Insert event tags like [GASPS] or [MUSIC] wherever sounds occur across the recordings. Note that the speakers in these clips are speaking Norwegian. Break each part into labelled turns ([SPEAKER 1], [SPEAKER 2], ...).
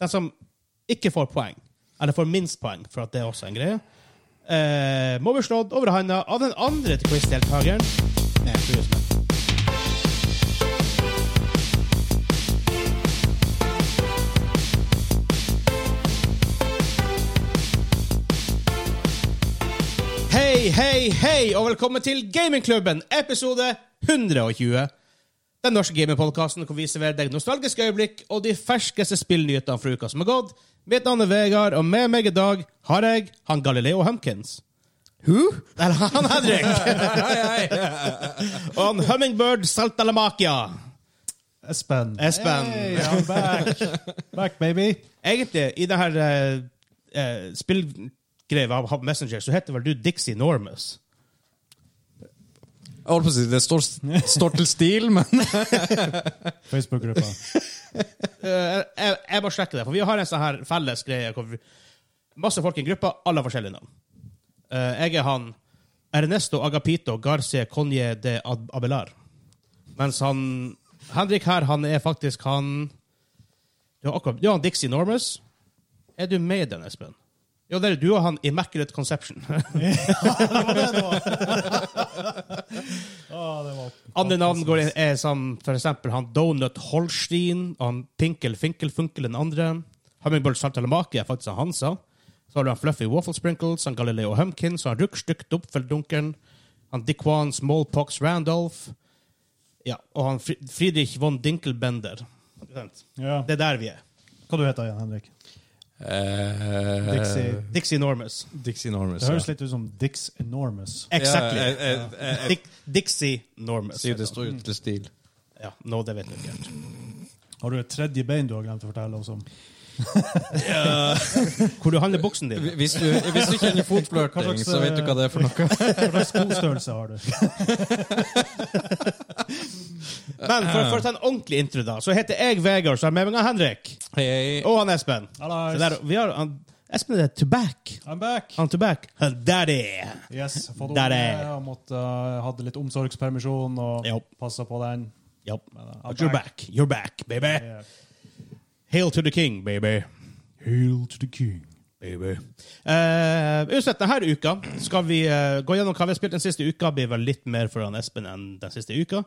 [SPEAKER 1] De som ikke får poeng, eller får minst poeng, for at det er også en greie, eh, må bli slått over handa av den andre til quiz-deltakeren. Nei, jeg tror det er sånn. Hei, hei, hei, og velkommen til Gamingklubben, episode 120. Den norske gamingpodkasten hvor vi serverer deg nostalgiske øyeblikk og de ferskeste spillnyhetene fra uka som er gått. Mitt navn er Vegard, og med meg i dag har jeg han Galileo Humpkins. Who? Eller han Henrik. og han Hummingbird Saltalamakia.
[SPEAKER 2] Espen.
[SPEAKER 1] Espen.
[SPEAKER 2] Hey, I'm back. back, baby.
[SPEAKER 1] Egentlig, i det her eh, eh, spillgreia av Hub Messenger, så heter vel du Dixie Normus.
[SPEAKER 3] Jeg holdt på å si det står, står til stil, men
[SPEAKER 2] Facebook-gruppa.
[SPEAKER 1] Eh, jeg, jeg bare sjekker det, for vi har en sånn her felles greie hvor vi, masse folk i en gruppe, alle har forskjellige navn. Eh, jeg er han Ernesto Agapito Garce Conje de Ab- Abelar. Mens han Henrik her, han er faktisk han Du har akkurat Du har han Dixie Normus. Er du med i den, Espen? Jo, det er du og han Immaculate Conception.
[SPEAKER 2] [LAUGHS]
[SPEAKER 1] [LAUGHS]
[SPEAKER 2] Ah, det var
[SPEAKER 1] Andre navn går inn, er som for eksempel han Donut Holstein, og han Pinkel Finkelfunkel den andre. Hummingbird Saltalamaki er faktisk han Hansa. Så har du han Fluffy Waffle Sprinkles, han Galileo Humkins, han Ruckstuck Dopfeldunken, han Dick Wan Smallpox Randolph, ja, og han Fri- Friedrich von Dinkelbender. Ikke sant?
[SPEAKER 2] Ja.
[SPEAKER 1] Det er der vi er.
[SPEAKER 2] Hva du heter du igjen, Henrik?
[SPEAKER 3] eh,
[SPEAKER 2] Dixie.
[SPEAKER 1] Dixie Enormous.
[SPEAKER 3] Dixie Normus.
[SPEAKER 2] Det høres litt ut som Dix Enormous.
[SPEAKER 1] Exactly.
[SPEAKER 3] Ja, jeg, jeg, jeg,
[SPEAKER 1] Dick, Dixie Enormous.
[SPEAKER 3] sier det står jo til stil.
[SPEAKER 1] Ja, nå det vet jeg ikke helt.
[SPEAKER 2] Har du et tredje bein du har glemt å fortelle oss om?
[SPEAKER 1] Hvor du handler buksen din?
[SPEAKER 3] Hvis du, hvis du kjenner
[SPEAKER 2] Hva
[SPEAKER 3] fotflørting,
[SPEAKER 2] slags,
[SPEAKER 3] så vet du hva det er
[SPEAKER 1] eh,
[SPEAKER 3] for noe.
[SPEAKER 2] Hva slags skostørrelse
[SPEAKER 1] [LAUGHS]
[SPEAKER 2] har du?
[SPEAKER 1] Men for, for å ta en ordentlig intro, da, så heter jeg Vegard, så har jeg med meg han Henrik.
[SPEAKER 3] Hei, hei.
[SPEAKER 1] Og han Espen. Så
[SPEAKER 2] Hallais.
[SPEAKER 1] der, vi har, han, Espen er tobakk.
[SPEAKER 2] I'm back.
[SPEAKER 1] Han tobakk. Han daddy.
[SPEAKER 2] Yes, jeg har fått
[SPEAKER 1] Der er
[SPEAKER 2] unge.
[SPEAKER 1] jeg.
[SPEAKER 2] Jeg måtte, uh, hadde litt omsorgspermisjon og
[SPEAKER 1] Jo.
[SPEAKER 2] passa på den.
[SPEAKER 1] Yep.
[SPEAKER 2] Men, uh,
[SPEAKER 1] But you're back. You're back, baby.
[SPEAKER 2] Yeah.
[SPEAKER 1] Hail to the king, baby.
[SPEAKER 2] Hail to the king.
[SPEAKER 1] Baby. Eh, uansett, denne uka skal vi eh, gå gjennom hva vi har spilt den siste uka. Blir vel litt mer for han Espen enn den siste uka.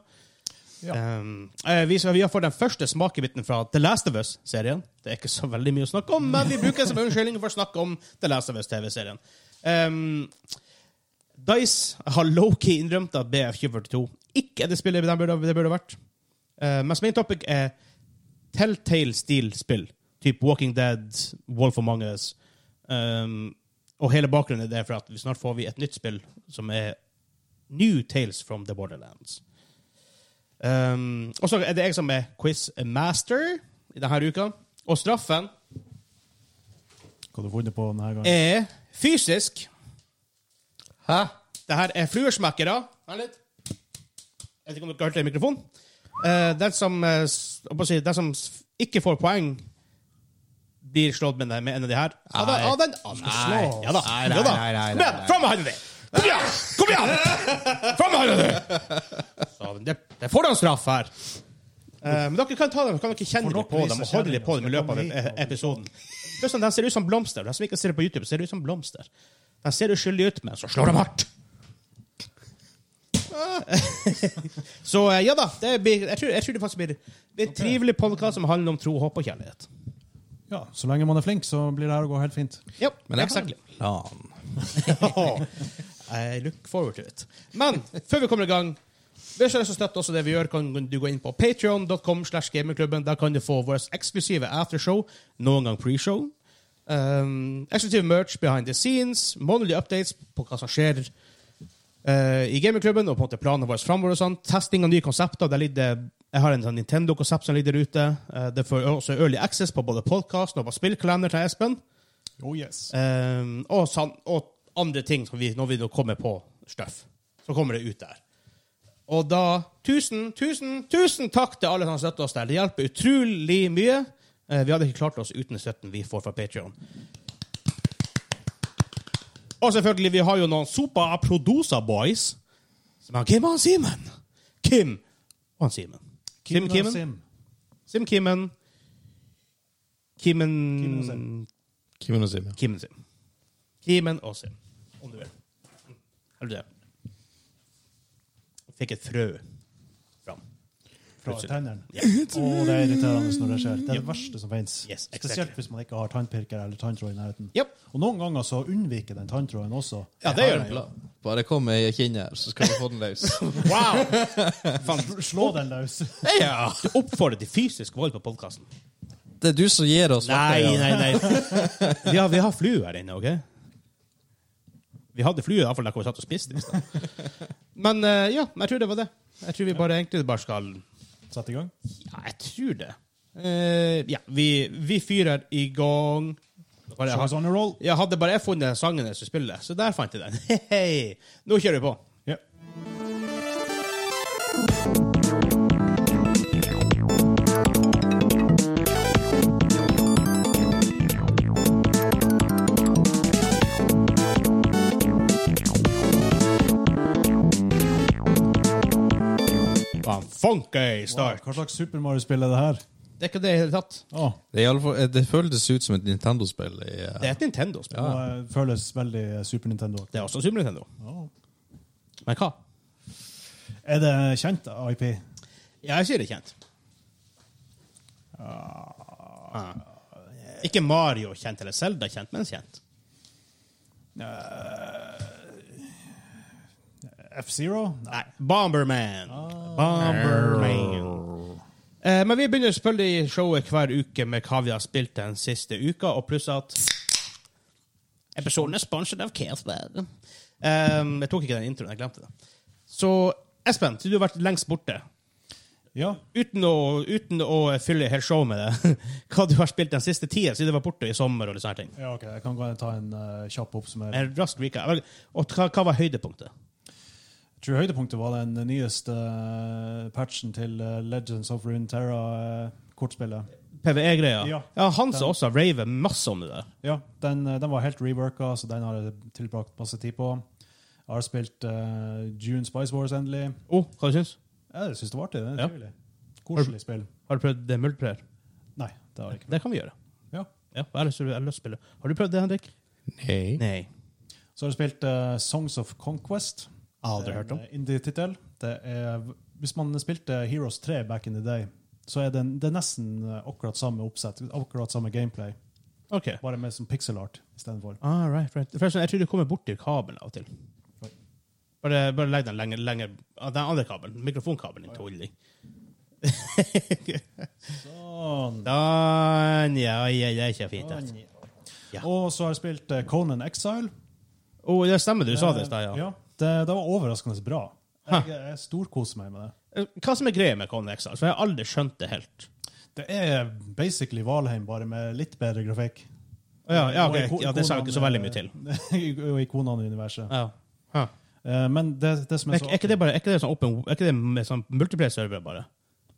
[SPEAKER 2] Ja.
[SPEAKER 1] Um, eh, vi, skal, vi har fått den første smakebiten fra The Last of Us-serien. Det er ikke så veldig mye å snakke om, men vi bruker det som unnskyldning for å snakke om The Last of Us-TV-serien. Um, Dice har lowkey innrømt at BF2042 ikke er det spillet det burde, det burde vært. Uh, mens min topic er Telltale-stil-spill. Typ Walking Dead, Wolf Among Us. Um, og hele bakgrunnen er det for at vi snart får vi et nytt spill som er New Tales from the Borderlands. Um, og så er det jeg som er quizmaster i denne uka. Og straffen
[SPEAKER 2] Hva har du funnet på denne gangen?
[SPEAKER 1] er fysisk.
[SPEAKER 3] Hæ?
[SPEAKER 1] Det her er fluesmekkere. Vent litt. Jeg vet ikke om dere hørte det i mikrofonen. Eh, den, som, eh, s- hva skal jeg si, den som s- ikke får poeng, blir slått med, den- med en av de her. Av den,
[SPEAKER 3] Nei.
[SPEAKER 1] av den andre.
[SPEAKER 3] Nei.
[SPEAKER 1] Ja da.
[SPEAKER 3] Nei, nei,
[SPEAKER 1] ja da.
[SPEAKER 3] nei, nei,
[SPEAKER 1] Kom
[SPEAKER 3] nei,
[SPEAKER 1] igjen,
[SPEAKER 3] nei.
[SPEAKER 1] fram med hånden din! Kom igjen! Kom igjen! Fram med hånden din! Så, Det, det får han straff her. Eh, men dere kan ta dem, kan dere kjenne
[SPEAKER 2] For
[SPEAKER 1] litt
[SPEAKER 2] nok
[SPEAKER 1] på dem og
[SPEAKER 2] viser
[SPEAKER 1] holde litt på
[SPEAKER 2] kjenner
[SPEAKER 1] dem i
[SPEAKER 2] jeg,
[SPEAKER 1] løpet av
[SPEAKER 2] skal komme
[SPEAKER 1] eh,
[SPEAKER 2] hit og-
[SPEAKER 1] episoden. Plutselig, den ser ut som blomster. Den som ikke ser det på YouTube, ser ut som blomster. Den ser uskyldig ut, men så slår de hardt. [LAUGHS] Så eh, ja da, det blir, jeg, tror, jeg tror det faktisk blir det er en trivelig podkast som handler om tro, håp og kjærlighet.
[SPEAKER 2] Ja, så lenge man er flink, så blir det her å gå helt fint.
[SPEAKER 1] Ja,
[SPEAKER 3] Men jeg har
[SPEAKER 1] exactly.
[SPEAKER 3] en plan.
[SPEAKER 1] [LAUGHS] I Eh, look forward to it. Men før vi kommer i gang hvis du har lyst til å støtte også det vi gjør, kan du gå inn på patreon.com slash gamingklubben. Der kan du få vårt eksklusive aftershow, noen gang pre-show. Um, eksklusiv merch behind the scenes, månedlige updates på hva som skjer eh, i gamingklubben, og på en måte planene våre framover og sånn. Testing av nye konsepter. Der ligger det jeg har en sånn Nintendo-konsept som ligger der ute. Eh, det får også early access på både podkasten og på spillkalender til Espen.
[SPEAKER 2] Oh yes.
[SPEAKER 1] Um, og, san, og andre ting som vi, når vi nå kommer på stuff. Så kommer det ut der. Og da Tusen, tusen, tusen takk til alle som støtter oss der. Det hjelper utrolig mye. Eh, vi hadde ikke klart oss uten støtten vi får fra Patreon Og selvfølgelig, vi har jo noen sopa producer boys. Som er Kim og han Simen. Kim og han Simen. Kim Kimmen.
[SPEAKER 2] Sim.
[SPEAKER 1] Sim Kimmen. Kimen
[SPEAKER 2] Kimen og Sim.
[SPEAKER 3] Kimono Sim, ja.
[SPEAKER 1] Kimen Sim. Kimen og Sim, om du vil. Eller det. Fikk et frø fram.
[SPEAKER 2] fra
[SPEAKER 1] Plutselig.
[SPEAKER 2] tennene.
[SPEAKER 1] Ja.
[SPEAKER 2] Og det er irriterende når det skjer. Det er det verste som fins.
[SPEAKER 1] Yes, exactly.
[SPEAKER 2] Spesielt hvis man ikke har tannpirker eller tanntråd i nærheten.
[SPEAKER 1] Yep.
[SPEAKER 2] Og noen ganger så unnviker den tanntråden også.
[SPEAKER 1] Ja, det gjør den.
[SPEAKER 3] Bare kom med ei kinn her, så skal vi få den
[SPEAKER 1] [LAUGHS]
[SPEAKER 3] løs.
[SPEAKER 1] Wow! [LAUGHS]
[SPEAKER 2] Slå
[SPEAKER 1] Oh.
[SPEAKER 2] den løs. [LAUGHS]
[SPEAKER 1] Ja. Du oppfordrer til fysisk vold på podkasten.
[SPEAKER 3] Det er du som gir oss
[SPEAKER 1] Nei,
[SPEAKER 3] verktøyene.
[SPEAKER 1] nei, nei. Vi har, vi har flue her inne, OK? Vi hadde flue iallfall da vi satt og spiste. i [LAUGHS] sted. Men eh, ja, jeg tror det var det. Jeg tror vi bare egentlig bare skal
[SPEAKER 2] Sett i gang.
[SPEAKER 1] Ja, jeg tror det. Eh, ja, vi, vi fyrer i gang. Bare,
[SPEAKER 2] Show us
[SPEAKER 1] jeg,
[SPEAKER 2] on a roll.
[SPEAKER 1] jeg hadde bare jeg funnet sangen jeg skulle spille, så der fant jeg den. [LAUGHS] Hei, Nå kjører vi på.
[SPEAKER 2] Ja.
[SPEAKER 1] Fan, Funky
[SPEAKER 2] Wow,
[SPEAKER 1] start.
[SPEAKER 2] hva slags Super Mario-spill er det her?
[SPEAKER 1] Det er ikke det i det hele tatt.
[SPEAKER 2] Å,
[SPEAKER 3] Det, er i alle fall- eh, det føltes ut som et Nintendo-spill. i, eh,
[SPEAKER 1] Det er et Nintendo-spill.
[SPEAKER 2] og, eh, føles veldig eh, Super Nintendo.
[SPEAKER 1] Ah. Det er også Super Nintendo.
[SPEAKER 2] Å.
[SPEAKER 1] Men hva?
[SPEAKER 2] Er det kjent IP?
[SPEAKER 1] Ja, jeg sier det kjent. Ah. Ikke Mario kjent eller Zelda kjent, men kjent.
[SPEAKER 2] F-Zero?
[SPEAKER 1] Nei. Bomberman. Bomberman. Eh, men vi begynner selvfølgelig showet hver uke med hva vi har spilt den siste uka, og pluss at Episoden er sponset av Casberg. Um, jeg tok ikke den introen, jeg glemte det. Så Espen, du har vært lengst borte.
[SPEAKER 2] Ja.
[SPEAKER 1] Uten å, uten å fylle hele showet med det, [LAUGHS] hva du har spilt den siste tida siden du var borte i sommer? og litt sånne ting.
[SPEAKER 2] ja, ok. Jeg kan gå og ta en eh, kjapp oppsummering.
[SPEAKER 1] En rask recap. Vel, Og hva, hva var høydepunktet?
[SPEAKER 2] Jeg tror høydepunktet var den nyeste eh, patchen til eh, Legends of eh, Runeterra-kortspillet.
[SPEAKER 1] PVE-greia?
[SPEAKER 2] Ja.
[SPEAKER 1] ja, han som også raver masse om det der.
[SPEAKER 2] Ja, den, eh, den var helt reworka, så den har jeg tilbrakt masse tid på. Jeg har spilt eh, June Spice Wars endelig.
[SPEAKER 1] Oh, hva du syns
[SPEAKER 2] Ja, jeg syns det var artig. Det
[SPEAKER 1] Ja.
[SPEAKER 2] er trivelig. Koselig spill.
[SPEAKER 1] Har du prøvd det multiplayer?
[SPEAKER 2] Nei, det har jeg ikke.
[SPEAKER 1] Det kan vi gjøre.
[SPEAKER 2] Ja.
[SPEAKER 1] Ja, jeg har lyst til jeg har lyst til å spille. Har du prøvd det, Henrik?
[SPEAKER 3] Nei.
[SPEAKER 1] Nei.
[SPEAKER 2] Så har jeg spilt eh, Songs of Conquest.
[SPEAKER 1] Ah, Aldri hørt om.
[SPEAKER 2] En, eh, Indie-tittel. Det er Hvis man spilte Heroes 3 back in the day, så er den, det er nesten eh, akkurat samme oppsett, akkurat samme gameplay,
[SPEAKER 1] OK.
[SPEAKER 2] bare med som pixel art istedenfor.
[SPEAKER 1] Ah, right, right. Forresten, jeg tror du kommer borti kabelen av og til.
[SPEAKER 2] Oi.
[SPEAKER 1] Bare, bare legg den lenger, lenger ah, Den andre kabelen. Mikrofonkabelen din til Olli.
[SPEAKER 2] Sånn.
[SPEAKER 1] [LAUGHS] Sånn. Ja, ja, ja, ikke fint. det. Ja.
[SPEAKER 2] Og så har jeg spilt eh, Conan Exile.
[SPEAKER 1] Å, Oh, det stemmer, du sa det i stad, ja.
[SPEAKER 2] Ja, det, det var overraskende bra. Jeg, jeg storkoser meg med det.
[SPEAKER 1] Eh, Hva som er greia med Conan Exiles? For jeg har aldri skjønt det helt.
[SPEAKER 2] Det er basically Valheim, bare med litt bedre grafikk.
[SPEAKER 1] Ja, ja,
[SPEAKER 2] Og
[SPEAKER 1] ok.
[SPEAKER 2] iko-
[SPEAKER 1] ja det sa jo ikke så veldig mye til.
[SPEAKER 2] ikonene- [LAUGHS] Og ikonene i universet.
[SPEAKER 1] Ja. Ja.
[SPEAKER 2] Eh, Men det, det som
[SPEAKER 1] Men
[SPEAKER 2] er
[SPEAKER 1] Er,
[SPEAKER 2] så
[SPEAKER 1] er ikke det bare er ikke det sånn open, er ikke det med sånn multiplayer-server, bare?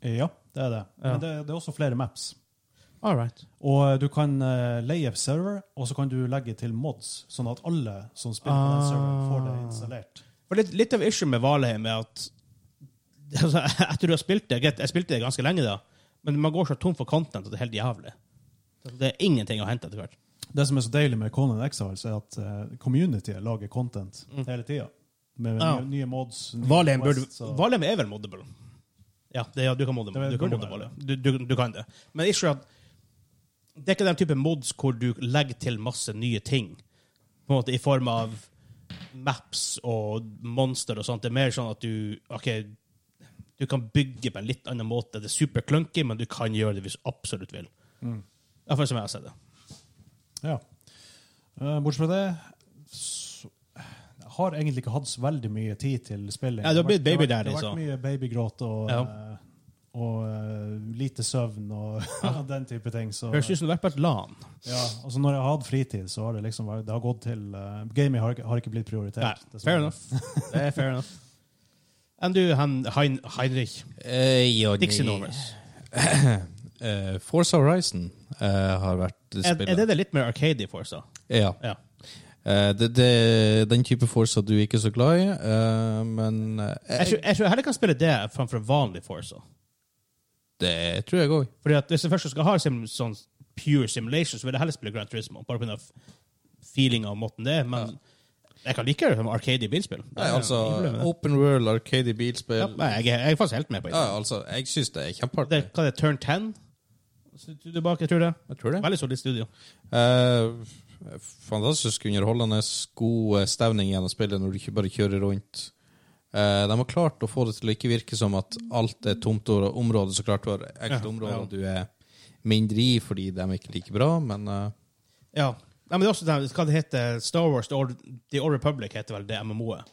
[SPEAKER 2] Ja, det er det.
[SPEAKER 1] Ja.
[SPEAKER 2] Men det, det er også flere maps.
[SPEAKER 1] All right.
[SPEAKER 2] Og eh, du kan eh, leie server, og så kan du legge til mods, sånn at alle som spiller på den serveren, får det installert.
[SPEAKER 1] For litt, litt av issue med Valheim er at [LAUGHS] altså, Etter du har spilt det greit, Jeg spilte det ganske lenge, da, men man går så tom for content at det er helt jævlig. Det er ingenting å hente etter hvert.
[SPEAKER 2] Det som er så deilig med Conan Exiles, er at eh, communityet lager content hele tida. Med
[SPEAKER 1] Mm. Ja.
[SPEAKER 2] nye, nye mods. nye
[SPEAKER 1] Valheim, burde,
[SPEAKER 2] quests, og-
[SPEAKER 1] Valheim er vel moddable? Ja, det, ja du kan modde,
[SPEAKER 2] Det vel-
[SPEAKER 1] du kan
[SPEAKER 2] burde
[SPEAKER 1] modde
[SPEAKER 2] være
[SPEAKER 1] Valheim. Du, du, du kan det. Men ikke at det er ikke den type mods hvor du legger til masse nye ting. På en måte I form av maps og monster og sånt. Det er mer sånn at du OK, du kan bygge på en litt annen måte. Det er super clunky, men du kan gjøre det hvis du absolutt vil. Iallfall som jeg har sett det.
[SPEAKER 2] Ja. Eh, bortsett fra det så, jeg har egentlig ikke hatt så veldig mye tid til spilling.
[SPEAKER 1] Ja, du har blitt
[SPEAKER 2] Det vært-
[SPEAKER 1] babydaddy,
[SPEAKER 2] Det har vært mye babygråt og,
[SPEAKER 1] Ja.
[SPEAKER 2] eh, og eh, lite søvn og [LAUGHS] den type ting. Så,
[SPEAKER 1] Høres ut som du har vært på et LAN.
[SPEAKER 2] ja, altså når jeg har hatt fritid, så har det liksom vært- det har gått til eh, Gaming har, ikke- har ikke blitt
[SPEAKER 1] Nei,
[SPEAKER 2] prioritert. dessverre.
[SPEAKER 1] fair enough. [LAUGHS] Det er fair enough. Enn du, Hen Hein Heinrich?
[SPEAKER 3] Eh, ja, nei.
[SPEAKER 1] Dixie Norris.
[SPEAKER 3] [CLEARS THROAT] Eh, Forza Horizon eh, har vært
[SPEAKER 1] Er,
[SPEAKER 3] spillet.
[SPEAKER 1] er det det litt mer arcade i Forza?
[SPEAKER 3] Ja.
[SPEAKER 1] Ja.
[SPEAKER 3] Eh, det, det, den type Forza du ikke er så glad i, eh, men eh,
[SPEAKER 1] Jeg tror, jeg tror heller kan spille det framfor vanlig Forza.
[SPEAKER 3] det tror jeg òg.
[SPEAKER 1] Fordi at Hvis jeg først skal ha sim, sånn pure simulation, så vil jeg heller spille Grand Turismo. Bare pga. feelinga og måten det er. Men jeg kan like det som arcade i bilspill.
[SPEAKER 3] Nei,
[SPEAKER 1] Jeg har
[SPEAKER 3] altså,
[SPEAKER 1] ingen problem med det.
[SPEAKER 3] Open World Arcade i bilspill
[SPEAKER 1] Ja, nei, jeg, er- jeg er faktisk helt med på
[SPEAKER 3] Ja,
[SPEAKER 1] det.
[SPEAKER 3] altså, jeg syns det er
[SPEAKER 1] det
[SPEAKER 3] kjempeartig.
[SPEAKER 1] hva er det, Turn 10? Så du Tilbake, jeg tror det.
[SPEAKER 3] Jeg tror det.
[SPEAKER 1] Veldig solid studio.
[SPEAKER 3] Eh, fantastisk underholdende, god eh, stevning gjennom spillet når du ikke bare kjører rundt. Eh, de har klart å få det til å ikke virke som at alt er tomt og- område. Så klart du har ekte
[SPEAKER 1] Ja,
[SPEAKER 3] områder
[SPEAKER 1] ja.
[SPEAKER 3] du er mindre i fordi de er ikke like bra, men eh,
[SPEAKER 1] Ja. Nei, men det er også den, hva det heter Star Wars The Old, The Old Republic heter vel det MMO-et.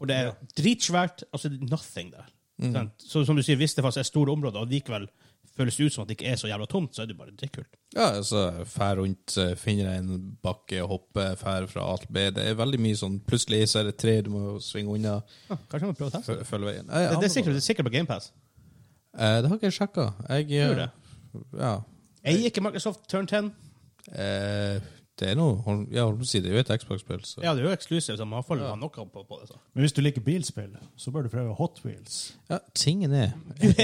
[SPEAKER 1] Og det er dritsvært. Altså, det er nothing der. Sant? Så som du sier, hvis det faktisk er store områder, og likevel føles det ut som at det ikke er så jævla tomt, så er det bare dritkult.
[SPEAKER 3] ja, altså, fær rundt, eh, finner en bakke, hopper, fær fra A til B. Det er veldig mye sånn plutselig så er det et tre du må svinge unna,
[SPEAKER 1] Ja, kanskje jeg må prøve å teste.
[SPEAKER 3] føl- følge veien.
[SPEAKER 1] Det, det, er sikkert, det er sikkert på GamePass.
[SPEAKER 3] Eh, det har ikke jeg sjekka. Jeg
[SPEAKER 1] Tror
[SPEAKER 3] eh,
[SPEAKER 1] det.
[SPEAKER 3] Ja.
[SPEAKER 1] Jeg gir ikke Microsoft Turn 10.
[SPEAKER 3] Eh, det er noe hold- Ja, holdt på å si, det er jo et Xbox-spill, så
[SPEAKER 1] Ja, det er jo eksklusivt, så man får ha noe på, på det. Så. [LAUGHS]
[SPEAKER 2] Men hvis du liker bilspill, så bør du prøve Hot Wheels.
[SPEAKER 3] Ja, tingen er
[SPEAKER 1] Jeg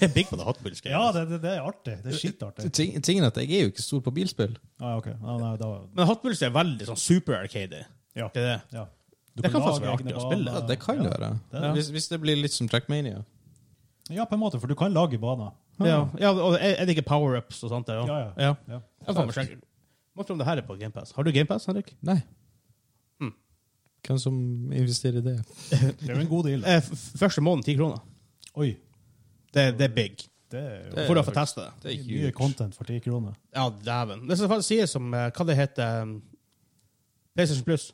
[SPEAKER 1] er big på det hotbills-greiet.
[SPEAKER 2] Ja, det, det, det er artig. Det er [LAUGHS] skitartig.
[SPEAKER 3] eh, ting, Tingen er at jeg er jo ikke stor på bilspill.
[SPEAKER 2] Ah, ok. Ah, nei, da,
[SPEAKER 1] Men hotbills er veldig sånn super-arcade.
[SPEAKER 2] ja.
[SPEAKER 1] Det er det.
[SPEAKER 2] ja. Du
[SPEAKER 1] Det kan faktisk
[SPEAKER 2] lage
[SPEAKER 1] være artig
[SPEAKER 2] egne
[SPEAKER 1] å spille.
[SPEAKER 2] baner.
[SPEAKER 3] Ja, det kan det være.
[SPEAKER 2] det er det.
[SPEAKER 3] Hvis, hvis det blir litt som Trackmania.
[SPEAKER 2] Ja, på en måte, for du kan lage baner.
[SPEAKER 1] Ja, ja og er, er det ikke power-ups og sånt? der,
[SPEAKER 2] Ja, ja.
[SPEAKER 1] ja.
[SPEAKER 2] Ja.
[SPEAKER 1] Jeg får meg sjekke. Hva tror du om det her er på GamePass? Har du GamePass, Henrik?
[SPEAKER 3] Nei. Mm.
[SPEAKER 1] Hmm.
[SPEAKER 3] Hvem som investerer i det?
[SPEAKER 2] Det er jo en god
[SPEAKER 3] [LAUGHS]
[SPEAKER 2] deal.
[SPEAKER 1] Eh, f- første måneden 10 kroner.
[SPEAKER 2] Oi,
[SPEAKER 1] Det, det er big.
[SPEAKER 2] det er jo
[SPEAKER 3] Det er
[SPEAKER 1] For å få teste det.
[SPEAKER 3] Det er
[SPEAKER 2] mye
[SPEAKER 3] huge.
[SPEAKER 2] content for 10 kroner.
[SPEAKER 1] Ja, dæven. Det som faktisk sies som eh, Hva det heter um, PlayStation Plus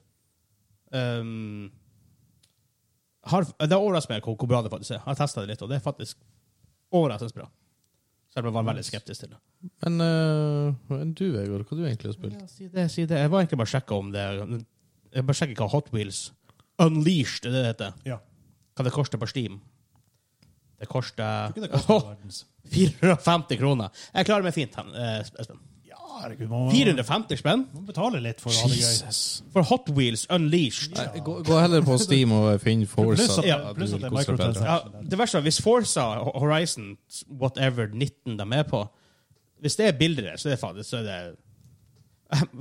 [SPEAKER 1] um, har, Det overrasker meg hvor, hvor bra det faktisk er. Jeg har testa det litt, og det er faktisk overraskende bra. Selv om jeg var veldig skeptisk til det.
[SPEAKER 3] Men eh, enn du, Vegard, hva du egentlig har spilt?
[SPEAKER 1] Ja, si det, si det. Jeg var egentlig bare sjekka om det Jeg bare sjekker hva Hot Wheels Unleashed er det det heter.
[SPEAKER 2] Ja.
[SPEAKER 1] Hva det koster på Steam. Det koster
[SPEAKER 2] Tror ikke det koster all verdens.
[SPEAKER 1] 450 kroner. Jeg klarer meg fint, Hen- eh, Espen.
[SPEAKER 2] Ja, herregud, man må,
[SPEAKER 1] 450 spenn
[SPEAKER 2] man betaler litt for å ha det gøy.
[SPEAKER 1] for Hot Wheels Unleashed.
[SPEAKER 3] Nei, gå, gå heller på Steam og finn Forza.
[SPEAKER 2] Pluss at,
[SPEAKER 1] Ja,
[SPEAKER 3] du
[SPEAKER 2] pluss
[SPEAKER 3] vil
[SPEAKER 2] at det er
[SPEAKER 3] kose deg
[SPEAKER 1] Ja,
[SPEAKER 3] bedre.
[SPEAKER 2] microtransaction.
[SPEAKER 1] det verste er hvis Forza Horizon whatever 19 de er på Hvis det er bilder der, så er det fader, så er det [LAUGHS]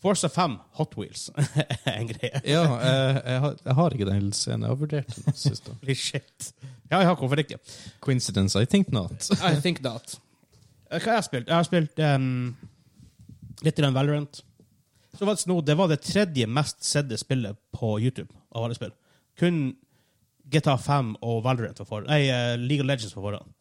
[SPEAKER 1] Forza 5 Hot Wheels [LAUGHS] er en greie.
[SPEAKER 3] Ja, eh, jeg, har, jeg har ikke den hilsen. Jeg har vurdert den sist. da.
[SPEAKER 1] Holy shit. Ja, ja, hvorfor ikke?
[SPEAKER 3] Coincidence, I think not.
[SPEAKER 1] I think not. Eh, Hva har jeg spilt? Jeg har spilt ehm, litt i den Valorant. Så var det, nå, det var det tredje mest sedde spillet på YouTube av alle spill. Kun GTA 5 og Valorant var foran. Nei, eh, League of Legends var foran.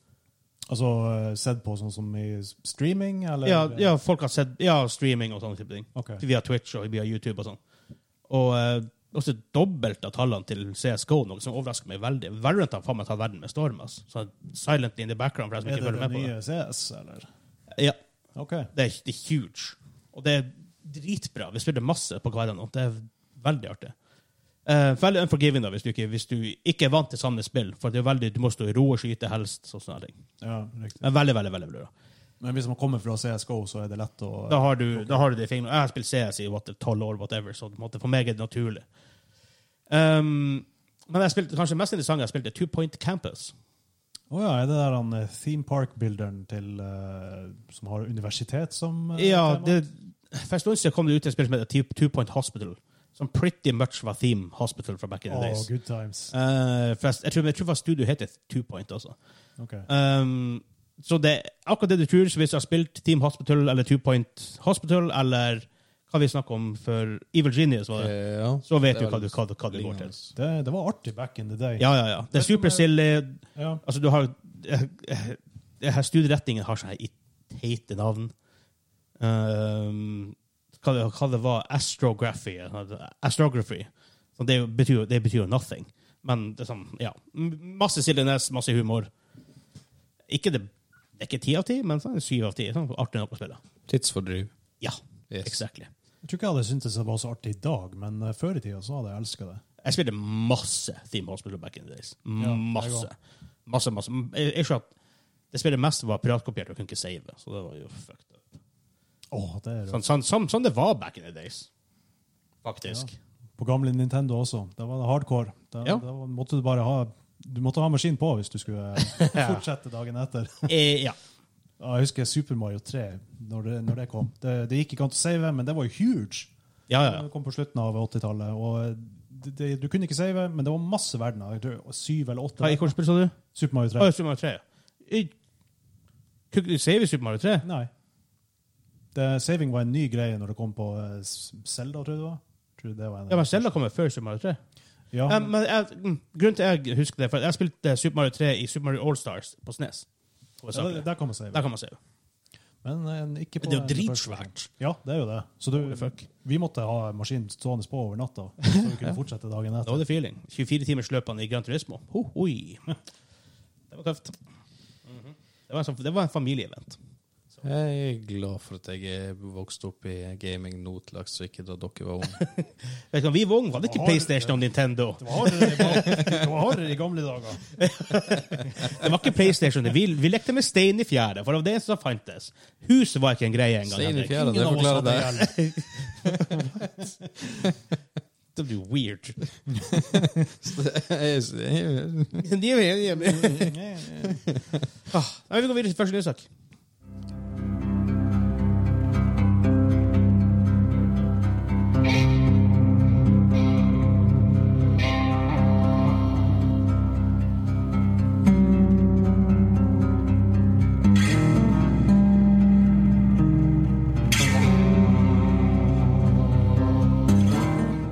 [SPEAKER 2] Altså eh, sett på sånn som i streaming, eller?
[SPEAKER 1] Ja, ja, folk har sett ja, streaming og sånne type ting.
[SPEAKER 2] Ok.
[SPEAKER 1] Via Twitch og via YouTube og sånn. Og eh, også dobbelt av tallene til CSGO, noe som overrasker meg veldig. Valorant har faen meg tatt verden med storm. Altså. Sånn silently in the background, for jeg som
[SPEAKER 2] Er
[SPEAKER 1] ikke
[SPEAKER 2] det
[SPEAKER 1] følger
[SPEAKER 2] den
[SPEAKER 1] med på
[SPEAKER 2] nye CS, eller?
[SPEAKER 1] det. Ja.
[SPEAKER 2] Ok.
[SPEAKER 1] Det er, det er huge. Og det er dritbra. Vi spiller masse på hverandre nå. Det er veldig artig. Eh, veldig unforgiving da, hvis du, ikke, hvis du ikke er vant til samme spill. For det er veldig, du må stå i ro og skyte helst. og sånne ting.
[SPEAKER 2] Ja, riktig.
[SPEAKER 1] Men veldig, veldig, veldig bra.
[SPEAKER 2] Men hvis man kommer fra CSGO, så er det lett å
[SPEAKER 1] Da har du, da har du det i fingrene. Jeg har spilt CS i what, 12 år, whatever, så på en måte, for meg er det naturlig. Um, men jeg spilte, kanskje det mest interessante jeg spilte, er Two Point Campus.
[SPEAKER 2] Å ja, er det der han eh, theme park-builderen til eh, Som har universitet som eh,
[SPEAKER 1] Ja,
[SPEAKER 2] tema?
[SPEAKER 1] det, for en stund siden kom det ut et spill som heter Two- Two Point Hospital, som pretty much var Theme Hospital fra back in the
[SPEAKER 2] Å,
[SPEAKER 1] days.
[SPEAKER 2] good times.
[SPEAKER 1] Eh, for jeg, jeg, tror, jeg tror faktisk studio heter Two Point også.
[SPEAKER 2] Ok.
[SPEAKER 1] Um, så det er akkurat det du tror, så hvis du har spilt Team Hospital eller Two Point Hospital, eller hva vi snakker om for Evil Genius, var det,
[SPEAKER 3] Eh, ja.
[SPEAKER 1] så vet
[SPEAKER 3] det
[SPEAKER 1] du
[SPEAKER 3] er
[SPEAKER 1] hva du,
[SPEAKER 3] vel
[SPEAKER 1] hva, du- hva du går til.
[SPEAKER 3] lignende.
[SPEAKER 2] Det, det var artig back in the day.
[SPEAKER 1] Ja, ja, ja. Det er super silly.
[SPEAKER 2] Ja.
[SPEAKER 1] Altså, du har eh, eh, her Studieretningen har sånne i- teite navn. Um, hva, det, hva det var Astrography. eh, Astrography. Så det, betyr, det betyr jo nothing. Men det er sånn, ja. M- Masse silliness, masse humor. Ikke det, det er ikke ti av ti, men sånn syv av ti. Sånn, artig nok å spille.
[SPEAKER 3] Tidsfordriv.
[SPEAKER 1] Ja,
[SPEAKER 3] Yes.
[SPEAKER 1] exactly.
[SPEAKER 2] Jeg tror ikke jeg hadde syntes det var så artig i dag, men eh, før i tida så hadde jeg elska det.
[SPEAKER 1] Jeg spilte masse Theme Hospital back in the days.
[SPEAKER 2] jeg
[SPEAKER 1] Masse. Masse, masse. Jeg, jeg skjønner at det spillet mest var piratkopiert og kunne ikke save. Så det var jo fucked up.
[SPEAKER 2] Åh, det er
[SPEAKER 1] Sånn, sånn, sånn, sånn det var back in the days. Faktisk.
[SPEAKER 2] På gamle Nintendo også. Da var det hardcore. Da,
[SPEAKER 1] Ja.
[SPEAKER 2] da
[SPEAKER 1] [LAUGHS]
[SPEAKER 2] måtte du bare ha Du måtte ha maskin på hvis du skulle eh, fortsette dagen etter.
[SPEAKER 1] Eh, ja.
[SPEAKER 2] Ja, Jeg husker Super Mario 3, når det, når det kom. Det, det gikk ikke an å save, men det var jo huge.
[SPEAKER 1] Ah, Ja, ja.
[SPEAKER 2] Det kom på slutten av 80-tallet. og det, det, Du kunne ikke save, men det var masse verdener. Jeg tror Syv eller åtte.
[SPEAKER 1] Hva
[SPEAKER 2] verdener.
[SPEAKER 1] hvilket spill sa du?
[SPEAKER 2] Super Mario 3.
[SPEAKER 1] Å, Super Mario 3. ja. I- Kunne du save i Super Mario 3?
[SPEAKER 2] Nei. Det, saving var en ny greie når det kom på eh, S- Zelda, tror jeg det var. Tror det var en,
[SPEAKER 1] Ja, men Zelda kommer før Super Mario 3.
[SPEAKER 2] Ja,
[SPEAKER 1] Eh, men jeg, mm, grunnen til jeg husker det, for jeg spilte Super Mario 3 i Super Mario All-Stars på SNES.
[SPEAKER 2] ja, der-
[SPEAKER 1] Der
[SPEAKER 2] der kommer save.
[SPEAKER 1] kan man save.
[SPEAKER 2] Men eh, ikke på
[SPEAKER 1] Det er jo
[SPEAKER 2] den første
[SPEAKER 1] dritsvært.
[SPEAKER 2] versjonen. Ja, det er jo det. Så du,
[SPEAKER 1] Holy fuck.
[SPEAKER 2] vi måtte ha maskinen stående på over natta, så vi
[SPEAKER 1] [LAUGHS]
[SPEAKER 2] kunne fortsette dagen
[SPEAKER 1] Da var
[SPEAKER 2] etter.
[SPEAKER 1] det feeling. 24 timers løpene i Gran Turismo. Ho, hoi. Det var tøft. Det var en, sånn, det var en familieevent.
[SPEAKER 3] Jeg er glad for at jeg er vokst opp i gaming nå til dags, og ikke da dere var unge.
[SPEAKER 1] Vet du hva, Vi var unge, var det ikke
[SPEAKER 2] Har-
[SPEAKER 1] PlayStation og Nintendo?
[SPEAKER 2] Det var hardere i ba- det var hardere i gamle dager.
[SPEAKER 1] Det var ikke PlayStation. Vi, vi lekte med stein i fjæra, for det var det som fantes. Huset var ikke en greie engang.
[SPEAKER 3] Stein i
[SPEAKER 1] Henrik.
[SPEAKER 3] fjæra, det
[SPEAKER 2] Ingen av oss
[SPEAKER 3] forklarer
[SPEAKER 2] hadde
[SPEAKER 3] det.
[SPEAKER 2] hjelm.
[SPEAKER 1] Det blir weird.
[SPEAKER 3] Jeg
[SPEAKER 1] De er enige. [LAUGHS] Nei, vi går videre til første nyhetssak.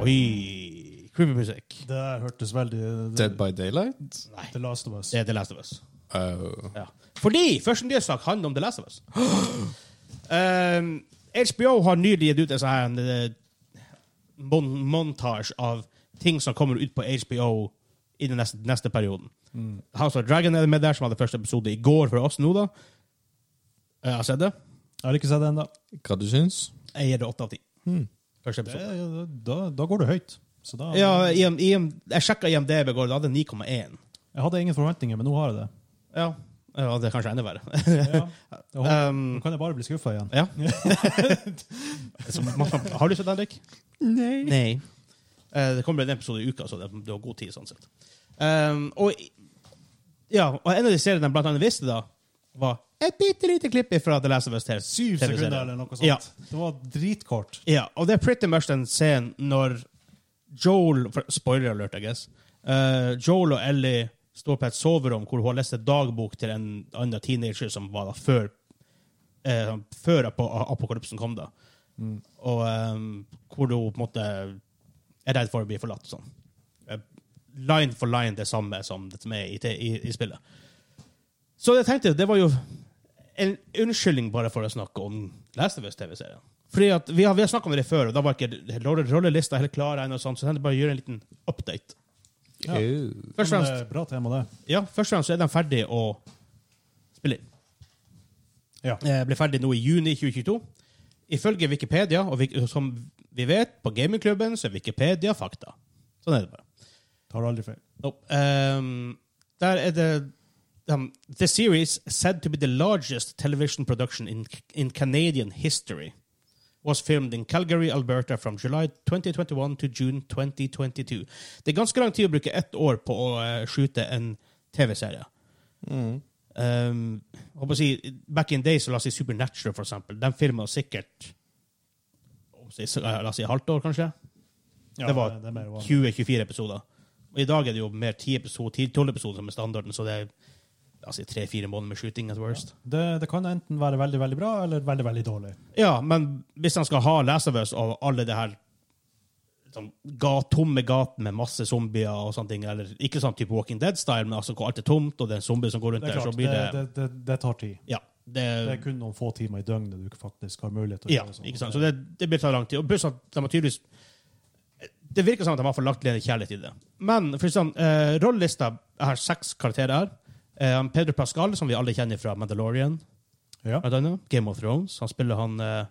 [SPEAKER 1] Oi, creepy musikk.
[SPEAKER 2] Det der hørtes veldig
[SPEAKER 3] Dead by Daylight?
[SPEAKER 1] Nei,
[SPEAKER 2] The Last of Us.
[SPEAKER 1] det er The Last of Us.
[SPEAKER 3] Oh.
[SPEAKER 1] Ja. Fordi første nyhetssak handler om The Last of Us. [GASPS] Um, HBO har nylig gitt ut en sånn her, eh, mon montage av ting som kommer ut på HBO i den neste, neste perioden. House of Dragon er med der, som hadde første episode i går for oss nå, da. Eh, Jeg har sett det.
[SPEAKER 2] Jeg har ikke sett det ennå.
[SPEAKER 3] Hva du syns?
[SPEAKER 1] Jeg gir det åtte av ti. Første
[SPEAKER 2] Det-
[SPEAKER 1] episode.
[SPEAKER 2] Da, da går du høyt. Så da,
[SPEAKER 1] Ja, IM, IM, jeg sjekka IMDb i går, da hadde jeg 9,1.
[SPEAKER 2] Jeg hadde ingen forventninger, men nå har jeg
[SPEAKER 1] [LAUGHS]
[SPEAKER 2] det.
[SPEAKER 1] Ja. ja, det er kanskje enda verre. [LAUGHS]
[SPEAKER 2] Ja, jeg håper-
[SPEAKER 1] Um,
[SPEAKER 2] Nå kan jeg bare bli skuffa igjen.
[SPEAKER 1] Ja. [LAUGHS] Så man- har du sett Henrik? Nei. Eh, det kommer en episode i uka, så det, du har god tid. sånn sett. Um, og, i- ja, og en av de seriene de blant annet visste, da, var et bitte lite klipp fra The Last of Us TV.
[SPEAKER 2] Syv sekunder eller noe sånt.
[SPEAKER 1] Ja.
[SPEAKER 2] Det var dritkort.
[SPEAKER 1] Ja, og det er pretty much den scenen når Joel for- Spoiler alert, I guess. Eh, Joel og Ellie står på et soverom hvor hun har lest en dagbok til en annen teenager som var da før, eh, før ap apokalypsen kom. da. Og eh, hvor hun på en måte er redd for å bli forlatt. sånn. Eh, line for line det samme som det som er i, i, i spillet. Så jeg tenkte, det var jo en unnskyldning bare for å snakke om Last of Us-TV-serien. Fordi at Vi har, vi har snakka om det før, og da var ikke rolle- rollelista helt klar. ennå og sånt, så jeg tenkte bare å gjøre en liten update.
[SPEAKER 2] Ja.
[SPEAKER 3] Ew.
[SPEAKER 1] Først og
[SPEAKER 2] Men,
[SPEAKER 1] fremst,
[SPEAKER 2] eh, Bra tema, det.
[SPEAKER 1] ja, først og fremst så er de ferdige å spille inn.
[SPEAKER 2] Ja.
[SPEAKER 1] Eh, ble ferdig nå i juni 2022. Ifølge Wikipedia, og vi, som vi vet, på gamingklubben så er Wikipedia fakta. Sånn er det bare.
[SPEAKER 2] Tar aldri feil.
[SPEAKER 1] Nope. Um, der er det um, The series, said to be the largest television production in, in Canadian history, was filmed in Calgary, Alberta from July 2021 to June 2022. Det er ganske lang tid å bruke ett år på å eh, skyte en TV-serie. Um, jeg håper å si, back in days, så la oss si Supernatural, for eksempel. Den filmen sikkert om si, så- La oss si halvt år, kanskje?
[SPEAKER 2] Ja,
[SPEAKER 1] det var
[SPEAKER 2] det er mer vanlig.
[SPEAKER 1] 20-24 episoder. Og I dag er det jo mer 10-12 episoder, 10-12 episoder som er standarden, så det er la oss si, 3-4 måneder med shooting at worst.
[SPEAKER 2] Det, det kan enten være veldig veldig bra eller veldig veldig dårlig.
[SPEAKER 1] Ja, men hvis han skal ha Last of Us og alle det her sånn, ga, tomme gaten med masse zombier og sånne ting, eller ikke sånn type Walking Dead-style, men altså hvor alt er tomt, og det er en zombie som går rundt
[SPEAKER 2] Det, er
[SPEAKER 1] der, så
[SPEAKER 2] klart,
[SPEAKER 1] blir det,
[SPEAKER 2] det, det, det, det tar tid.
[SPEAKER 1] Ja. Det,
[SPEAKER 2] Det er kun noen få timer i døgnet du faktisk har mulighet til å
[SPEAKER 1] ja,
[SPEAKER 2] gjøre sånn.
[SPEAKER 1] ikke sant? Så det, det blir tatt lang tid. Og pluss at de har tydeligvis Det virker som at de har forlagt litt kjærlighet i det. Men for sånn, eh, rollelista jeg har seks karakterer her. Eh, han Pedro Pascal, som vi alle kjenner fra Mandalorian,
[SPEAKER 2] Ja.
[SPEAKER 1] blant annet. Game of Thrones. Han spiller han eh,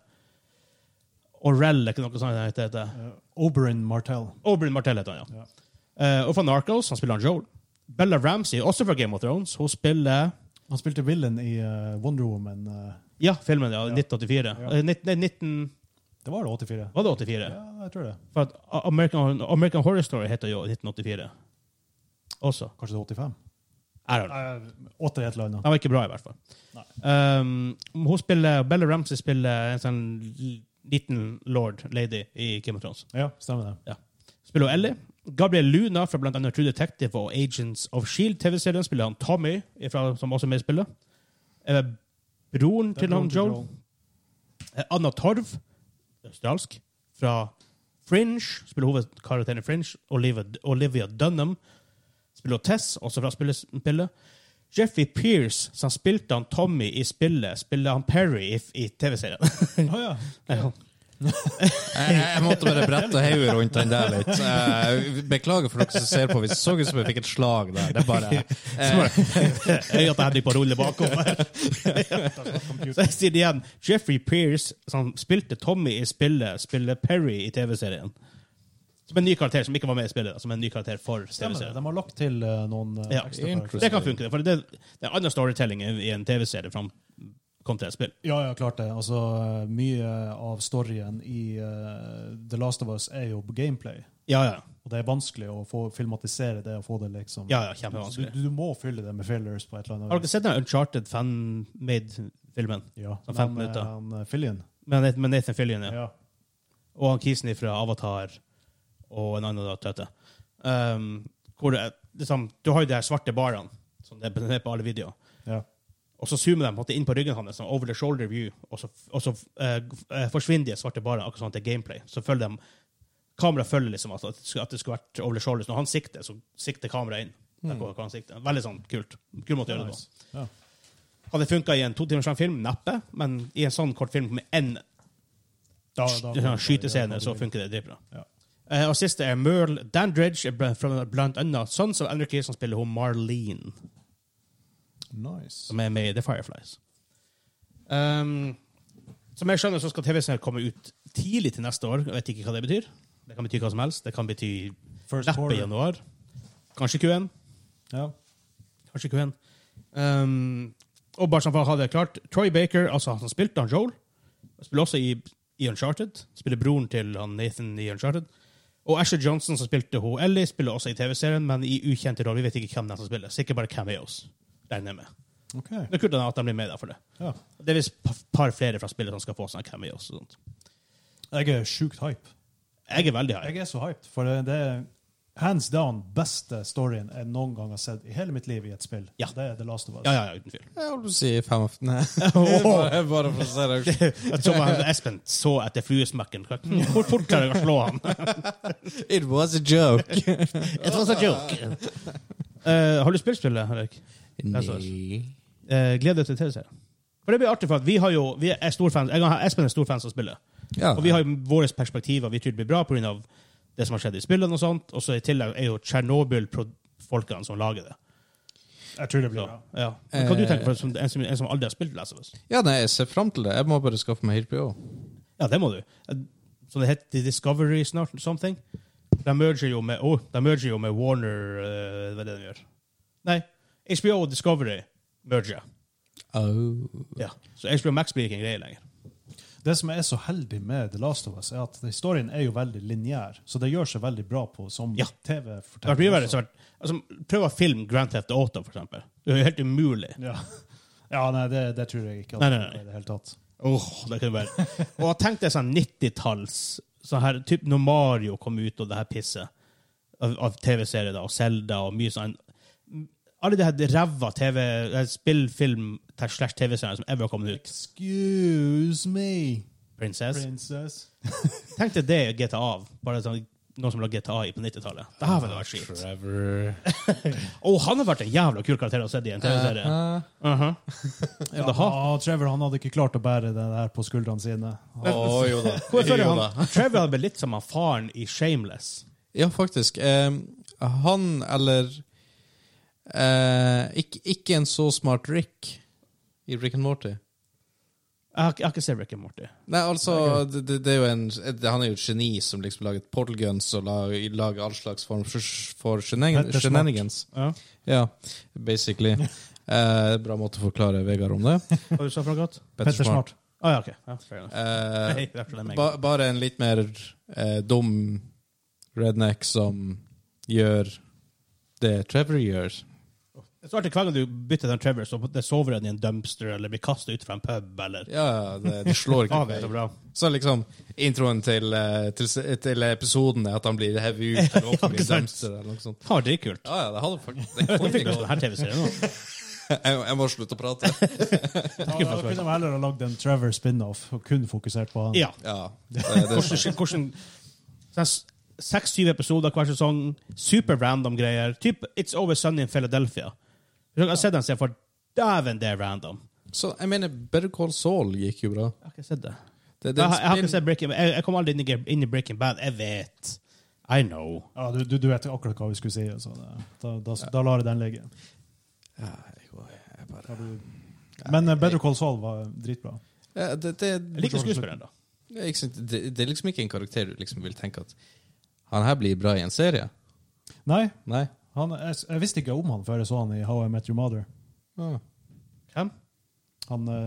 [SPEAKER 1] Orell, er ikke noe sånt han heter? heter.
[SPEAKER 2] Eh, Oberyn Martell.
[SPEAKER 1] Oberyn Martell heter han, ja. Eh, og fra Narcos, han spiller han Joel. Bella Ramsey, også fra Game of Thrones, hun spiller
[SPEAKER 2] Han spilte villain i eh, Wonder Woman. eh,
[SPEAKER 1] Ja, filmen, ja. 1984.
[SPEAKER 2] Ja.
[SPEAKER 1] Eh, nitt- nei, 19...
[SPEAKER 2] det var det 84?
[SPEAKER 1] Var det 84?
[SPEAKER 2] Ja, jeg tror det.
[SPEAKER 1] For at American, American Horror Story heter jo 1984 også.
[SPEAKER 2] Kanskje det er 85?
[SPEAKER 1] I don't know.
[SPEAKER 2] Eh, Åter i et eller annet.
[SPEAKER 1] Han var ikke bra, i hvert fall. Um, hun spiller, Bella Ramsey spiller en sånn l- liten lord lady i Game of Thrones.
[SPEAKER 2] Ja, stemmer det.
[SPEAKER 1] Spiller hun Ellie. Gabriel Luna fra blant annet True Detective og Agents of Shield TV-serien spiller han Tommy, ifra, som også er med i spillet. Er det broren
[SPEAKER 2] Det er
[SPEAKER 1] til han
[SPEAKER 2] Golden
[SPEAKER 1] Joel?
[SPEAKER 2] Girl.
[SPEAKER 1] Eh, Anna Torv, australsk, fra Fringe, spiller hovedkarakteren i Fringe. Olivia, Olivia Dunham spiller Tess, også fra spillet. Jeffrey Pierce, som spilte han Tommy i spillet, spiller han Perry i, i TV-serien.
[SPEAKER 2] Å [LAUGHS]
[SPEAKER 1] [LAUGHS]
[SPEAKER 2] ja.
[SPEAKER 1] [LAUGHS] Ja.
[SPEAKER 3] Jeg, jeg måtte bare brette hodet rundt den der litt. Eh, Beklager for dere som ser på. Vi så ut som vi fikk et slag der. Det er
[SPEAKER 1] [LAUGHS]
[SPEAKER 3] bare eh,
[SPEAKER 1] Øya til Henrik på rulle bakover. [LAUGHS] Så jeg sier det igjen. Jeffrey Pierce, som spilte Tommy i spillet, spiller Perry i TV-serien. Som en ny karakter som ikke var med i spillet. da, Som en ny karakter for
[SPEAKER 2] Stemmer det.
[SPEAKER 1] TV-serien.
[SPEAKER 2] De har lagt til eh, noen eh,
[SPEAKER 1] Ja.
[SPEAKER 2] ekstra karakterer.
[SPEAKER 1] Det kan funke, det, for det, det er annen storytelling i i en TV-serie fram kontra et spill.
[SPEAKER 2] Ja, ja, klart det. Altså, eh, mye av storyen i eh, The Last of Us er jo gameplay.
[SPEAKER 1] Ja, ja.
[SPEAKER 2] Og det er vanskelig å få filmatisere det og få det liksom
[SPEAKER 1] ja, ja kjempevanskelig.
[SPEAKER 2] Du, du må fylle det med fillers på et eller
[SPEAKER 1] Har
[SPEAKER 2] annet
[SPEAKER 1] dere sett den Uncharted fan-made-filmen?
[SPEAKER 2] Ja.
[SPEAKER 1] Så fem
[SPEAKER 2] Men,
[SPEAKER 1] minutter.
[SPEAKER 2] eh, Han, eh, Fillion.
[SPEAKER 1] Med Nathan- med Nathan Fillion, ja.
[SPEAKER 2] Ja.
[SPEAKER 1] og han kisen fra Avatar og en annen da, tøte. Um, hvor det, er- liksom, du har jo de her svarte barene som det er presentert på alle videoer.
[SPEAKER 2] ja.
[SPEAKER 1] Og så zoomer de på en måte inn på ryggen hans, sånn over the shoulder view, og så, og så eh, f- eh, forsvinner de svarte barene, akkurat sånn at det er gameplay. Så følger de, kameraet følger liksom at, at det skulle- at det skulle vært over the shoulder. Så når han sikter, så sikter kameraet inn. Der går hvor han sikter. Veldig sånn kult. Kul måte å gjøre det på.
[SPEAKER 2] Nice. Ja.
[SPEAKER 1] Hadde det funka i en to timers lang film? Neppe. Men i en sånn kort film med én
[SPEAKER 2] Da,
[SPEAKER 1] sånn skytescene, så funker det dritbra.
[SPEAKER 2] Ja.
[SPEAKER 1] Eh, og siste er Merle Dandridge, bl- fra blant annet Sons of Anarchy, som spiller hun Marlene,
[SPEAKER 2] Nice.
[SPEAKER 1] som er med i The Fireflies. Um, som jeg skjønner, så skal TV-serien komme ut tidlig til neste år. Jeg vet ikke hva det betyr. Det kan bety hva som helst. Det kan bety
[SPEAKER 2] First
[SPEAKER 1] neppe i
[SPEAKER 2] quarter.
[SPEAKER 1] januar. Kanskje Q1.
[SPEAKER 2] Ja.
[SPEAKER 1] Kanskje Q1. Um, og bare sånn for å ha det klart, Troy Baker, altså han som spilte han Joel, spiller også i, i Uncharted. Spiller broren til han Nathan i Uncharted. Og Asher Johnson, som spilte hun Ellie, spiller også i TV-serien, men i ukjente roller. Vi vet ikke hvem det er som spiller. Sikkert bare cameos. Regner jeg med.
[SPEAKER 2] OK.
[SPEAKER 1] Det er kult at de blir med der for det.
[SPEAKER 2] Ja.
[SPEAKER 1] Det er visst et par flere fra spillet som skal få sånne cameos. og sånt.
[SPEAKER 2] Jeg er sjukt hype.
[SPEAKER 1] Jeg er veldig high.
[SPEAKER 2] Jeg er så hyped, for det, det er hands down beste storyen jeg noen gang har sett i hele mitt liv i et spill.
[SPEAKER 1] Ja.
[SPEAKER 2] Det er The Last of Us.
[SPEAKER 1] Ja, ja, ja, uten tvil.
[SPEAKER 3] Jeg holdt på å si 15.
[SPEAKER 1] [LAUGHS]
[SPEAKER 3] [LAUGHS] Bare bare for å se reaksjonen.
[SPEAKER 1] Jeg så bare Espen så etter fluesmekken. Hvor fort klarer jeg å slå han?
[SPEAKER 3] It was a
[SPEAKER 1] [LAUGHS]
[SPEAKER 3] joke.
[SPEAKER 1] It was a joke. Eh, har du spilt spillet, Henrik? Eh, gleder deg til TV-serien. For det blir artig, for at vi har jo, vi er stor fans, jeg og Espen er stor fans av spillet.
[SPEAKER 3] Ja.
[SPEAKER 1] Og vi har jo våre perspektiver vi tror det blir bra pga. det som har skjedd i spillene. og sånt, og så i tillegg er jo Tsjernobyl-folkene som lager det.
[SPEAKER 2] Jeg tror det blir
[SPEAKER 1] Så,
[SPEAKER 2] bra.
[SPEAKER 1] ja. Men hva du tenker for som, en, som, en som aldri har spilt Last of Us?
[SPEAKER 3] Ja, nei, jeg ser fram til det. Jeg må bare skaffe meg HBO.
[SPEAKER 1] Ja, det må du. Eh, Så det heter Discovery snart, something? De merger jo med, oh, de merger jo med Warner, eh, hva er det de gjør? Nei, HBO og Discovery merger. Ja. Så HBO Max blir ikke en greie lenger.
[SPEAKER 2] Det som jeg er så heldig med The Last of Us, er at historien er jo veldig lineær, så det gjør seg veldig bra på som
[SPEAKER 1] Ja. Det har vært mye verre.
[SPEAKER 2] TV-fortelling.
[SPEAKER 1] som har vært- Altså, prøv å filme Grand Theft Auto, for eksempel. Det er jo helt umulig.
[SPEAKER 2] Ja. [LAUGHS] ja, nei, det, det tror jeg ikke. at
[SPEAKER 1] Nei, nei, nei.
[SPEAKER 2] det er i det hele tatt.
[SPEAKER 1] Åh, det kunne være. Og tenk deg sånn 90-talls, sånn her, typ når Mario kom ut og det her pisset av, av TV-serier da, og Zelda og mye sånn. Alle de her ræva TV, eh, spill, film, ter- slash TV-serier som ever har kommet ut.
[SPEAKER 2] Excuse me,
[SPEAKER 1] Princess.
[SPEAKER 2] princess.
[SPEAKER 1] Tenk deg det i GTA, av, bare sånn, noen som la GTA i på 90-tallet. Det her ville vært skit.
[SPEAKER 3] Trevor
[SPEAKER 1] Åh, han har vært en jævla kul karakter å se i en TV-serie. Uh-huh.
[SPEAKER 2] Ja, og Trevor han hadde ikke klart å bære det der på skuldrene sine.
[SPEAKER 3] Å,
[SPEAKER 1] [LAUGHS]
[SPEAKER 3] jo da.
[SPEAKER 1] Hvorfor er det
[SPEAKER 3] Jo da.
[SPEAKER 1] han, Trevor hadde blitt litt som han faren i Shameless.
[SPEAKER 3] Ja, faktisk. Eh, han eller eh, ikke, ikke en så smart Rick i Rick and Morty.
[SPEAKER 1] Jeg har, ikke- jeg har ikke sett Rick and Morty.
[SPEAKER 3] Nei, altså, det, det, det er jo en, det, han er jo et geni som liksom lager portal guns og lager, lager all slags form for, for shenan-
[SPEAKER 2] Petter Smart.
[SPEAKER 3] shenanigans.
[SPEAKER 1] Ja.
[SPEAKER 3] Ja, basically. Eh, bra måte å forklare Vegard om det.
[SPEAKER 1] Hva du sa for noe godt?
[SPEAKER 2] Petter Smart.
[SPEAKER 1] Å ja, OK. Ja, fair [LAUGHS] enough.
[SPEAKER 3] Eh,
[SPEAKER 1] Nei, det er ikke det meg.
[SPEAKER 3] ba, bare en litt mer eh, dum redneck som gjør det Trevor gjør.
[SPEAKER 1] Det er så artig hver gang du bytter den Trevor, så det sover han i en dumpster eller blir kasta ut fra en pub eller
[SPEAKER 3] Ja, ja, det, det
[SPEAKER 1] [LAUGHS]
[SPEAKER 3] slår ikke
[SPEAKER 1] Faen, det er så
[SPEAKER 3] feil.
[SPEAKER 1] bra.
[SPEAKER 3] Så liksom, introen til, eh, til, s- til episoden er at han blir hevet ut eller åpner
[SPEAKER 1] ikke
[SPEAKER 3] i
[SPEAKER 1] sant?
[SPEAKER 3] dumpster eller noe sånt.
[SPEAKER 1] Ja, det er kult.
[SPEAKER 3] Ja, ja, det hadde faktisk det
[SPEAKER 1] Jeg
[SPEAKER 3] kunne
[SPEAKER 1] fikk
[SPEAKER 3] ikke
[SPEAKER 1] lyst til
[SPEAKER 3] gått.
[SPEAKER 1] denne TV-serien nå.
[SPEAKER 3] Jeg, jeg må slutte å prate.
[SPEAKER 2] Da, da kunne de heller ha lagd en Trevor spin-off og kun fokusert på han.
[SPEAKER 1] Ja.
[SPEAKER 3] Ja, det, det,
[SPEAKER 1] Hvordan, hvordan sånn Seks-syv episoder hver sesong, super random greier. Typ It's Always Sunny in Philadelphia. Jeg har sett den siden, for dæven, det er random.
[SPEAKER 3] Så jeg mener, Better Call Saul gikk jo bra.
[SPEAKER 1] Jeg har ikke sett det.
[SPEAKER 3] Det, det
[SPEAKER 1] Jeg, har- jeg har
[SPEAKER 3] spill-
[SPEAKER 1] ikke sett Breaking Bad. Jeg, jeg kom aldri inn i, inn i Breaking Bad. Jeg vet. I know.
[SPEAKER 2] Ja, du, du, du vet akkurat hva vi skulle si. Så det, da, da, da lar jeg den ligge.
[SPEAKER 3] Ja, jeg- jeg bare-
[SPEAKER 2] Da du- Men eh, Better Call Saul var dritbra.
[SPEAKER 3] Ja, det,
[SPEAKER 1] Jeg
[SPEAKER 3] det,
[SPEAKER 1] liker skuespilleren, da.
[SPEAKER 3] det, er ikke sant, det, det er liksom ikke en karakter du liksom vil tenke at han her blir bra i en serie.
[SPEAKER 2] Nei,
[SPEAKER 3] Nei.
[SPEAKER 2] han, jeg, jeg visste ikke om han før jeg så han i How I Met Your Mother.
[SPEAKER 3] Ah.
[SPEAKER 1] Hvem?
[SPEAKER 2] Han, eh,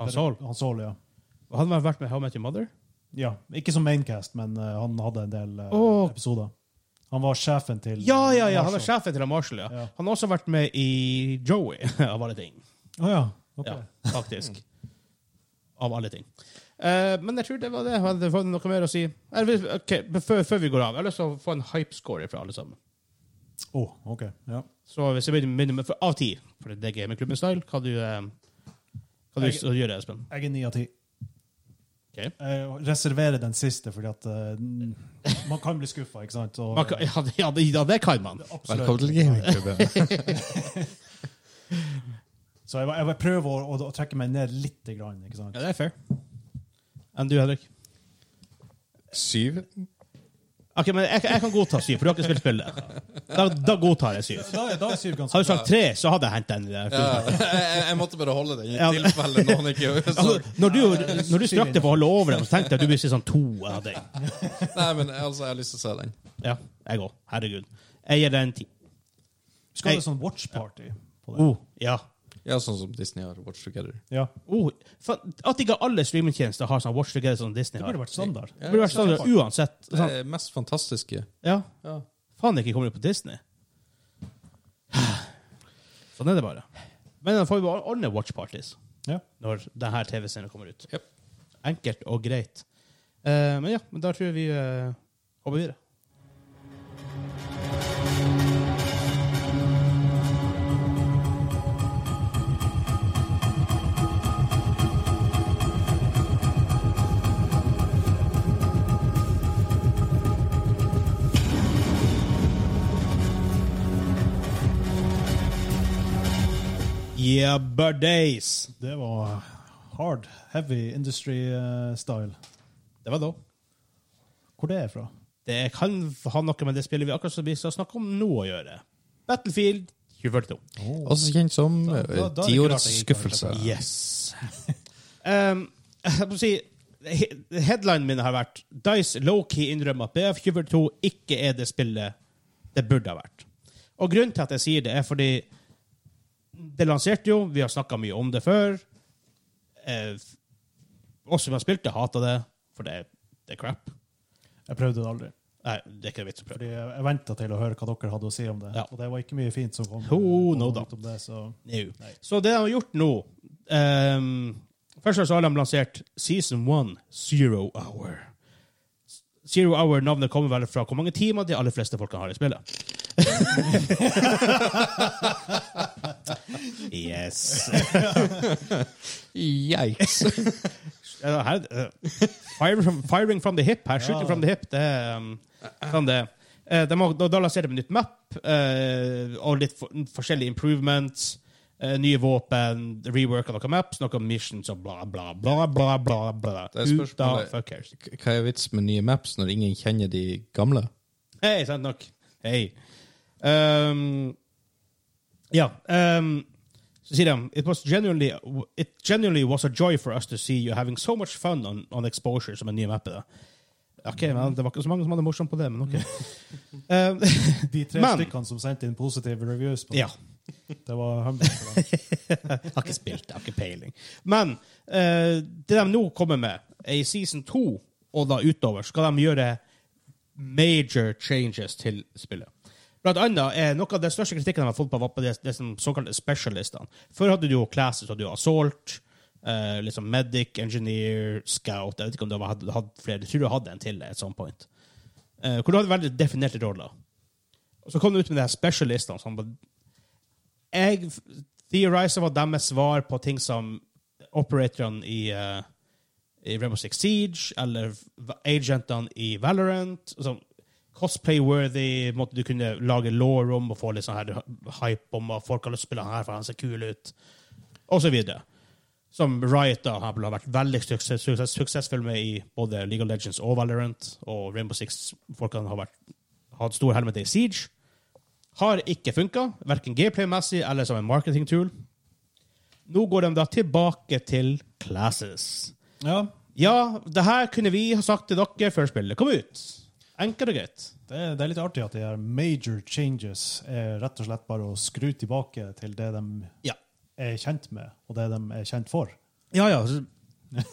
[SPEAKER 2] Better-
[SPEAKER 1] Saul?
[SPEAKER 2] Han Saul, ja.
[SPEAKER 1] Og Han har vært med i How I Met Your Mother.
[SPEAKER 2] ja. Ikke som maincast, men eh, han hadde en del eh,
[SPEAKER 1] Åh.
[SPEAKER 2] episoder. Han var sjefen til
[SPEAKER 1] Ja, ja, ja. Han er
[SPEAKER 2] Marshall.
[SPEAKER 1] sjefen til Marshall, ja.
[SPEAKER 2] Ja.
[SPEAKER 1] Han har også vært med i Joey, [LAUGHS] av alle ting.
[SPEAKER 2] Å ja. ok.
[SPEAKER 1] Ja, [LAUGHS] faktisk. Av alle ting. Eh, men jeg tror det var det. Hadde du fått noe mer å si? Jeg vil, ok, men før, før vi går av, jeg har lyst til å få en hype-score fra alle sammen.
[SPEAKER 2] Åh, ok. Ja.
[SPEAKER 1] Så hvis jeg begynner begynner med for, av ti, for det er gamingklubben-style, hva du, eh, hva du
[SPEAKER 2] Jeg-
[SPEAKER 1] så gjør, Espen?
[SPEAKER 2] Jeg er ni av ti.
[SPEAKER 1] Ok.
[SPEAKER 2] Jeg reserverer den siste, fordi at eh, man kan bli skuffa, ikke sant? Og,
[SPEAKER 1] Man kan, ja, det- ja, det- ja, det kan man.
[SPEAKER 2] Absolutt.
[SPEAKER 3] Velkommen til gamingklubben.
[SPEAKER 2] Så jeg, jeg vil prøve å, å, å trekke meg ned litt. Grann, ikke sant?
[SPEAKER 1] Ja, det er fair. Enn du, Henrik?
[SPEAKER 3] Syv.
[SPEAKER 1] Ok, men jeg, jeg kan godta syv, for du har ikke spilt spillet. Da, da godtar jeg syv.
[SPEAKER 2] Da, er- da er syv ganske
[SPEAKER 1] Hadde du sagt tre, så hadde jeg hentet en. eh, i det.
[SPEAKER 3] Ja, jeg, jeg måtte bare holde den i
[SPEAKER 1] Ja.
[SPEAKER 3] tilfelle noen
[SPEAKER 1] [LAUGHS]
[SPEAKER 3] ikke så,
[SPEAKER 1] Altså, når du, når du strakk deg for å holde over dem, så tenkte jeg at du ville si sånn to av deg.
[SPEAKER 3] Nei, men altså, jeg har lyst til å se den.
[SPEAKER 1] Ja, jeg òg. Herregud. Jeg gir den ti.
[SPEAKER 2] Skal
[SPEAKER 1] Jeg-
[SPEAKER 2] det sånn watch party på det?
[SPEAKER 1] Oh, ja.
[SPEAKER 3] Ja, sånn som Disney har Watch Together.
[SPEAKER 2] Ja.
[SPEAKER 1] Oh, faen, at ikke alle streamingtjenester har sånn Watch Together som Disney
[SPEAKER 2] Det
[SPEAKER 1] har.
[SPEAKER 2] burde vært standard.
[SPEAKER 1] Det burde vært standard uansett.
[SPEAKER 3] Det
[SPEAKER 1] Sånn.
[SPEAKER 3] er mest fantastiske.
[SPEAKER 1] Ja.
[SPEAKER 3] Ja.
[SPEAKER 1] Faen ikke kommer det på Disney. Sånn er det bare. Men da får vi bare ordne watch parties
[SPEAKER 2] Ja.
[SPEAKER 1] når denne TV-serien kommer ut.
[SPEAKER 3] Jep.
[SPEAKER 1] Enkelt og greit. Eh, men ja, men da tror jeg vi uh, hopper videre. Yeah, birthdays!
[SPEAKER 2] Det var hard, heavy industry eh, style.
[SPEAKER 1] Det var da.
[SPEAKER 2] Hvor det er fra?
[SPEAKER 1] Det kan ha noe med det spillet vi akkurat skal snakke om nå å gjøre. Battlefield 2042.
[SPEAKER 3] Også kjent som
[SPEAKER 2] Da- da- da er det ikke
[SPEAKER 3] tiårets
[SPEAKER 2] rart jeg ikke har
[SPEAKER 3] skuffelse.
[SPEAKER 1] Yes. [LAUGHS] um, jeg må si, he- headlinen min har vært Dice Lowkey innrømmer at BF22 ikke er det spillet det burde ha vært. Og grunnen til at jeg sier det, er fordi det lanserte jo, vi har snakka mye om det før. Eh, oss som har spilt det, hater det, for det, det er crap.
[SPEAKER 2] Jeg prøvde det aldri.
[SPEAKER 1] Nei, det er ikke vits å prøve.
[SPEAKER 2] Fordi jeg jeg venta til å høre hva dere hadde å si om det.
[SPEAKER 1] Ja.
[SPEAKER 2] Og det var ikke mye fint som kom,
[SPEAKER 1] Oh, no
[SPEAKER 2] kom
[SPEAKER 1] doubt.
[SPEAKER 2] ut om det. Så.
[SPEAKER 1] Nei.
[SPEAKER 2] Nei.
[SPEAKER 1] Så det de har gjort nå ehm, Først og fremst har de lansert Season 1 Zero Hour. Zero Hour-navnet kommer vel fra hvor mange timer de aller fleste folkene har i spillet. [LAUGHS] yes.
[SPEAKER 3] Yikes.
[SPEAKER 1] Ja, her, eh, fire from, firing from the hip her. Shooting from the hip. Det er um, sånn det er. Eh, de har, da, da lanserer de nytt map eh, og litt for, forskjellige improvements. eh, nye våpen, rework av noen maps, noen missions og bla, bla, bla, bla. bla, bla.
[SPEAKER 3] Det er spørsmålet-
[SPEAKER 1] Ut av fuck cares.
[SPEAKER 3] K- Hva er vitsen med nye maps når ingen kjenner de gamle?
[SPEAKER 1] Hei, sant nok. Hei. Um, ja. Um, så sier de it, was genuinely, it genuinely was a joy for us to see you having so much fun on, on exposure, som er nye mappet. Ok, men Det var ikke så mange som hadde morsomt på det, men OK. Um,
[SPEAKER 2] De tre
[SPEAKER 1] Men-
[SPEAKER 2] stykkene som sendte inn positive reviews, på det,
[SPEAKER 1] [LAUGHS] ja.
[SPEAKER 2] det var humble
[SPEAKER 1] [LAUGHS]
[SPEAKER 2] for dem.
[SPEAKER 1] Jeg har ikke spilt, jeg har ikke peiling. Men eh, det de nå kommer med, er i season 2 og da utover, skal de gjøre major changes til spillet. Blant annet er noe av den største kritikken de har fått på Vappa, det, det som såkalte specialistene. Før hadde du jo classes, hadde du assault, eh, liksom medic, engineer, scout Jeg vet ikke om du hadde, hadde hatt flere. Jeg tror du hadde en til at some point. Eh, hvor du hadde veldig definerte roller. Og så kom du ut med de her specialistene som var- Jeg f- theorizer var deres svar på ting som operatorene i eh, i Rainbow Six Siege, eller v- agentene i Valorant. Altså, Cosplay-worthy, måtte du kunne lage law-rom og få litt sånn her hype om at folk har lyst til å spille han her, for han ser kul ut, og så videre. Som Riot da, har har vært veldig suksess, suksess, suksessfull med i både League of Legends og Valorant, og Rainbow Six-folkene har vært, hatt stor helmete i Siege. Har ikke funka, verken gameplay-messig eller som en marketing-tool. Nå går de da tilbake til classes.
[SPEAKER 2] Ja,
[SPEAKER 1] Ja, det her kunne vi ha sagt til dere før spillet kom ut. Enkelt og greit.
[SPEAKER 2] det er, det er litt artig at de her major changes er rett og slett bare å skru tilbake til det de
[SPEAKER 1] Ja.
[SPEAKER 2] er kjent med, og det de er kjent for.
[SPEAKER 1] Ja, ja. så-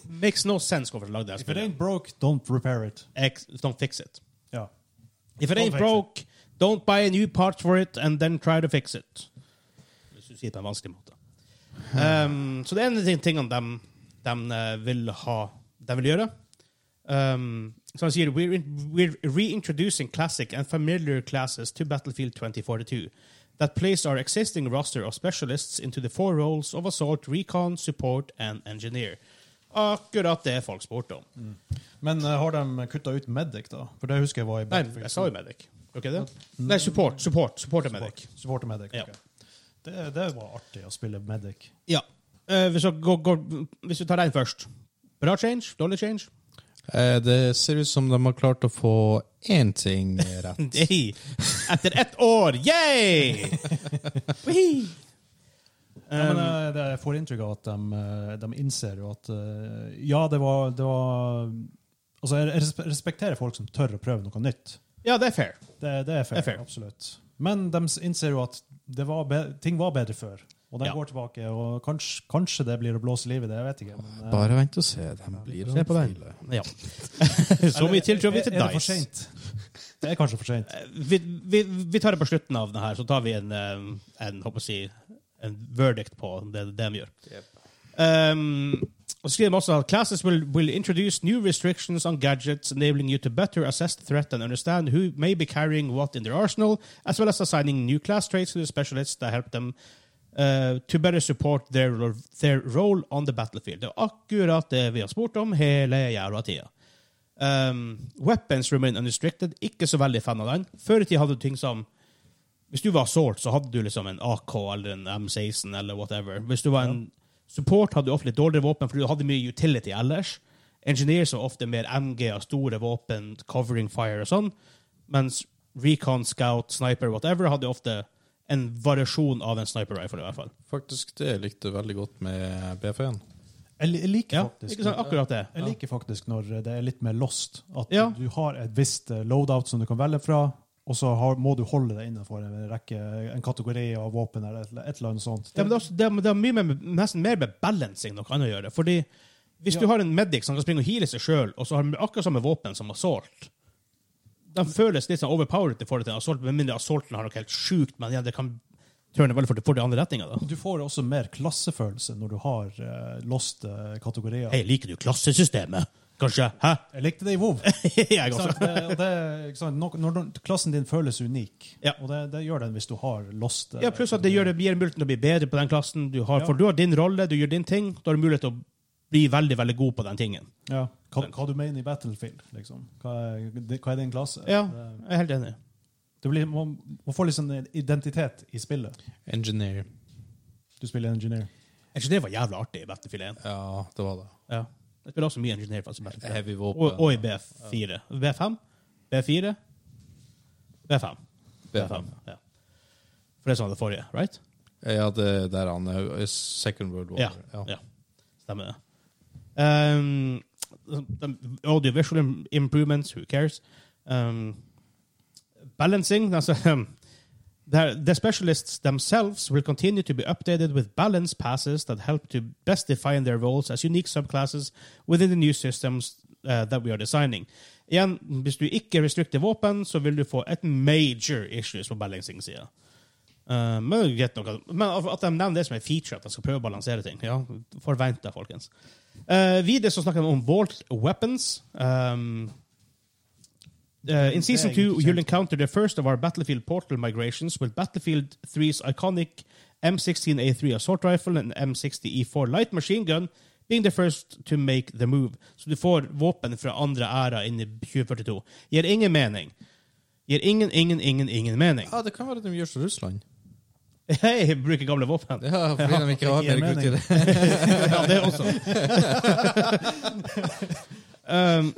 [SPEAKER 1] Makes no sense hvorfor de lagde det her
[SPEAKER 2] If it
[SPEAKER 1] spillet.
[SPEAKER 2] ain't broke, don't repair it.
[SPEAKER 1] Ex- Don't fix it.
[SPEAKER 2] Ja.
[SPEAKER 1] If it
[SPEAKER 2] Don't
[SPEAKER 1] ain't
[SPEAKER 2] fix
[SPEAKER 1] broke, don't buy a new part for it, and then try to fix it. Hvis du sier det på en vanskelig måte. Um, så det er en av de tingene de, de eh, vil ha De vil gjøre. Um, så han sier we're, in- we're reintroducing classic and familiar classes to Battlefield 2042 that place our existing roster of specialists into the four roles of assault, recon, support and engineer. Akkurat det folk spurte om.
[SPEAKER 2] Men eh, har de kutta ut Medic, da? For det husker jeg var i
[SPEAKER 1] Nei, jeg sa jo medic. Okay, det? Nei, support. Support, support er medic.
[SPEAKER 2] Support- Supporter Medic.
[SPEAKER 1] Ja.
[SPEAKER 2] ok. Det, det var artig å spille Medic.
[SPEAKER 1] Ja. Eh, hvis, jeg går, går, hvis vi tar den først. Bra change? Dårlig change?
[SPEAKER 3] Eh, Det ser ut som de har klart å få én [LAUGHS] ting rett.
[SPEAKER 1] Nei. Etter ett år! Yay! Wee! Um,
[SPEAKER 2] Ja, men eh, det, jeg får inntrykk av at de, eh, de innser jo at eh, Ja, det var, det var Altså, jeg respe- respekterer folk som tør å prøve noe nytt.
[SPEAKER 1] ja, det er fair.
[SPEAKER 2] Det, det er fair.
[SPEAKER 1] Det er fair.
[SPEAKER 2] Absolutt. Men de s- innser jo at det var be ting var bedre før. Og de
[SPEAKER 1] Ja.
[SPEAKER 2] går tilbake, og kanskje, kanskje det blir å blåse liv i det. Jeg vet ikke. Men, eh,
[SPEAKER 3] Bare vent og se. De blir
[SPEAKER 1] Se på den.
[SPEAKER 3] homofile.
[SPEAKER 1] Ja. [LAUGHS] Så mye tiltro vi til
[SPEAKER 2] Er- Er det for
[SPEAKER 1] Dice.
[SPEAKER 2] sent? Det er kanskje for seint.
[SPEAKER 1] Eh, Vi, vi, vi tar det på slutten av det her, så tar vi en, eh, en, håper jeg å si, en verdict på det, det de gjør. Um, og så skriver de også at classes will, will introduce new restrictions on gadgets, enabling you to better assess the threat and understand who may be carrying what in their arsenal, as well as assigning new class traits to the specialists that help them uh, to better support their, ro- their role on the battlefield. Det er akkurat det vi har spurt om hele jævla tida. Um, weapons remain unrestricted. Ikke så veldig fan av den. Før i tida hadde du ting som Hvis du var assault, så hadde du liksom en AK eller en M16 eller whatever. Hvis du var en support, hadde du ofte litt dårligere våpen, for du hadde mye utility ellers. Engineers var ofte mer MG og store våpen, covering fire og sånn. Mens recon, scout, sniper, whatever, hadde ofte en variasjon av en sniper rifle, i hvert fall.
[SPEAKER 3] Faktisk det jeg likte veldig godt med BF1.
[SPEAKER 2] Jeg, li- jeg liker
[SPEAKER 1] Ja,
[SPEAKER 2] faktisk
[SPEAKER 1] ikke sant? Akkurat det.
[SPEAKER 2] Jeg liker faktisk når eh, det er litt mer lost. At
[SPEAKER 1] Ja.
[SPEAKER 2] du har et visst eh, loadout som du kan velge fra, og så har, må du holde deg innenfor en, rekke, en kategori av våpen eller et, et eller annet sånt.
[SPEAKER 1] Ja, men det, er også, det, er, det er mye mer, nesten mer med balancing noe annet å gjøre. Fordi hvis
[SPEAKER 2] Ja.
[SPEAKER 1] du har en medic som kan springe og heale seg sjøl, og så har de akkurat samme våpen som assault De føles litt sånn overpowered i forhold til en assault, med mindre assaulten har noe helt sjukt, men igjen, det kan turne veldig fort for de andre retninga. da.
[SPEAKER 2] Du får også mer klassefølelse når du har eh, lost eh, kategorier.
[SPEAKER 1] Hei, liker du klassesystemet? Kanskje? Hæ? [LAUGHS]
[SPEAKER 2] Jeg likte det i WoW.
[SPEAKER 1] Jeg
[SPEAKER 2] Ikke
[SPEAKER 1] også.
[SPEAKER 2] sant? Det, og det, ikke sant? Nok- Når, når klassen din føles unik,
[SPEAKER 1] Ja.
[SPEAKER 2] og det, det gjør den hvis du har lost eh,
[SPEAKER 1] Ja, pluss at det gjør det gir muligheten til å bli bedre på den klassen. Du har,
[SPEAKER 2] Ja.
[SPEAKER 1] For du har din rolle, du gjør din ting. Da har du mulighet til å bli veldig, veldig god på den tingen.
[SPEAKER 2] ja, hva, hva du mener i Battlefield. Liksom. Hva, er, det- hva er din klasse?
[SPEAKER 1] Ja,
[SPEAKER 2] Det-
[SPEAKER 1] jeg er helt enig.
[SPEAKER 2] Det blir, man, man får liksom en identitet i spillet.
[SPEAKER 3] Engineer.
[SPEAKER 2] Du spiller engineer.
[SPEAKER 1] Jeg synes det var jævla artig i Battlefield 1.
[SPEAKER 3] Ja, det var det.
[SPEAKER 1] Ja. Jeg spiller også mye engineer. Faktisk, i Battlefield.
[SPEAKER 3] Heavy våpen.
[SPEAKER 1] og, og i B4. B5? B4? B5.
[SPEAKER 3] BF1.
[SPEAKER 1] Ja. For det som var det forrige, right?
[SPEAKER 3] Ja, det der han er. Second World War.
[SPEAKER 1] Ja. ja. Stemmer det. Um, de- audiovisual im- improvements, who cares? Um, balancing, altså um, The, the specialists themselves will continue to be updated with balance passes that help to best define their roles as unique subclasses within the new systems eh, that we are designing. Igjen, hvis du ikke restrikter våpen, så vil du få et major issues på balancing-sida. Eh, men, det er greit nok at- men at de nevner det som en feature, at de skal prøve å balansere ting. Ja, Forvent det, folkens. Eh, videre så snakker de om Vault Weapons. Um, Uh, in season two, you'll encounter the first of our Battlefield Portal migrations with Battlefield 3's iconic M16A3 assault rifle and M60E4 light machine gun being the first to make the move. Så du får våpen fra andre æra inn i 2042. Gir ingen mening. Gir ingen, ingen, ingen, ingen mening.
[SPEAKER 3] Ja, det kan være at de gjør som Russland.
[SPEAKER 1] [LAUGHS] Hei, bruker gamle våpen.
[SPEAKER 3] Ja,
[SPEAKER 2] [LAUGHS]
[SPEAKER 3] fordi de ikke har
[SPEAKER 2] gir
[SPEAKER 3] mer gutt
[SPEAKER 2] mening.
[SPEAKER 3] i det. [LAUGHS]
[SPEAKER 1] [LAUGHS] ja, det også. um,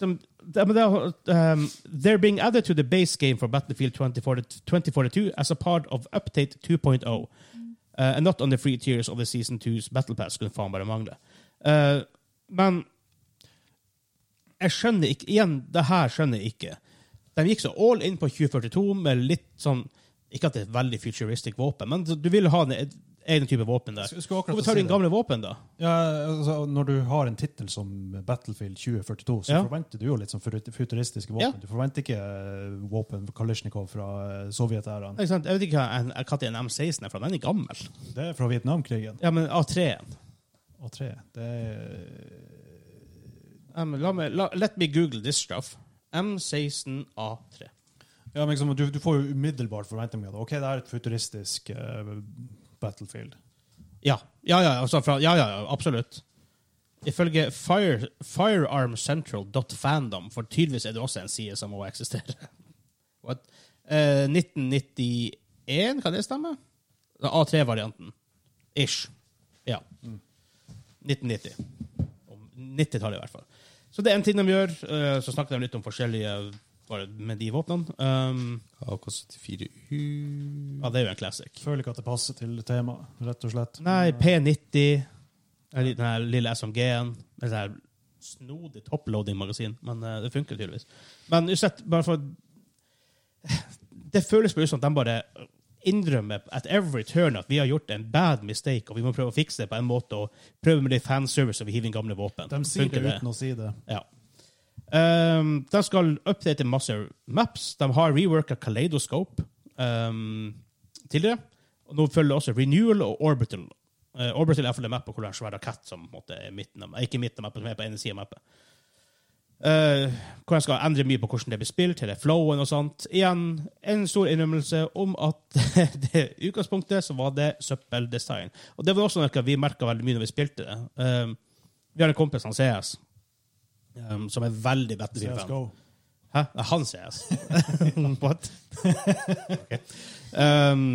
[SPEAKER 1] de, de, men det er, um, they're being added to the base game for Battlefield 2040 2042 as a part of Update 2.0, uh, and not on the free tiers of the Season 2's Battle Pass. Skulle faen bare mangle. Uh, men jeg skjønner ikke Igjen, det her skjønner jeg ikke. De gikk så all in på 2042 med litt sånn Ikke at det er et veldig futuristic våpen, men du vil ha en egen type våpen der.
[SPEAKER 2] Skulle- skulle akkurat
[SPEAKER 1] Hvorfor
[SPEAKER 2] å
[SPEAKER 1] tar
[SPEAKER 2] si
[SPEAKER 1] du inn
[SPEAKER 2] det.
[SPEAKER 1] gamle våpen, da?
[SPEAKER 2] Ja, altså, når du har en tittel som Battlefield 2042, så
[SPEAKER 1] Ja.
[SPEAKER 2] forventer du jo litt sånn fut- futuristiske våpen.
[SPEAKER 1] Ja.
[SPEAKER 2] Du forventer ikke eh, våpen Kalashnikov fra eh, sovjetæraen.
[SPEAKER 1] Ikke sant? Jeg vet ikke hva en, hva til en M16 er, for den er gammel.
[SPEAKER 2] Det er fra Vietnamkrigen.
[SPEAKER 1] Ja, men A3-en.
[SPEAKER 2] Og tre, det er
[SPEAKER 1] Um, la meg, la, let me google this stuff. M16 A3.
[SPEAKER 2] Ja, men liksom, du, du får jo umiddelbart forventninger. da. OK, det er et futuristisk eh, battlefield.
[SPEAKER 1] Ja, ja, ja, altså fra, ja, ja, ja absolutt. Ifølge Fire, firearmcentral.fandom, for tydeligvis er det også en side som må eksistere. [LAUGHS] What? Eh, 1991, kan det stemme? A3-varianten. Ish. Ja. 1990. Om 90-tallet, i hvert fall. Så det er en ting de gjør. eh, så snakker de litt om forskjellige bare med de våpnene. Um,
[SPEAKER 3] AK74U
[SPEAKER 1] ja, det er jo en classic.
[SPEAKER 2] Føler ikke at det passer til temaet, rett og slett.
[SPEAKER 1] Nei, P90. eller Den her lille SMG-en. Med sånn her snodig toploading-magasin. Men eh, det funker tydeligvis. Men uansett, bare for Det føles bare ut som at de bare innrømmer at every turn at vi har gjort en bad mistake, og vi må prøve å fikse det på en måte, og prøve med det fanservice og vi hiver inn gamle våpen.
[SPEAKER 2] De sier
[SPEAKER 1] Funker
[SPEAKER 2] det uten å si det.
[SPEAKER 1] ja. Ehm, de skal update masse maps. De har reworka Kaleidoskope ehm, tidligere. Og nå følger også Renewal og Orbital. Eh, Orbital er for det mappet hvor det er en svær rakett som på en måte, er midten av, ikke midten av mappet, som er på ene siden av mappet. Eh, hvor jeg skal endre mye på hvordan det blir spilt, hele flowen og sånt. Igjen en stor innrømmelse om at [LAUGHS] det utgangspunktet så var det søppeldesign. Og det var også noe vi merka veldig mye når vi spilte det. Eh, vi har en kompis, han CS, eh, som er veldig Battlefield-fan.
[SPEAKER 2] CSGO.
[SPEAKER 1] Hæ? Ja, Han CS. [LAUGHS] What? Ok. um,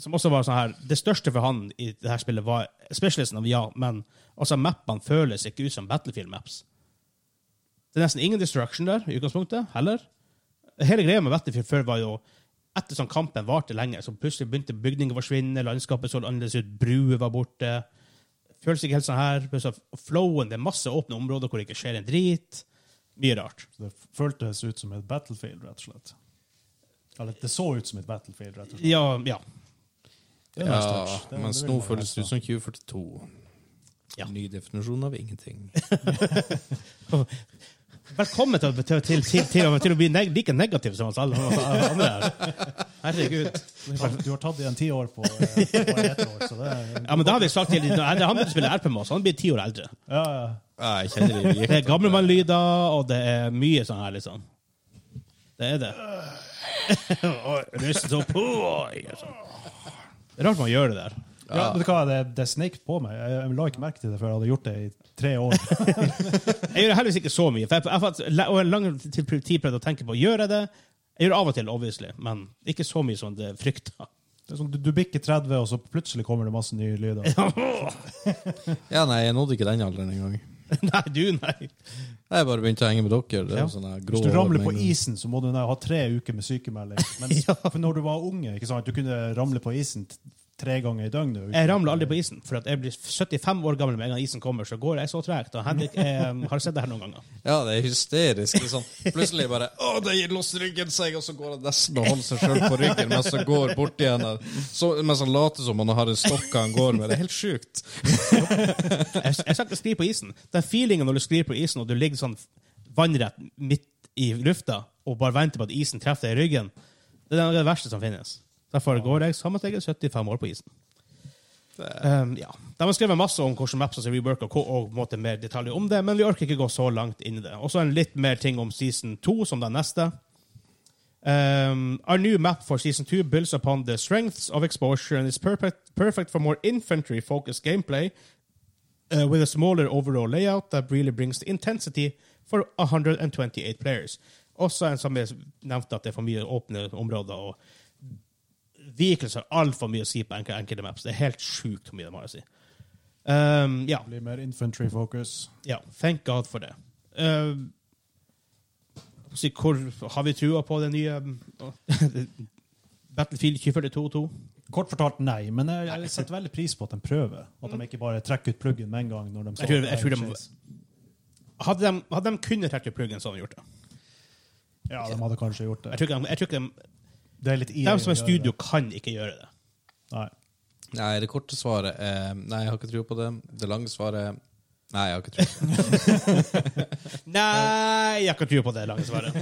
[SPEAKER 1] som også var sånn her Det største for han i det her spillet var sånn specialisten av ja, men altså mappene føles ikke ut som Battlefield-maps. Det er nesten ingen destruction der i utgangspunktet heller. Hele greia med Battlefield før var jo etter sånn kampen varte lenge, så plutselig begynte bygninger å forsvinne, landskapet så annerledes ut, bruer var borte. Føles ikke helt sånn her. Plutselig flowen, det er masse åpne områder hvor det ikke skjer en drit. Mye rart.
[SPEAKER 2] Så det føltes ut som et battlefield, rett og slett. Eller det så ut som et battlefield, rett og slett.
[SPEAKER 1] Ja, ja.
[SPEAKER 2] Det er nice
[SPEAKER 3] Ja,
[SPEAKER 2] touch. Det-
[SPEAKER 3] mens
[SPEAKER 2] det vil
[SPEAKER 3] nå
[SPEAKER 2] man
[SPEAKER 3] føles
[SPEAKER 2] helst
[SPEAKER 3] det ut
[SPEAKER 2] ha.
[SPEAKER 3] som 2042.
[SPEAKER 1] Ja.
[SPEAKER 3] Ny definisjon
[SPEAKER 2] [LAUGHS]
[SPEAKER 3] av ingenting.
[SPEAKER 1] Velkommen til, til, til, til, til, til å bli neg like negativ som oss alle andre her. Herregud.
[SPEAKER 2] Du har tatt igjen ti år på, eh, på ett år, så det er
[SPEAKER 1] Ja, men da har vi sagt til Nei, det er Han begynte å spille RP med oss, han blir ti år eldre.
[SPEAKER 2] ja, ja.
[SPEAKER 3] Ja, jeg kjenner det.
[SPEAKER 2] [LAUGHS]
[SPEAKER 1] Det er gamlemannlyder, og det er mye sånn her, liksom. Det er det. Og Lyst til å på, ikke sant? Det er rart man gjør det der.
[SPEAKER 2] ja vet du hva, det, det snek på meg. Jeg, jeg la ikke merke til det før jeg hadde gjort det i tre år.
[SPEAKER 1] Jeg gjør heldigvis ikke så mye, for jeg, jeg, har fått la- og en lang tid tid prøvd å tenke på gjør jeg det. Jeg gjør det av og til, obviously, men ikke så mye som det frykter. [LAUGHS]
[SPEAKER 2] Det er sånn, du, du bikker 30, og så plutselig kommer det masse nye lyder.
[SPEAKER 3] Ja, nei, jeg nådde ikke den alderen engang.
[SPEAKER 1] Nei, du, nei.
[SPEAKER 3] Jeg bare begynte å henge med dere. Det
[SPEAKER 2] Ja.
[SPEAKER 3] er sånn her grå
[SPEAKER 2] Hvis du ramler på
[SPEAKER 3] holdning.
[SPEAKER 2] isen, så må
[SPEAKER 1] [LAUGHS]
[SPEAKER 2] du ha tre uker med sykemelding. Mens for når du var unge, ikke sant? du kunne ramle på isen t- tre ganger i døgnet.
[SPEAKER 1] Jeg ramler aldri på isen, for at jeg blir 75 år gammel med en gang isen kommer. Så går jeg så tregt. Og Henrik eh, har sett det her noen ganger.
[SPEAKER 3] Ja, det er hysterisk. Det er sånn. Plutselig bare Å, det gir loss ryggen seg, og så går han nesten og holder seg sjøl på ryggen mens han går bort igjen. og Så, mens han later som han har en stokk han går med. Det er helt sjukt.
[SPEAKER 1] Jeg, jeg skal ikke skli på isen. Den feelingen når du sklir på isen, og du ligger sånn vannrett midt i lufta og bare venter på at isen treffer deg i ryggen, det er det verste som finnes. Derfor går jeg samme tegel 75 år på isen. Um, ja. De har skrevet masse om hvordan mapsa er reworka, og, og på en måte mer detaljer om det, men vi orker ikke gå så langt inn i det. Og så en litt mer ting om season 2, som den neste. Um, our new map for season two builds upon the strengths of exposure and is perfect, perfect for more infantry focused gameplay uh, with a smaller overall layout that really brings the intensity for 128 players. Også en som jeg nevnte, at det er for mye åpne områder. og Vehicles har altfor mye å si på enkelte, enkelte maps. Det er helt sjukt hvor mye de har å si. Um, ja.
[SPEAKER 2] Det blir mer infantry focus.
[SPEAKER 1] Ja, thank God for det. Eh, så hvor har vi trua på det nye um, [LAUGHS] Battlefield 2042?
[SPEAKER 2] Kort fortalt nei, men jeg, jeg setter veldig pris på at de prøver. At de ikke bare trekker ut pluggen med en gang. når de
[SPEAKER 1] Mm. Jeg tror- jeg tror de-
[SPEAKER 2] Shades.
[SPEAKER 1] Hadde de, hadde de kunnet trekke ut pluggen, så hadde de gjort det.
[SPEAKER 2] Ja, de hadde kanskje gjort
[SPEAKER 1] Jeg
[SPEAKER 2] det.
[SPEAKER 1] tror ikke de, jeg tror ikke de,
[SPEAKER 2] Det er litt
[SPEAKER 1] de
[SPEAKER 2] EA å
[SPEAKER 1] som er
[SPEAKER 2] gjøre
[SPEAKER 1] studio, kan ikke gjøre det.
[SPEAKER 2] det. Nei.
[SPEAKER 3] Nei, det korte svaret er Nei, jeg har ikke tro på det. Det lange svaret er Nei, jeg har ikke tro. på det.
[SPEAKER 1] Nei, jeg har ikke tro på det lange svaret.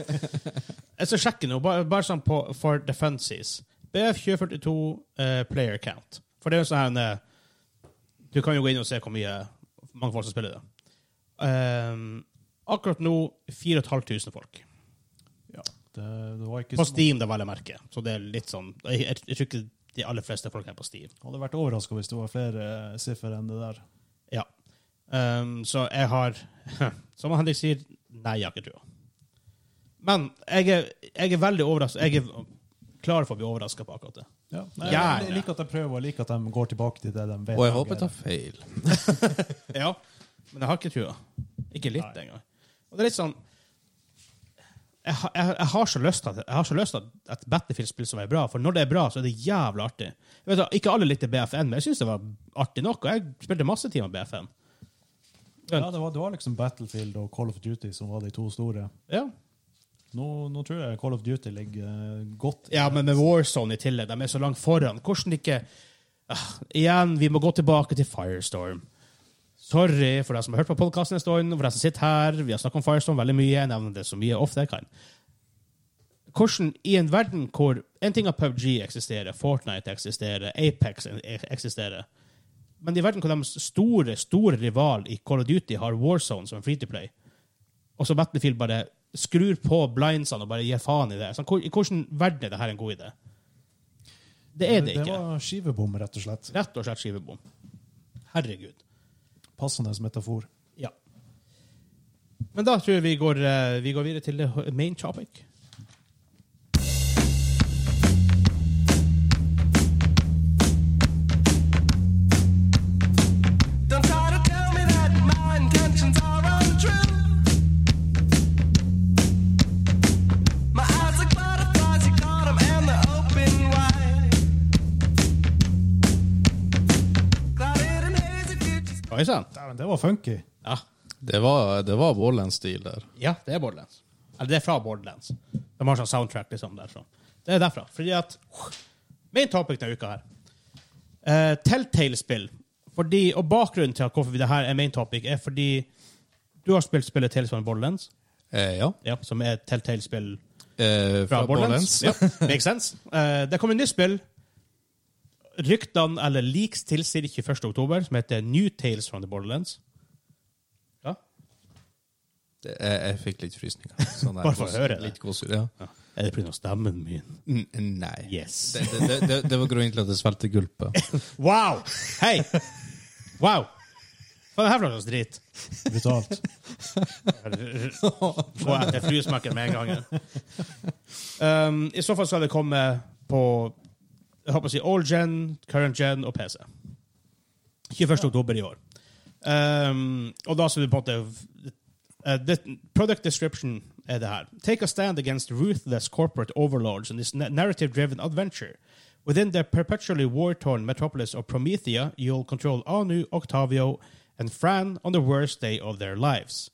[SPEAKER 1] Jeg skal sjekke nå, bare, bare sånn på, for defenses. BF 2042 eh, player count. For det er jo sånn her eh, Du kan jo gå inn og se hvor mye mange folk som spiller det. Ehm, akkurat nå 4500 folk.
[SPEAKER 2] Ja, det, det var ikke
[SPEAKER 1] På
[SPEAKER 2] så-
[SPEAKER 1] Steam, det vel jeg merke. Så det er litt sånn Jeg, jeg, jeg tror ikke de aller fleste folk er på Steam.
[SPEAKER 2] Hadde vært overraska hvis det var flere eh, siffer enn det der.
[SPEAKER 1] Ja. Ehm, så jeg har [LAUGHS] Som Henrik sier, nei, jeg har ikke trua. Men jeg er, jeg er veldig overraska. Jeg er klar for å bli overraska på akkurat det.
[SPEAKER 2] Ja, nei,
[SPEAKER 1] Gjerne.
[SPEAKER 2] Jeg liker at de prøver, og jeg liker at de går tilbake til det de [LAUGHS] vet.
[SPEAKER 3] Og jeg håper jeg tar feil.
[SPEAKER 1] Ja, men jeg har ikke trua. Ikke litt
[SPEAKER 2] Nei.
[SPEAKER 1] engang. Og det er litt sånn jeg, har- jeg, jeg har så lyst til at- jeg har så lyst til at et Battlefield-spill som er bra, for når det er bra, så er det jævlig artig. Jeg vet, da, ikke alle likte BFN, men jeg syns det var artig nok, og jeg spilte masse timer BFN.
[SPEAKER 2] Ja, det var, det var liksom Battlefield og Call of Duty som var de to store.
[SPEAKER 1] Ja,
[SPEAKER 2] Nå, nå tror jeg Call of Duty ligger eh, godt.
[SPEAKER 1] ja men med Warzone i tillegg, de er så langt foran. Hvordan ikke Ah, Igjen, vi må gå tilbake til Firestorm. Sorry for deg som har hørt på podkasten en stund, for deg som sitter her. Vi har snakket om Firestorm veldig mye. Jeg nevner det så mye ofte jeg kan. hvordan i en verden hvor en ting er PubG eksisterer, Fortnite eksisterer, Apex eksisterer, men i verden hvor deres store, store rival i Call of Duty har Warzone som en free-to-play, og så Battlefield bare skrur på blindsene og bare gir faen i det. Sånn, hvor, I hvilken verden er dette en god idé? Det er det
[SPEAKER 2] Det
[SPEAKER 1] ikke.
[SPEAKER 2] var skivebom, rett og slett.
[SPEAKER 1] Rett og slett skivebom. Herregud.
[SPEAKER 2] Passende metafor.
[SPEAKER 1] Ja. Men da tror jeg vi går, eh, vi går videre til det main topic.
[SPEAKER 4] Don't try to tell me that my intentions are untrue. My eyes like butterflies, you caught 'em and they're open wide. Clouded and hazy futures.
[SPEAKER 1] Oi sann.
[SPEAKER 2] Dæven, det var funky.
[SPEAKER 1] Ja.
[SPEAKER 3] Det var, det var Borland-stil der.
[SPEAKER 1] Ja, det er Borderlands. Eller det er fra Borderlands. De har sånn soundtrack liksom derfra. Det er derfra. Fordi at uh, Main topic denne uka her. Eh, Telltale-spill. Fordi, og bakgrunnen til at hvorfor vi det her er main topic, er fordi du har spilt spillet Tales from Borderlands,
[SPEAKER 3] Eh, ja.
[SPEAKER 1] ja, som er et Telltale-spill
[SPEAKER 3] Eh,
[SPEAKER 1] fra Borderlands.
[SPEAKER 3] Ja.
[SPEAKER 1] Ja, makes sense. Eh, det kommer et nytt spill. Ryktene, eller leaks, tilsier 21. oktober, som heter New Tales from the Borderlands. Ja,
[SPEAKER 3] Det- Jeg, Eh, jeg fikk litt frysninger. Sånn der
[SPEAKER 1] [LAUGHS] Bare for å
[SPEAKER 3] gås-
[SPEAKER 1] høre det.
[SPEAKER 3] Litt gåsehud, ja.
[SPEAKER 1] Er det pga. stemmen min?
[SPEAKER 3] N- Nei.
[SPEAKER 1] Yes.
[SPEAKER 3] Det, det, det, det var grunnen til at jeg svelgte gulpet.
[SPEAKER 1] [LAUGHS] Wow! Hei! Wow! Hva er det her for noe slags dritt?
[SPEAKER 2] Brutalt.
[SPEAKER 1] Få etter flysmekken med en gang. Um, I så fall skal det komme på jeg håper å si all gen, current gen og PC. 21. oktober i år. Um, og da skal du på en måte Uh, the product description er det her. Take a stand against ruthless corporate overlords in this narrative driven adventure Within the perpetually war-torn metropolis of Promethea, you'll control Anu, Octavio, and Fran on the worst day of their lives.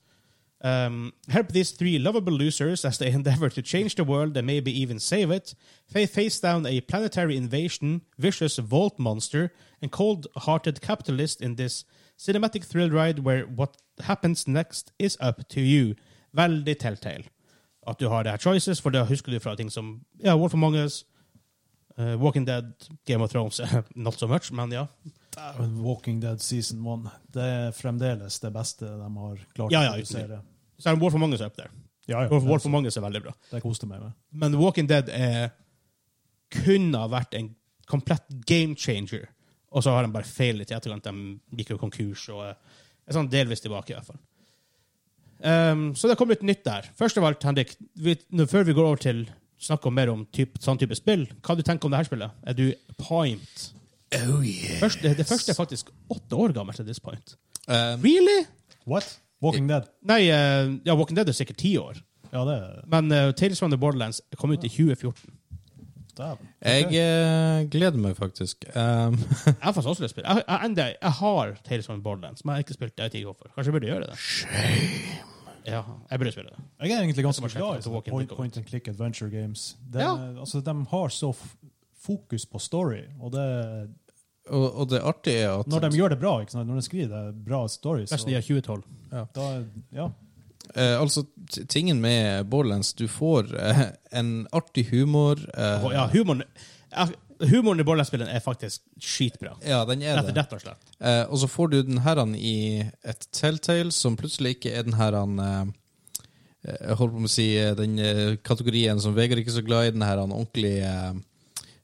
[SPEAKER 1] Um, help these three lovable losers as they [LAUGHS] endeavor to change the world and maybe even save it. They face down a planetary invasion, vicious vault monster, and cold hearted capitalist in this cinematic thrill ride where what happens next is up to you. Veldig telltale. At du har det her choices, for da husker du fra ting som ja, Wolf Among Us, eh, Walking Dead, Game of Thrones [LAUGHS] Not so much, men [LAUGHS] ja.
[SPEAKER 2] Dæven, Walking Dead season one. Det er fremdeles det beste de har klart
[SPEAKER 1] Ja, ja,
[SPEAKER 2] å
[SPEAKER 1] uten tvil.
[SPEAKER 2] produsere.
[SPEAKER 1] Så er Wolf Among Us up there.
[SPEAKER 2] Ja, ja,
[SPEAKER 1] Wolf, Wolf
[SPEAKER 2] det,
[SPEAKER 1] Among Us er veldig bra.
[SPEAKER 2] det koste meg med.
[SPEAKER 1] Men Walking Dead er, kunne ha vært en komplett game changer. Og så har de bare feilet i etterkant. De gikk jo konkurs og eh, er sånn delvis tilbake, i hvert fall. Ehm, så det kom litt nytt der. Først av alt, Henrik, vi, nå, før vi går over til å snakke om mer om typ, sånn type spill, hva du tenker om det her spillet? Er du point?
[SPEAKER 3] Oh, yeah.
[SPEAKER 1] Først, det, det første er faktisk åtte år gammelt til this point.
[SPEAKER 3] Um,
[SPEAKER 1] Really?
[SPEAKER 2] What? Walking Dead?
[SPEAKER 1] Nei, eh, ja, Walking Dead er sikkert ti år.
[SPEAKER 2] Ja, det er
[SPEAKER 1] Men eh, Tales from the Borderlands kom ut i 2014.
[SPEAKER 2] Dæven.
[SPEAKER 3] jeg eh, gleder meg faktisk. Um,
[SPEAKER 1] Jeg har faktisk også lyst til å spille. Jeg, jeg, enda, jeg har Tales from the Borderlands, men jeg har ikke spilt det. Jeg vet ikke hvorfor. Kanskje jeg burde gjøre det? Ja, jeg burde spille det.
[SPEAKER 2] Jeg er egentlig ganske
[SPEAKER 1] Jeg skal bare sjekke
[SPEAKER 2] glad i
[SPEAKER 1] at
[SPEAKER 2] sånne
[SPEAKER 1] Walking
[SPEAKER 2] point,
[SPEAKER 1] Dead går.
[SPEAKER 2] point and click adventure games. De,
[SPEAKER 1] Ja.
[SPEAKER 2] altså, de har så f fokus på story, og det,
[SPEAKER 3] [LAUGHS] og, og det artige er at
[SPEAKER 2] når de gjør det bra, ikke sant? når de skriver det bra story, så
[SPEAKER 1] Resten av 2012.
[SPEAKER 2] da, ja.
[SPEAKER 3] eh, Altså, t- tingen med Borderlands Du får eh, en artig humor. eh,
[SPEAKER 1] Og ja, humoren, ja, humoren i Borderlands-spillen er faktisk skitbra.
[SPEAKER 3] ja, den er
[SPEAKER 1] Rett,
[SPEAKER 3] det.
[SPEAKER 1] rett og slett.
[SPEAKER 3] Eh, og så får du den her han i et telltale som plutselig ikke er den her han eh, Jeg holdt på med å si eh, den eh, kategorien som Vegard ikke er så glad i, den her han ordentlige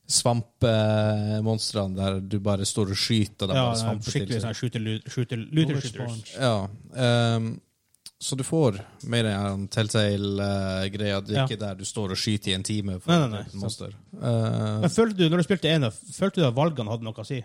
[SPEAKER 3] svampemonstrene der du bare står og skyter dem.
[SPEAKER 1] Ja,
[SPEAKER 3] bare svamper til
[SPEAKER 1] skikkelig
[SPEAKER 3] seg.
[SPEAKER 1] sånn shooter, lu- shooter, looter
[SPEAKER 2] Knowledge
[SPEAKER 1] shooters.
[SPEAKER 2] punch.
[SPEAKER 3] Ja, ehm, så du får mer den her han telltale-greia. det er
[SPEAKER 1] Ja.
[SPEAKER 3] ikke der du står og skyter i en time for
[SPEAKER 1] Nei, nei, nei,
[SPEAKER 3] et
[SPEAKER 1] sant.
[SPEAKER 3] monster. Eh,
[SPEAKER 1] Men følte du, når du spilte ene, følte du at valgene hadde noe å si?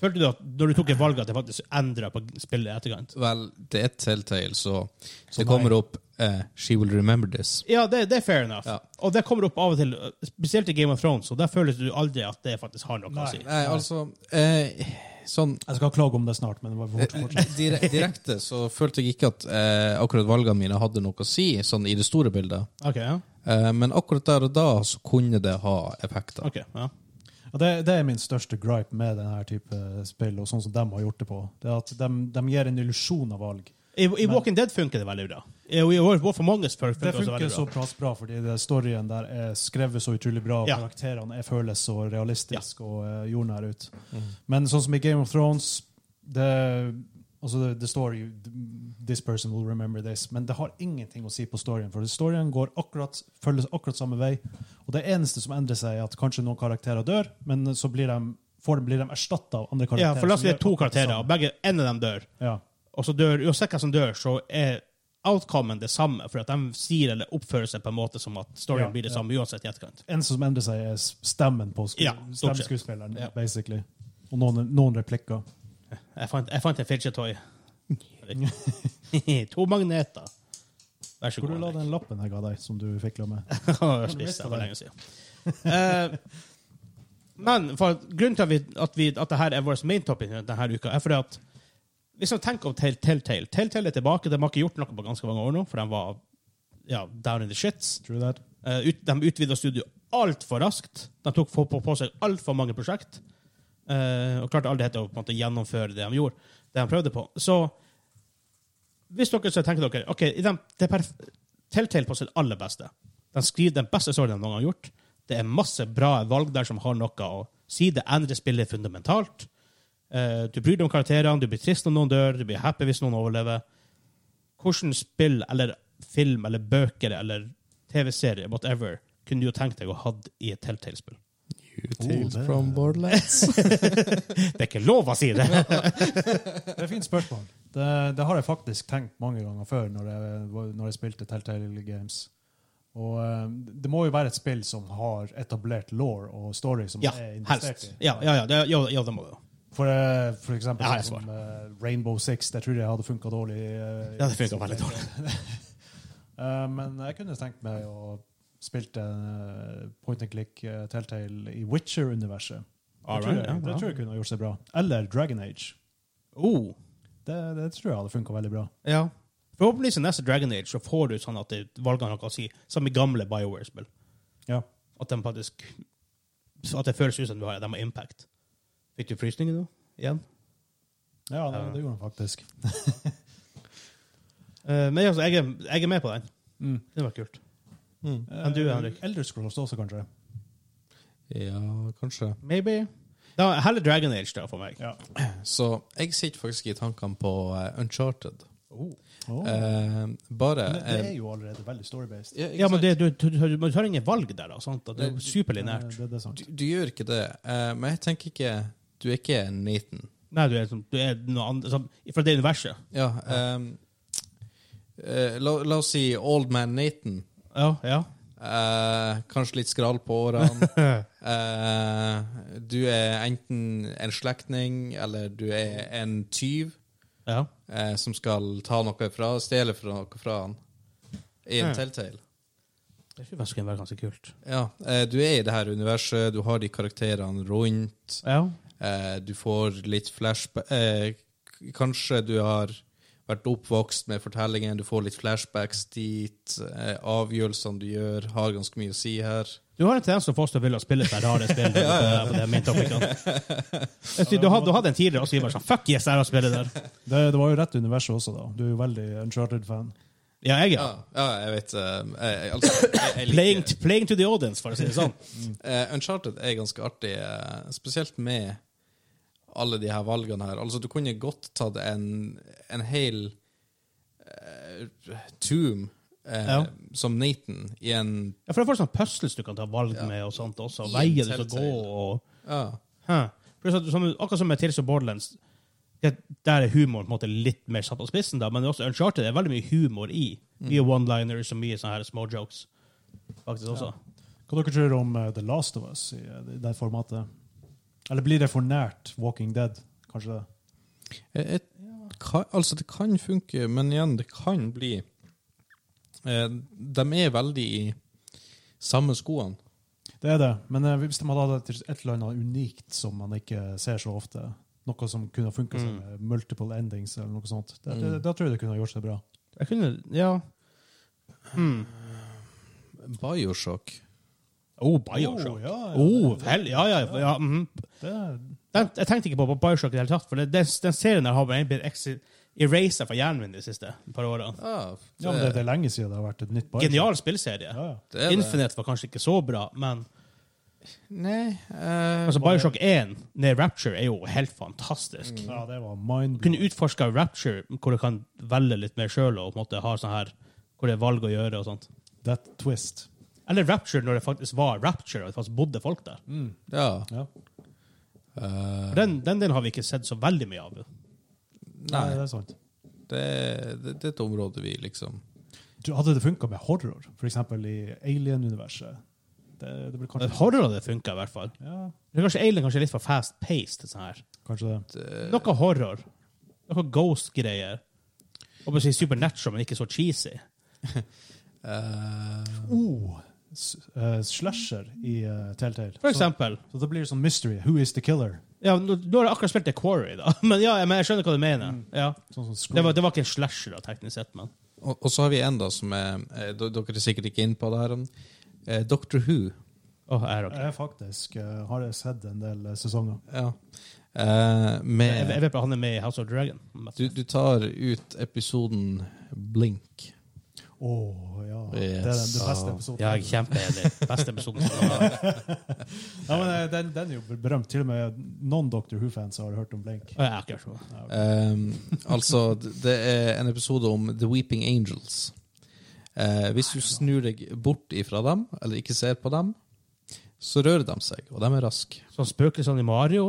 [SPEAKER 1] Følte du at når du tok et valg, at det faktisk endra på spillet i etterkant?
[SPEAKER 3] vel, det er et telltale, så,
[SPEAKER 2] Så
[SPEAKER 3] det
[SPEAKER 2] nei.
[SPEAKER 3] kommer opp eh, 'She will remember this'.
[SPEAKER 1] Ja, det, det er fair enough.
[SPEAKER 3] Ja.
[SPEAKER 1] Og det kommer opp av og til, spesielt i Game of Thrones, og der føler du aldri at det faktisk har noe
[SPEAKER 2] Nei.
[SPEAKER 1] å si.
[SPEAKER 3] Nei, altså eh, Sånn
[SPEAKER 2] Jeg skal klage om det snart, men bare fort- fortsett.
[SPEAKER 3] Eh, dire direkte så følte jeg ikke at eh, akkurat valgene mine hadde noe å si, sånn i det store bildet.
[SPEAKER 1] Ok, ja.
[SPEAKER 3] Eh, men akkurat der og da så kunne det ha effekter.
[SPEAKER 1] Ok, ja.
[SPEAKER 2] Ja, det, det er min største gripe med denne type spill, og sånn som de har gjort det på. Det er at de, de gir en illusjon av valg.
[SPEAKER 1] I, i Walking Dead funker det veldig bra. I, i War for Mongus funker
[SPEAKER 2] Det
[SPEAKER 1] det også
[SPEAKER 2] funker
[SPEAKER 1] veldig
[SPEAKER 2] så
[SPEAKER 1] bra.
[SPEAKER 2] plass bra, fordi det storyen der er skrevet så utrolig bra, og
[SPEAKER 1] Ja.
[SPEAKER 2] karakterene er, føles så realistisk og eh, jordnær ut.
[SPEAKER 1] Mhm.
[SPEAKER 2] Men sånn som i Game of Thrones, det, altså det, det står jo This person will remember this, men det har ingenting å si på storyen, for storyen går akkurat, følges akkurat samme vei, og det eneste som endrer seg er at kanskje noen karakterer dør, men så blir de, får, blir de erstattet av andre
[SPEAKER 1] Ja,
[SPEAKER 2] karakterer.
[SPEAKER 1] for la oss
[SPEAKER 2] som
[SPEAKER 1] si det
[SPEAKER 2] gjør
[SPEAKER 1] er to
[SPEAKER 2] akkurat det
[SPEAKER 1] karakterer,
[SPEAKER 2] samme.
[SPEAKER 1] og begge, en av dem dør.
[SPEAKER 2] Ja.
[SPEAKER 1] Og så dør, uansett hvem som dør, så er outcomen det samme, for at de sier eller oppfører seg på en måte som at storyen
[SPEAKER 2] Ja,
[SPEAKER 1] blir det
[SPEAKER 2] ja.
[SPEAKER 1] samme uansett i etterkant.
[SPEAKER 2] eneste som endrer seg, er stemmen på sku
[SPEAKER 1] Ja, stort sett.
[SPEAKER 2] stemmeskuespilleren.
[SPEAKER 1] Ja.
[SPEAKER 2] basically. Og noen, noen replikker.
[SPEAKER 1] Jeg fant, jeg fant en
[SPEAKER 2] [LAUGHS]
[SPEAKER 1] fidget-toy. [LAUGHS] to magneter. Vær så
[SPEAKER 2] Hvor
[SPEAKER 1] god.
[SPEAKER 2] du la
[SPEAKER 1] Henrik.
[SPEAKER 2] den lappen jeg ga deg, som du fikla med?
[SPEAKER 1] [LAUGHS] Han har spist det for lenge siden. Eh, men for at, grunnen til at, vi, at, vi, at det her er vår main topic denne uka, er fordi at hvis man tenker om Tell- Telltale Telltale er tilbake. De har ikke gjort noe på ganske mange år nå, for de var ja, down in the shits.
[SPEAKER 2] True that?
[SPEAKER 1] Eh, ut, de utvida studioet altfor raskt. De tok på, på, på seg altfor mange prosjekt. eh, og klarte aldri helt å på en måte, gjennomføre det de gjorde, det de prøvde på. Så hvis dere så tenker dere ok, i dem- det er perf- Telltale på sitt aller beste. De skriver den beste storyen de noen gang har gjort. Det er masse bra valg der som har noe å si. Det endrer spillet fundamentalt. Eh, du bryr deg om karakterene, du blir trist når noen dør, du blir happy hvis noen overlever. Hvordan spill eller film eller bøker eller TV-serie, whatever, kunne du jo tenkt deg å ha i et Telltale-spill?
[SPEAKER 3] You
[SPEAKER 2] tales det-
[SPEAKER 3] from Borderlands.
[SPEAKER 1] Det er ikke lov å si
[SPEAKER 2] [LAUGHS]
[SPEAKER 1] det!
[SPEAKER 2] Det er et fint spørsmål. Det, det har jeg faktisk tenkt mange ganger før når jeg, når jeg spilte Telltale Games. Og eh, det må jo være et spill som har etablert law og story som
[SPEAKER 1] Ja,
[SPEAKER 2] er investert
[SPEAKER 1] helst.
[SPEAKER 2] i.
[SPEAKER 1] Ja, ja, ja, det, ja, ja, det må du jo.
[SPEAKER 2] For, eh, for eksempel
[SPEAKER 1] Ja, jeg
[SPEAKER 2] sånn som, eh, Rainbow Six. Det tror jeg hadde funka dårlig. eh, [LAUGHS]
[SPEAKER 1] Ja, det funka veldig dårlig.
[SPEAKER 2] Eh, men jeg kunne tenkt meg å spilte eh, point and click eh, Telltale i Witcher-universet. Det tror
[SPEAKER 1] Alright,
[SPEAKER 2] jeg,
[SPEAKER 1] ja,
[SPEAKER 2] det tror jeg kunne ha gjort seg bra. Eller Dragon Age.
[SPEAKER 1] Oh,
[SPEAKER 2] Det, det tror jeg hadde funka veldig bra.
[SPEAKER 1] ja. Forhåpentligvis i neste Dragon Age så får du sånn at det- valgene har noe å si, som i gamle Bioware-spill.
[SPEAKER 2] Ja.
[SPEAKER 1] At de faktisk så At det føles ut som du har, de har impact. Fikk du frysninger nå? Igjen?
[SPEAKER 2] Ja, det, det gjorde han faktisk.
[SPEAKER 1] Eh, men altså, jeg, er- jeg er med på den. Det var kult.
[SPEAKER 2] Eh,
[SPEAKER 1] Men du, Henrik?
[SPEAKER 2] Elder Scrolls også, kanskje.
[SPEAKER 3] [LAUGHS] Ja, kanskje.
[SPEAKER 1] Maybe. Da, heller Dragon Age da, for meg.
[SPEAKER 2] Ja.
[SPEAKER 3] Så jeg sitter faktisk i tankene på eh, Uncharted.
[SPEAKER 2] Åh.
[SPEAKER 3] Eh, bare
[SPEAKER 2] Men det
[SPEAKER 3] eh,
[SPEAKER 2] er jo allerede veldig story-based.
[SPEAKER 3] ja, ikke
[SPEAKER 1] Ja, men
[SPEAKER 3] sant?
[SPEAKER 1] det, du, du, du, du har ingen valg der, da. Sant? At det er
[SPEAKER 3] Det-
[SPEAKER 2] Eh,
[SPEAKER 1] superlinært.
[SPEAKER 2] Det, det er sant.
[SPEAKER 3] du, du gjør ikke det. Eh, men jeg tenker ikke Du er ikke Nathan.
[SPEAKER 1] Nei, du er, som- du er noe annet som, Fra det universet.
[SPEAKER 3] Ja. eh, eh, la, la oss si Old Man Nathan.
[SPEAKER 1] Ja,
[SPEAKER 3] [LAUGHS]
[SPEAKER 1] ja.
[SPEAKER 3] Eh, kanskje litt skral på
[SPEAKER 1] [LAUGHS]
[SPEAKER 3] årene. Eh, du er enten en slektning, eller du er en tyv
[SPEAKER 1] ja.
[SPEAKER 3] eh, som skal ta noe fra, stjele fra noe fra han. I en
[SPEAKER 1] Ja.
[SPEAKER 3] telltale.
[SPEAKER 1] Det skulle faktisk være ganske kult.
[SPEAKER 3] Ja, eh, du er i det her universet, du har de karakterene rundt,
[SPEAKER 1] Ja.
[SPEAKER 3] eh, du får litt flashback eh, k- Kanskje du har vært oppvokst med fortellingen, du får litt flashbacks dit, eh, avgjørelsene du gjør, har ganske mye å si her.
[SPEAKER 1] Du har en tendens til å få oss til å ville spille seg rare spill.
[SPEAKER 3] [LAUGHS]
[SPEAKER 1] der, på- på det main topicen. Jeg sier, Du hadde, du hadde en tidligere også, Ivar, sånn Fuck yes, jeg har spillet der.
[SPEAKER 2] Det, det var jo rett universet også, da. Du er jo veldig Uncharted-fan.
[SPEAKER 1] Ja, jeg,
[SPEAKER 3] Ja,
[SPEAKER 1] ja.
[SPEAKER 3] ja jeg vet eh, jeg, jeg- altså, jeg, jeg
[SPEAKER 1] Playing,
[SPEAKER 3] liker,
[SPEAKER 1] playing to the audience, for å si det
[SPEAKER 3] [LAUGHS]
[SPEAKER 1] sånn.
[SPEAKER 3] Eh, Uncharted er ganske artig, eh, spesielt med alle de her valgene her. Altså, du kunne godt tatt en, en hel eh, tomb eh,
[SPEAKER 1] Ja.
[SPEAKER 3] som Nathan i en
[SPEAKER 1] Ja, for det er faktisk sånn puzzles du kan ta valg med, og sånt også.
[SPEAKER 3] I en
[SPEAKER 1] Veier du skal
[SPEAKER 3] Telltale.
[SPEAKER 1] gå, og
[SPEAKER 3] Ja.
[SPEAKER 1] Hæ. For det er sånn- som, Akkurat som med Tales of Borderlands, det, der er humoren på en måte litt mer satt på spissen, da, men også Uncharted er veldig mye humor i. Mye
[SPEAKER 2] Mm.
[SPEAKER 1] one-liners og mye sånne her små jokes. Faktisk også.
[SPEAKER 2] Hva dere tror om eh, The Last of Us i, eh, i det formatet? Eller blir det for nært Walking Dead? Kanskje det?
[SPEAKER 3] Eh, Et, ka, altså, det kan funke, men igjen, det kan bli eh, De er veldig i samme skoene.
[SPEAKER 2] Det er det, men eh, hvis de hadde hatt et, et eller annet unikt som man ikke ser så ofte, noe som kunne funka som eh, multiple endings eller noe sånt, det, det, da tror jeg det kunne ha gjort seg bra.
[SPEAKER 1] Jeg kunne Ja. Hmm.
[SPEAKER 3] Bioshock.
[SPEAKER 1] Oh, Bioshock.
[SPEAKER 2] Oh, ja, ja,
[SPEAKER 1] Oh, vel, ja, ja, ja, ja mhm.
[SPEAKER 2] Det,
[SPEAKER 1] den, Jeg tenkte ikke på, på Bioshock i det hele tatt, for det, den, den serien der har bare blitt exi- erasa fra hjernen min de siste par årene.
[SPEAKER 3] Ja,
[SPEAKER 2] ja, men det, det er lenge siden det har vært et nytt Bioshock.
[SPEAKER 1] Genial spillserie.
[SPEAKER 2] Ja, ja.
[SPEAKER 3] det er det.
[SPEAKER 1] Infinite var kanskje ikke så bra, men
[SPEAKER 3] Nei eh,
[SPEAKER 1] altså, Bioshock 1 ned Rapture er jo helt fantastisk.
[SPEAKER 2] ja, det var
[SPEAKER 1] Du kunne
[SPEAKER 2] mindblowing.
[SPEAKER 1] utforska Rapture, hvor du kan velge litt mer sjøl og på en måte ha sånn her hvor det er valg å gjøre og sånt.
[SPEAKER 2] That twist.
[SPEAKER 1] Eller Rapture når det faktisk var Rapture, og det faktisk bodde folk der.
[SPEAKER 3] Ja.
[SPEAKER 2] Ja.
[SPEAKER 3] Eh,
[SPEAKER 1] Den, den delen har vi ikke sett så veldig mye av.
[SPEAKER 2] Nei,
[SPEAKER 3] nei,
[SPEAKER 2] det er sant.
[SPEAKER 3] det, det, det er et område vi liksom
[SPEAKER 2] Du, Hadde det funka med horror, f.eks. i Alien-universet? Det, det blir kanskje
[SPEAKER 1] Horror hadde funka, i hvert fall.
[SPEAKER 2] Ja,
[SPEAKER 1] Det er Kanskje Alien kanskje er litt for fast-paced. sånn her.
[SPEAKER 2] kanskje det.
[SPEAKER 1] Noe horror. Noe ghost-greier. Og bare si supernatural, men ikke så cheesy.
[SPEAKER 3] eh,
[SPEAKER 2] Oh, s- eh, slasher i eh, Telltale.
[SPEAKER 1] For eksempel.
[SPEAKER 2] Så, så det blir sånn mystery. Who is the killer?
[SPEAKER 1] Ja, nå, nå har jeg akkurat spilt The Quarry, da. [LAUGHS] Men ja, men jeg skjønner hva du mener. Ja.
[SPEAKER 2] Sånn som Scream.
[SPEAKER 1] Det, var, det var ikke en slasher, da, teknisk sett, men
[SPEAKER 3] og, og så har vi en da som er eh, d- Dere er sikkert ikke inne på det her. Eh, Doctor Who.
[SPEAKER 1] Åh, jeg er ok.
[SPEAKER 2] Jeg faktisk eh, har jeg sett en del eh, sesonger.
[SPEAKER 3] Ja. Eh, med
[SPEAKER 1] Jeg, jeg vet bare han er med i House of Dragon. Men-
[SPEAKER 3] Du, du tar ut episoden Blink.
[SPEAKER 2] Å, ja.
[SPEAKER 3] Yes.
[SPEAKER 2] Det er den, den beste
[SPEAKER 3] Ah.
[SPEAKER 2] episoden.
[SPEAKER 1] Ja, jeg er kjempeenig. Beste episoden. som har vært.
[SPEAKER 2] [LAUGHS] Ja, men eh, den, den er jo berømt. Til og med noen Doctor Who-fans har hørt om Blink.
[SPEAKER 1] Og jeg er akkurat sånn.
[SPEAKER 3] Ehm, altså, d- det er en episode om The Weeping Angels. Eh, hvis du snur deg bort ifra dem, eller ikke ser på dem, så rører de seg, og de er raske.
[SPEAKER 1] Sånn spøkelsene i Mario.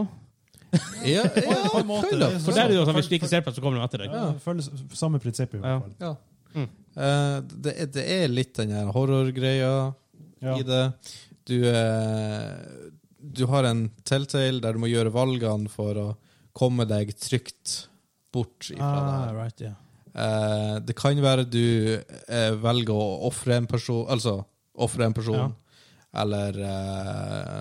[SPEAKER 3] Ja, ja,
[SPEAKER 2] på en måte.
[SPEAKER 3] kind of.
[SPEAKER 1] For der er det jo sånn, Hvis du ikke ser på det, så kommer de etter deg.
[SPEAKER 2] Ja, det Føles samme prinsippet, i
[SPEAKER 1] Ja.
[SPEAKER 2] hvert fall.
[SPEAKER 3] Ja. Eh, det, er- det er litt den her horrorgreia
[SPEAKER 2] Ja.
[SPEAKER 3] i det. Du, eh, du har en telltale der du må gjøre valgene for å komme deg trygt bort ifra det her.
[SPEAKER 1] Ah, right, yeah.
[SPEAKER 3] Eh, det kan være du eh, velger å ofre en person Altså ofre en person,
[SPEAKER 2] Ja.
[SPEAKER 3] eller eh,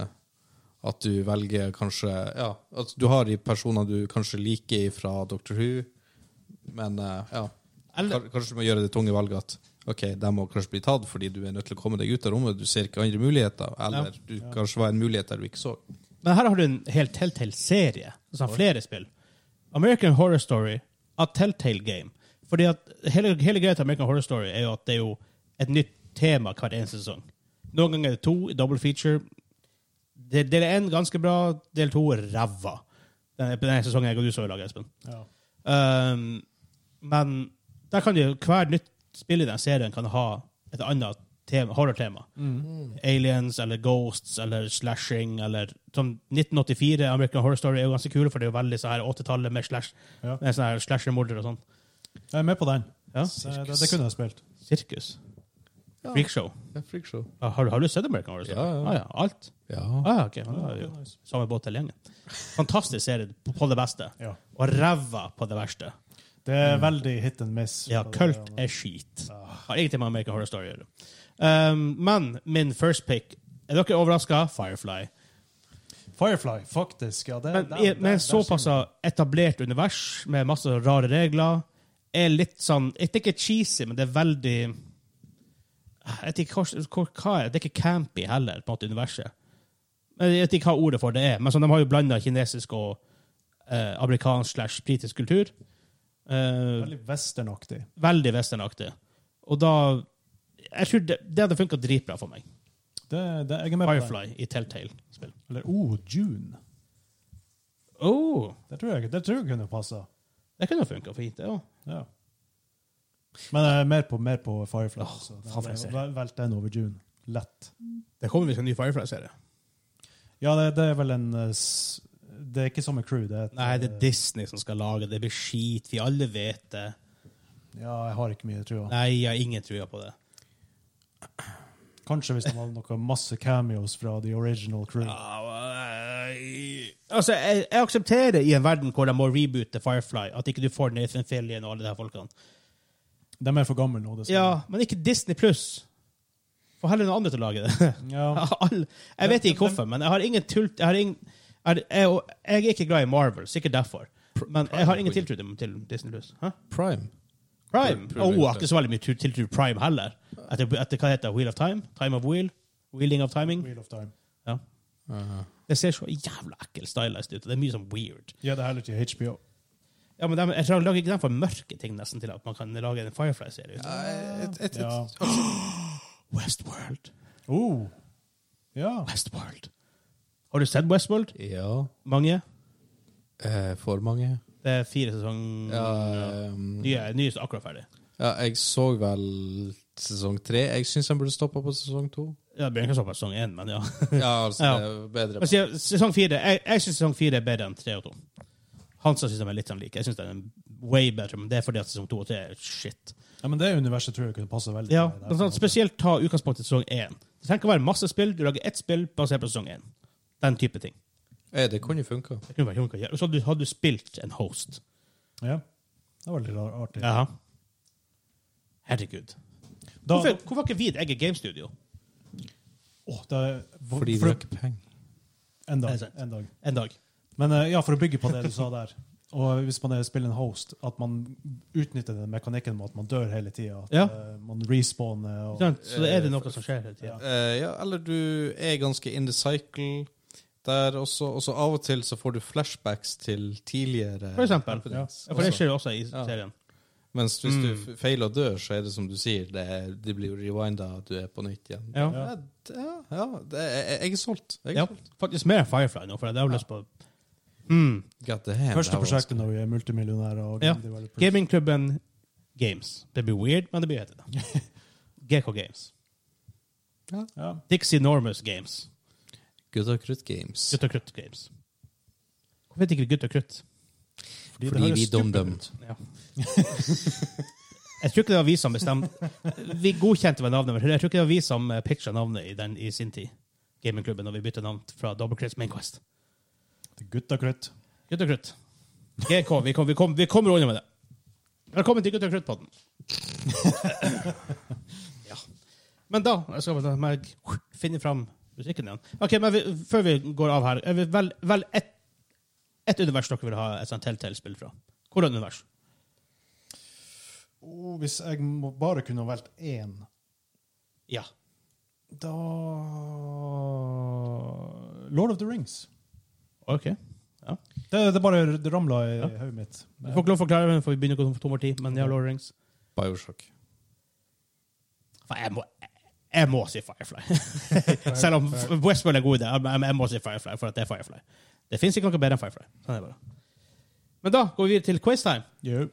[SPEAKER 3] at du velger kanskje Ja, at du har de personene du kanskje liker fra Doctor Who, men eh, ja
[SPEAKER 1] Eller-
[SPEAKER 3] Kar- Kanskje du må gjøre det tunge valget at Ok, de må kanskje bli tatt fordi du er nødt til å komme deg ut av rommet. Du ser ikke andre muligheter. Eller du kanskje var en mulighet der du ikke så.
[SPEAKER 1] Men her har du en hel Telltale-serie. Altså flere spill. American Horror Story av Telltale Game. Fordi at hele, hele greia til American Horror Story er jo at det er jo et nytt tema hver eneste sesong. Noen ganger er det to i double feature. Det- Del én ganske bra, del to ræva. Den, den sesongen jeg og du så i lag, Espen.
[SPEAKER 2] Ja.
[SPEAKER 1] Um, men der kan jo hver nytt spill i den serien kan ha et annet tema, horror-tema.
[SPEAKER 3] Mm.
[SPEAKER 1] Aliens eller ghosts eller slashing eller som 1984 American Horror Story er jo ganske kule, for det er jo veldig sånn her 80-tallet med, slash,
[SPEAKER 2] Ja.
[SPEAKER 1] med sånn her slasher-morder og sånn.
[SPEAKER 2] Jeg er med på den.
[SPEAKER 1] Ja.
[SPEAKER 2] Så eh, Det, det kunne jeg spilt.
[SPEAKER 1] Sirkus.
[SPEAKER 3] Ja.
[SPEAKER 1] Freakshow.
[SPEAKER 3] Det er freakshow.
[SPEAKER 1] Ah, Har, har du sett American Horror Story?
[SPEAKER 3] Ja, ja.
[SPEAKER 1] Ah, ja. Alt?
[SPEAKER 3] Ja.
[SPEAKER 1] Ah, ja, ok. Ja, det er jo Samme båt hele gjengen. Fantastisk serie på- på det beste.
[SPEAKER 2] Ja.
[SPEAKER 1] Og ræva på det verste.
[SPEAKER 2] Det er veldig hit and miss.
[SPEAKER 1] Mm. Ja,
[SPEAKER 2] på det
[SPEAKER 1] kult
[SPEAKER 2] der, men-
[SPEAKER 1] er skit.
[SPEAKER 2] Ah.
[SPEAKER 1] Har ingenting med American Horror Story å gjøre. Um, men min first pick Er dere overraska? Firefly.
[SPEAKER 2] Firefly, faktisk. Ja, det,
[SPEAKER 1] Men
[SPEAKER 2] der-
[SPEAKER 1] i-
[SPEAKER 2] der-
[SPEAKER 1] med
[SPEAKER 2] der
[SPEAKER 1] et såpass
[SPEAKER 2] synger
[SPEAKER 1] etablert univers med masse rare regler er litt sånn Det er ikke cheesy, men det er veldig Jeg vet ikke hva, hva, hva er det? Det er ikke campy heller, på en måte, universet. Men Jeg vet ikke hva ordet for det er, men sånn, de har jo blanda kinesisk og eh, amerikansk slash britisk kultur.
[SPEAKER 2] den.
[SPEAKER 1] Eh,
[SPEAKER 2] Veldig westernaktig.
[SPEAKER 1] Veldig westernaktig. Og da Jeg tror det, det hadde funka dritbra for meg.
[SPEAKER 2] Det, det, jeg er med på den.
[SPEAKER 1] Firefly i Telltale-spill.
[SPEAKER 2] Eller oh, June.
[SPEAKER 1] Oh,
[SPEAKER 2] Det tror jeg, det tror jeg kunne passa.
[SPEAKER 1] det kunne funka fint, det òg.
[SPEAKER 2] Ja. Men jeg er mer på, mer på Firefly.
[SPEAKER 1] Åh,
[SPEAKER 2] så
[SPEAKER 1] faen for en
[SPEAKER 2] jeg
[SPEAKER 1] serie.
[SPEAKER 2] vel- Velg den over June. Lett.
[SPEAKER 1] Det kommer visst en ny Firefly-serie.
[SPEAKER 2] Ja, det, det er vel en eh, s- Det er ikke samme crew. Det er et,
[SPEAKER 1] Nei, det er
[SPEAKER 2] eh,
[SPEAKER 1] Disney som skal lage det. Det blir skit. Vi alle vet det.
[SPEAKER 2] Ja, jeg har ikke mye trua.
[SPEAKER 1] Nei, jeg har ingen trua på det.
[SPEAKER 2] Kanskje hvis det var noe masse cameos fra the original crew.
[SPEAKER 1] Altså, jeg, jeg aksepterer i en verden hvor de må reboote Firefly, at ikke du får Nathan Fillion og alle de her folkene.
[SPEAKER 2] De er for gamle nå, dessverre.
[SPEAKER 1] Ja, men ikke Disney pluss. Få heller noen andre til å lage det. [LAUGHS]
[SPEAKER 2] Ja.
[SPEAKER 1] Alle- jeg vet ikke hvorfor, men jeg har ingen tult... Jeg, har ingen, jeg, jeg, og jeg er ikke glad i Marvel, sikkert derfor. Men jeg har ingen tiltro til, til Disney Plus. Hæ?
[SPEAKER 3] Prime.
[SPEAKER 1] Prime?
[SPEAKER 3] Prøv- prøv
[SPEAKER 1] Oh, jeg har
[SPEAKER 3] ikke.
[SPEAKER 1] ikke så veldig mye tu- tiltro til Prime heller. Etter, etter hva heter det? Wheel of Time? Time of Wheel? Wheeling of Timing?
[SPEAKER 2] Wheel of Time.
[SPEAKER 1] Ja. Det ser så jævla ekkel stylized ut. og Det er mye sånn weird.
[SPEAKER 2] Ja, det er heller til
[SPEAKER 1] [LAUGHS]
[SPEAKER 2] HBO.
[SPEAKER 1] Ja, men de, jeg tror de lager ikke dem for mørke ting nesten til at man kan lage en Firefly-serie. ut.
[SPEAKER 3] Eh, Et, et, et,
[SPEAKER 2] Ja.
[SPEAKER 1] Westworld.
[SPEAKER 2] Oh. Ja.
[SPEAKER 1] Westworld. Har du sett Westworld?
[SPEAKER 3] Ja.
[SPEAKER 1] Mange?
[SPEAKER 3] Eh, for mange.
[SPEAKER 1] Det er fire sesonger.
[SPEAKER 3] Mm. Ja, eh,
[SPEAKER 1] Nye, nye er akkurat ferdig.
[SPEAKER 3] ja, jeg så vel sesong tre. Jeg syns han burde stoppa på sesong to.
[SPEAKER 1] Ja, det blir ikke så på sesong én, men ja.
[SPEAKER 3] Ja, altså,
[SPEAKER 1] Ja.
[SPEAKER 3] det er
[SPEAKER 1] [LAUGHS]
[SPEAKER 3] bedre.
[SPEAKER 1] Men se- sesong fire, jeg, jeg syns sesong fire er bedre enn tre og to. Hansa syns de er litt sånn like. Jeg synes den er way better, men det er fordi at sesong to og tre er shit.
[SPEAKER 2] ja, men det universet tror jeg kunne passe veldig.
[SPEAKER 1] Ja,
[SPEAKER 2] med det
[SPEAKER 1] men sånn,
[SPEAKER 2] her.
[SPEAKER 1] Spesielt ta utgangspunkt i sesong én. Det trenger ikke å være masse spill. Du lager ett spill basert på sesong én. Den type ting.
[SPEAKER 3] Eh, det kunne funka.
[SPEAKER 1] Det kunne vært noe å gjøre. Og så hadde du- hadde du spilt en host.
[SPEAKER 2] Ja. Det var veldig rar- artig.
[SPEAKER 1] Jaha. Herregud.
[SPEAKER 2] Da,
[SPEAKER 1] Hvorfor, hvorfor har ikke vi et eget gamestudio?
[SPEAKER 2] Åh, det er, hvor-
[SPEAKER 3] Fordi
[SPEAKER 2] for,
[SPEAKER 3] det er ikke penger.
[SPEAKER 2] en,
[SPEAKER 1] Det er
[SPEAKER 2] dag,
[SPEAKER 1] sant.
[SPEAKER 2] en dag.
[SPEAKER 1] En dag.
[SPEAKER 2] Men eh, ja, for å bygge på det du sa der. [LAUGHS] Og hvis man er- spiller en host, at man utnytter den mekanikken med at man dør hele tida. At
[SPEAKER 1] Ja.
[SPEAKER 2] eh, man respawner.
[SPEAKER 1] Ikke
[SPEAKER 2] Og,
[SPEAKER 1] sant? Sånn, Så da er det noe som skjer hele tida.
[SPEAKER 2] Ja.
[SPEAKER 3] Eh, ja, eller du er ganske in the cycle der også, og så av og til så får du flashbacks til tidligere Altså,
[SPEAKER 1] For eksempel.
[SPEAKER 2] Ja.
[SPEAKER 1] Ja, for det skjer jo også i serien.
[SPEAKER 3] Mens hvis du f- feiler og dør, så er det som du sier, det, er- det blir rewinda at du er på nytt igjen.
[SPEAKER 1] Ja.
[SPEAKER 3] ja, det- ja, ja det, jeg, jeg er solgt. Jeg er
[SPEAKER 1] Ja,
[SPEAKER 3] solgt.
[SPEAKER 1] faktisk mer enn Firefly nå, for jeg har lyst på mm.
[SPEAKER 3] God damn, det
[SPEAKER 2] Første
[SPEAKER 3] her var
[SPEAKER 2] prosjektet når vi er multimillionærer og
[SPEAKER 1] ja.
[SPEAKER 2] game developers.
[SPEAKER 1] Gamingklubben Games. Det blir weird, men det blir hete det. [LAUGHS] GK Games.
[SPEAKER 2] Ja.
[SPEAKER 1] Dixie Normus Games.
[SPEAKER 3] Gutt og krutt games.
[SPEAKER 1] Gutt og krutt Games. Hvorfor heter ikke vi Gutt og krutt?
[SPEAKER 2] Fordi, det
[SPEAKER 3] Fordi
[SPEAKER 2] høres
[SPEAKER 3] vi
[SPEAKER 2] stupid
[SPEAKER 3] dum-dum.
[SPEAKER 2] ut.
[SPEAKER 1] Ja. [LAUGHS] jeg tror ikke det var vi som bestemte Vi godkjente vel navnet, men jeg tror ikke det var vi som eh, pitcha navnet i, den, i sin tid. Gamingklubben, når vi bytta navn fra Double Crits Main Quest.
[SPEAKER 2] Det er Gutta krutt.
[SPEAKER 1] Gutt og krutt. GK, vi, kom, vi, kom, vi kommer unna med det. Velkommen til Gutt og krutt-podden. [LAUGHS] ja. Men da jeg skal jeg meg finne fram musikken igjen. Ok, men vi, Før vi går av her, er vi vel, vel ett et univers dere vil ha et sånt Telltale-spill fra? Hvordan univers?
[SPEAKER 2] Oh, hvis jeg må bare kunne ha valgt én,
[SPEAKER 1] Ja.
[SPEAKER 2] da Lord of the Rings.
[SPEAKER 1] Ok. Ja.
[SPEAKER 2] Det, det bare det ramla i
[SPEAKER 1] Ja.
[SPEAKER 2] hodet mitt.
[SPEAKER 1] Du får ikke lov å forklare, men for vi begynner å gå tom for tid. Men ja, Lord of the Rings.
[SPEAKER 3] Bioshock.
[SPEAKER 1] Faen, Jeg må, jeg må si Firefly. Selv om Westworld er god idé. Jeg, jeg må si Firefly, for at det er Firefly. Det fins ikke noe bedre enn Firefly. Sånn er det bare. Men da går vi videre til quiztime.
[SPEAKER 2] Jo.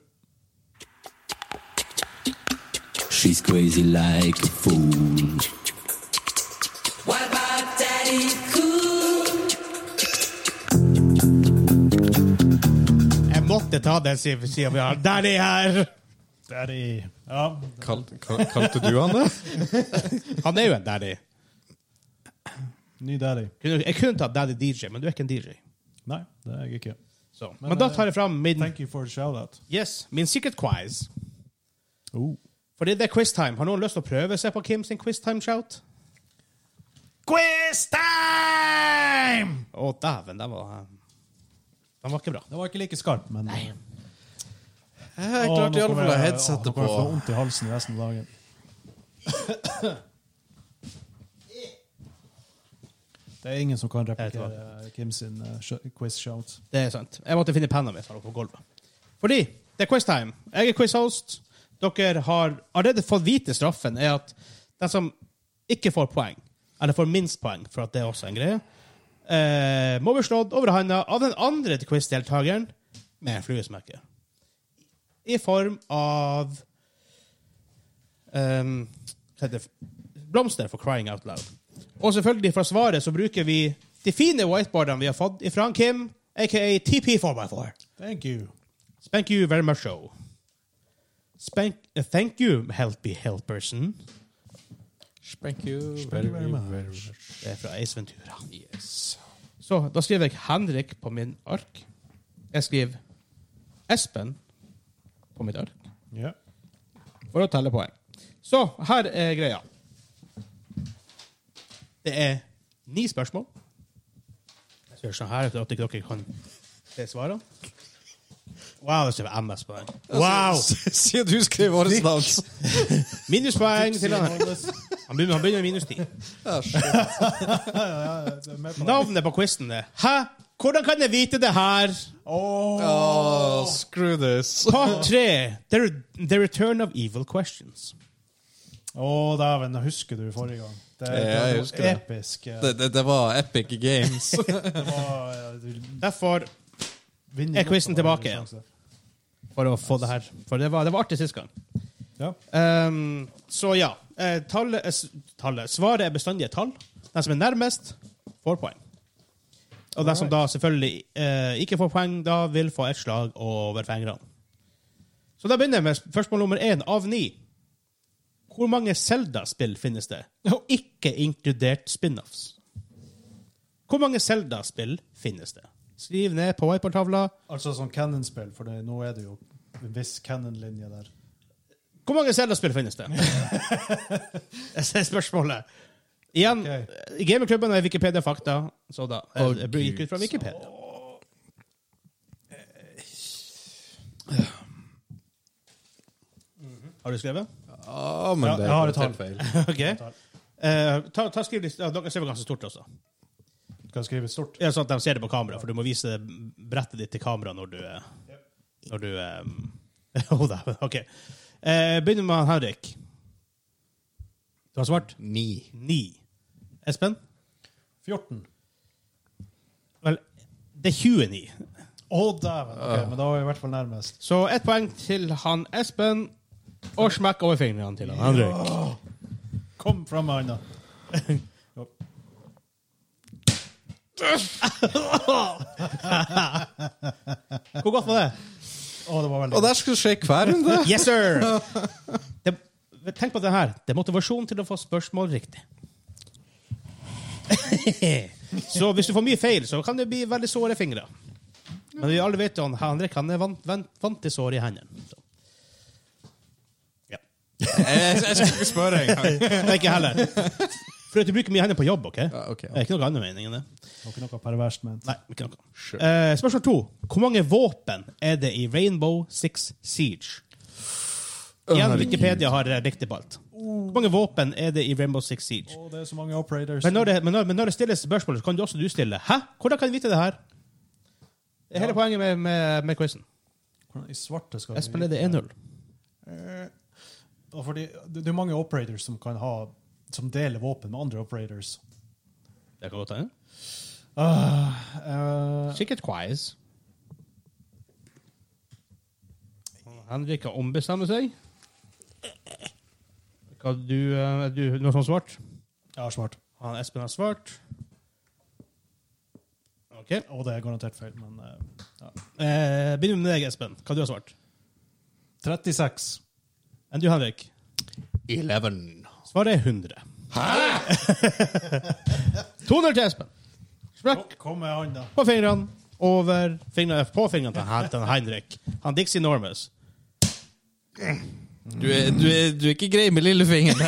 [SPEAKER 5] She's crazy like a fool.
[SPEAKER 4] What about Daddy Cool?
[SPEAKER 1] Jeg måtte ta den siden siden vi har Daddy her!
[SPEAKER 2] Daddy. Ja.
[SPEAKER 3] Kal, kal, kalte du
[SPEAKER 2] [LAUGHS]
[SPEAKER 3] han det?
[SPEAKER 1] Han er jo en daddy.
[SPEAKER 2] Ny daddy.
[SPEAKER 1] Kunne- Jeg kunne tatt Daddy DJ, men du er ikke en DJ.
[SPEAKER 2] Nei, det er jeg ikke.
[SPEAKER 1] Så. Men, da tar jeg fram min,
[SPEAKER 2] Thank you for the shout-out.
[SPEAKER 1] yes, min secret quiz.
[SPEAKER 2] Oh.
[SPEAKER 1] Fordi det er quiztime. Har noen lyst til å prøve seg på Kim sin quiztime-shout? Quiztime! Å, dæven, den var eh, Den var ikke bra.
[SPEAKER 2] Det var ikke like skarp, men eh, Nei.
[SPEAKER 3] Jeg klarte i alle fall å ha headsetet på.
[SPEAKER 2] Nå kommer jeg til å få vondt i halsen resten av dagen. [COUGHS] Det er ingen som kan replikere Kim sin eh, sh- quiz-shout.
[SPEAKER 1] Det er sant. Jeg måtte finne penna mi på gulvet. Fordi det er quiztime. Jeg er quizhost. Dere har allerede fått vite straffen er at den som ikke får poeng, eller får minst poeng, for at det er også en greie, eh, må bli slått over handa av den andre quizdeltakeren med en fluesmekke. I form av ehm, hva heter det? blomster for crying out loud. Og selvfølgelig, fra svaret så bruker vi de fine whiteboardene vi har fått ifra han Kim, aka TP4x4.
[SPEAKER 2] Thank you.
[SPEAKER 1] Spank you very much so. Spank, eh, thank you, helpy helperson.
[SPEAKER 3] Thank you
[SPEAKER 2] Thank you very much.
[SPEAKER 1] Det er fra Ace Ventura.
[SPEAKER 3] Yes.
[SPEAKER 1] Så da skriver jeg Henrik på min ark. Jeg skriver Espen på mitt ark.
[SPEAKER 2] Ja.
[SPEAKER 1] for å telle poeng. Så her er greia. Det er ni spørsmål. Jeg skal gjøre sånn her at ikke dere kan se svarene. Wow, det står MS-poeng. Wow!
[SPEAKER 3] Altså, [LAUGHS] Siden du skrev vårt navn.
[SPEAKER 1] Minuspoeng til han. Han begynner, han begynner med minus ti.
[SPEAKER 2] Det er med på det.
[SPEAKER 1] Navnet på quizen er Hæ? Hvordan kan jeg vite det her?
[SPEAKER 3] Oh, screw this.
[SPEAKER 1] Part tre. The, re- the return of evil questions.
[SPEAKER 2] Å, dæven. jeg Husker du forrige gang? Det, det,
[SPEAKER 3] Ja, jeg
[SPEAKER 2] var
[SPEAKER 3] husker det.
[SPEAKER 2] episk. eh,
[SPEAKER 3] Det, det, det var epic games.
[SPEAKER 2] Det var, eh, du
[SPEAKER 1] Derfor,
[SPEAKER 2] vinner
[SPEAKER 1] Er quizen
[SPEAKER 2] godt på
[SPEAKER 1] tilbake?
[SPEAKER 2] det, sjanse.
[SPEAKER 1] for å få det her For det var, det var artig sist gang.
[SPEAKER 2] Ja.
[SPEAKER 1] Ehm, så ja. eh, tallet, er s- tallet Svaret er bestandig et tall. Den som er nærmest, får poeng. Og den som da selvfølgelig eh, ikke får poeng, da vil få et slag over fingrene. Så da begynner jeg med spørsmål nummer én av ni. Hvor mange Zelda-spill finnes det? Og ikke inkludert spin-offs. Hvor mange Zelda-spill finnes det? Skriv ned på whiteboard-tavla.
[SPEAKER 2] Altså sånn Cannon-spill, for det, nå er det jo en viss Cannon-linje der.
[SPEAKER 1] Hvor mange Zelda-spill finnes det? Jeg ser spørsmålet. Igjen,
[SPEAKER 2] Ok.
[SPEAKER 1] i gamingklubben er Wikipedia fakta, så da
[SPEAKER 3] Å,
[SPEAKER 1] jeg, jeg gikk ut fra Wikipedia. Har du skrevet?
[SPEAKER 3] [LAUGHS] Ja, men
[SPEAKER 2] Ja,
[SPEAKER 3] det
[SPEAKER 2] jeg har et
[SPEAKER 3] helt
[SPEAKER 2] tall.
[SPEAKER 3] feil.
[SPEAKER 1] [LAUGHS] OK. Eh, ta, ta skriv litt, ja, Dere ser vel ganske stort også.
[SPEAKER 2] Kan skrive stort.
[SPEAKER 1] Ja, sånn at de ser det på kamera, for du må vise brettet ditt til kamera når du eh, Når du eh, [LAUGHS] Hold da, OK. Eh, begynner med Henrik. Du har svart?
[SPEAKER 3] Ni.
[SPEAKER 1] Ni. Espen?
[SPEAKER 2] 14.
[SPEAKER 1] Vel, det er 29.
[SPEAKER 2] Å, dæven! Ok, men da var jeg i hvert fall nærmest.
[SPEAKER 1] Så ett poeng til han Espen, og smekk over fingrene til han Henrik.
[SPEAKER 2] Kom fram med handa.
[SPEAKER 1] Hvor godt var det?
[SPEAKER 2] Å, det var veldig
[SPEAKER 3] Og der skal det skje hver runde. [LAUGHS]
[SPEAKER 1] Yes, sir! Det, tenk på det her. Det er motivasjon til å få spørsmål riktig. [LAUGHS] så hvis du får mye feil, så kan det bli veldig såre fingre. Men vi alle vet jo han Henrik han er vant, vant, vant til sår i hendene. Så. Ja.
[SPEAKER 3] Jeg, jeg skal ikke spørre engang.
[SPEAKER 1] Nei, ikke heller. For at du bruker mye hender på jobb, OK?
[SPEAKER 3] Ja, ok,
[SPEAKER 1] Det er ikke noe annen mening enn det.
[SPEAKER 2] Det var ikke noe perverst ment.
[SPEAKER 1] Nei, ikke noe.
[SPEAKER 3] Sure.
[SPEAKER 1] Eh, spørsmål to. Hvor mange våpen er det i Rainbow Six Siege? Igjen, Wikipedia har eh, riktig på alt. Hvor mange våpen er det i Rainbow Six Siege?
[SPEAKER 2] Å, det er så mange operators.
[SPEAKER 1] Men når det, men når, men når det stilles spørsmål, så kan du også du stille. Hæ? Hvordan kan jeg vite det her? Det er hele poenget med, med, med quizen.
[SPEAKER 2] Hvordan I svarte skal
[SPEAKER 1] Jeg spiller det 1-0.
[SPEAKER 2] Og fordi det det er mange operators som kan ha som deler våpen med andre operators.
[SPEAKER 1] Det kan godt hende.
[SPEAKER 2] Eh,
[SPEAKER 1] Sikkert quiz. Henrik har ombestemt seg. Hva du, eh, du, noe som svart?
[SPEAKER 2] jeg har svart.
[SPEAKER 1] Han Espen har svart. OK.
[SPEAKER 2] Og det er garantert feil, men eh, ja.
[SPEAKER 1] Eh, begynner med deg, Espen. Hva du har svart?
[SPEAKER 2] 36.
[SPEAKER 1] Enn du, Henrik?
[SPEAKER 3] 11.
[SPEAKER 1] Svaret er 100. Hæ?! [LAUGHS] 200 til Espen. Sprekk
[SPEAKER 2] Kom med
[SPEAKER 1] [LAUGHS]
[SPEAKER 2] hånda.
[SPEAKER 1] på fingrene. Over fingrene på fingrene til Hen- til Henrik. Han Dixie Normus.
[SPEAKER 3] Du er, du, er, du er ikke grei med [LAUGHS] lillefingeren.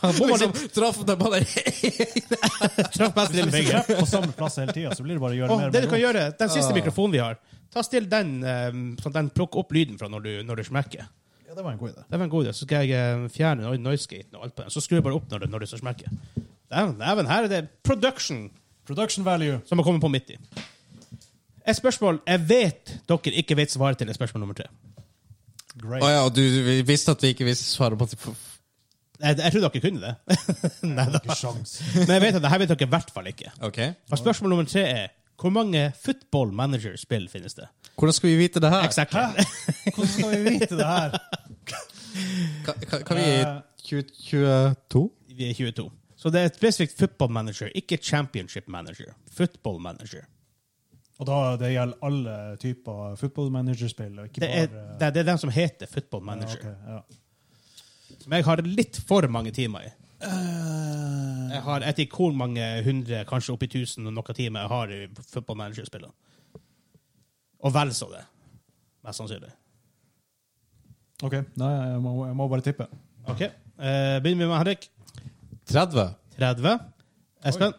[SPEAKER 1] Han bommer
[SPEAKER 3] Liksom,
[SPEAKER 1] litt.
[SPEAKER 3] traff deg på den
[SPEAKER 1] Traff best lille
[SPEAKER 2] Hvis du [LAUGHS]
[SPEAKER 1] finger.
[SPEAKER 2] treffer på samme plass hele tida, så blir det bare å gjøre
[SPEAKER 1] Åh,
[SPEAKER 2] mer.
[SPEAKER 1] det du
[SPEAKER 2] med
[SPEAKER 1] kan
[SPEAKER 2] ro.
[SPEAKER 1] gjøre, Den siste mikrofonen vi har, ta still den, eh, sånn at den plukker opp lyden fra når du, når du smekker.
[SPEAKER 2] Ja, det var en god idé.
[SPEAKER 1] Det var en god idé. Så skal jeg eh, fjerne noi- noisegaten og alt på den. Så skrur jeg bare opp når det, når det så smekker. Dæven, dæven, her er det production
[SPEAKER 2] Production value.
[SPEAKER 1] som har kommet på midt i. Et spørsmål jeg vet dere ikke vet svaret til, er spørsmål nummer tre.
[SPEAKER 2] Great.
[SPEAKER 3] Å ja, og du vi visste at vi ikke visste svaret på at
[SPEAKER 1] Jeg, jeg trodde dere kunne det, [LAUGHS]
[SPEAKER 2] Ikke sjans.
[SPEAKER 1] men jeg vet at det her vet dere i hvert fall ikke.
[SPEAKER 3] Ok.
[SPEAKER 1] Og spørsmål nummer tre er hvor mange Football Manager-spill finnes det?
[SPEAKER 3] Hvordan skal vi vite det her?
[SPEAKER 1] Exakt.
[SPEAKER 2] Hvordan skal vi vite det her?
[SPEAKER 3] Kan, kan- kan vi
[SPEAKER 2] Eh,
[SPEAKER 3] i 2022?
[SPEAKER 1] [LAUGHS] Vi er 22. Så det er et spesifikt Football Manager, ikke Championship Manager. Football Manager.
[SPEAKER 2] Og da det gjelder alle typer football manager-spill, og ikke
[SPEAKER 1] Det er,
[SPEAKER 2] bare eh,
[SPEAKER 1] det, det er den som heter Football Manager.
[SPEAKER 2] ja, ok,
[SPEAKER 1] Som jeg har litt for mange timer i.
[SPEAKER 2] ja.
[SPEAKER 1] Jeg har et ikon mange hundre, kanskje oppi tusen og noen timer jeg har i Football Manager-spillene. Og vel så det. Mest sannsynlig.
[SPEAKER 2] OK. Nei, jeg må, jeg må bare tippe.
[SPEAKER 1] OK. Eh, begynner vi med Henrik.
[SPEAKER 3] 30?
[SPEAKER 1] 30. Espen.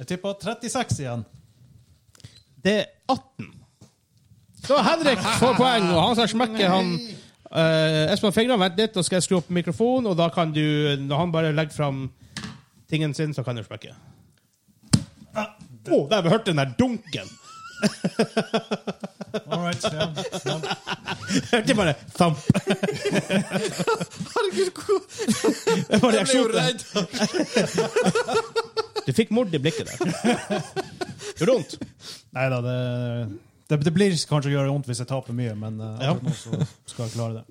[SPEAKER 2] Jeg tippa 36 igjen.
[SPEAKER 1] Det er 18. Så Henrik får poeng, og han skal smekke han eh, Espen har fingrene. Vent litt, og skal jeg skru opp mikrofonen, og da kan du Når han bare legger fram tingen sin, så kan du smekke. Å, oh, der vi hørte den der dunken!
[SPEAKER 2] All right, ja. ja.
[SPEAKER 1] Hørte bare thump.
[SPEAKER 3] Herregud, hvor-
[SPEAKER 1] Det var
[SPEAKER 3] jeg ble jo
[SPEAKER 1] reaksjonen.
[SPEAKER 3] redd!
[SPEAKER 1] Du fikk mord i blikket der. Gjorde vondt.
[SPEAKER 2] Nei da, det, det, det blir kanskje å gjøre vondt hvis jeg taper mye, men eh,
[SPEAKER 1] Ja.
[SPEAKER 2] akkurat nå så skal jeg klare det.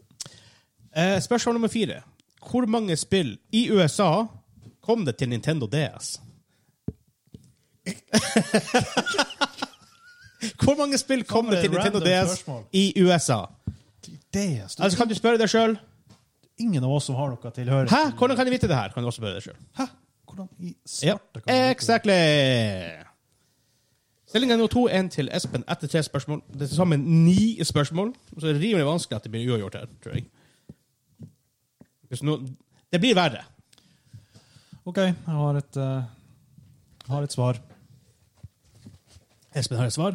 [SPEAKER 1] Eh, spørsmål nummer fire. Hvor mange spill i USA kom det til Nintendo DS? [LAUGHS] Hvor mange spill kom
[SPEAKER 2] Kommer
[SPEAKER 1] det til
[SPEAKER 2] det
[SPEAKER 1] Nintendo
[SPEAKER 2] random
[SPEAKER 1] DS
[SPEAKER 2] spørsmål?
[SPEAKER 1] i USA?
[SPEAKER 2] Det er stort.
[SPEAKER 1] Altså, kan du spørre deg sjøl?
[SPEAKER 2] ingen av oss som har noe tilhørighet.
[SPEAKER 1] Hæ? Hvordan kan jeg vite det her? Kan du også spørre deg selv?
[SPEAKER 2] Hæ? Hvordan i
[SPEAKER 1] Ja,
[SPEAKER 2] svarte man vite det?
[SPEAKER 1] exactly! Stillinga er nå 2-1 til Espen etter tre spørsmål. Det er til sammen ni spørsmål. Så det er rimelig vanskelig at det blir uavgjort her, tror jeg. Hvis nå, det blir verre.
[SPEAKER 2] OK, jeg har et, eh, har et svar.
[SPEAKER 1] Espen har et svar.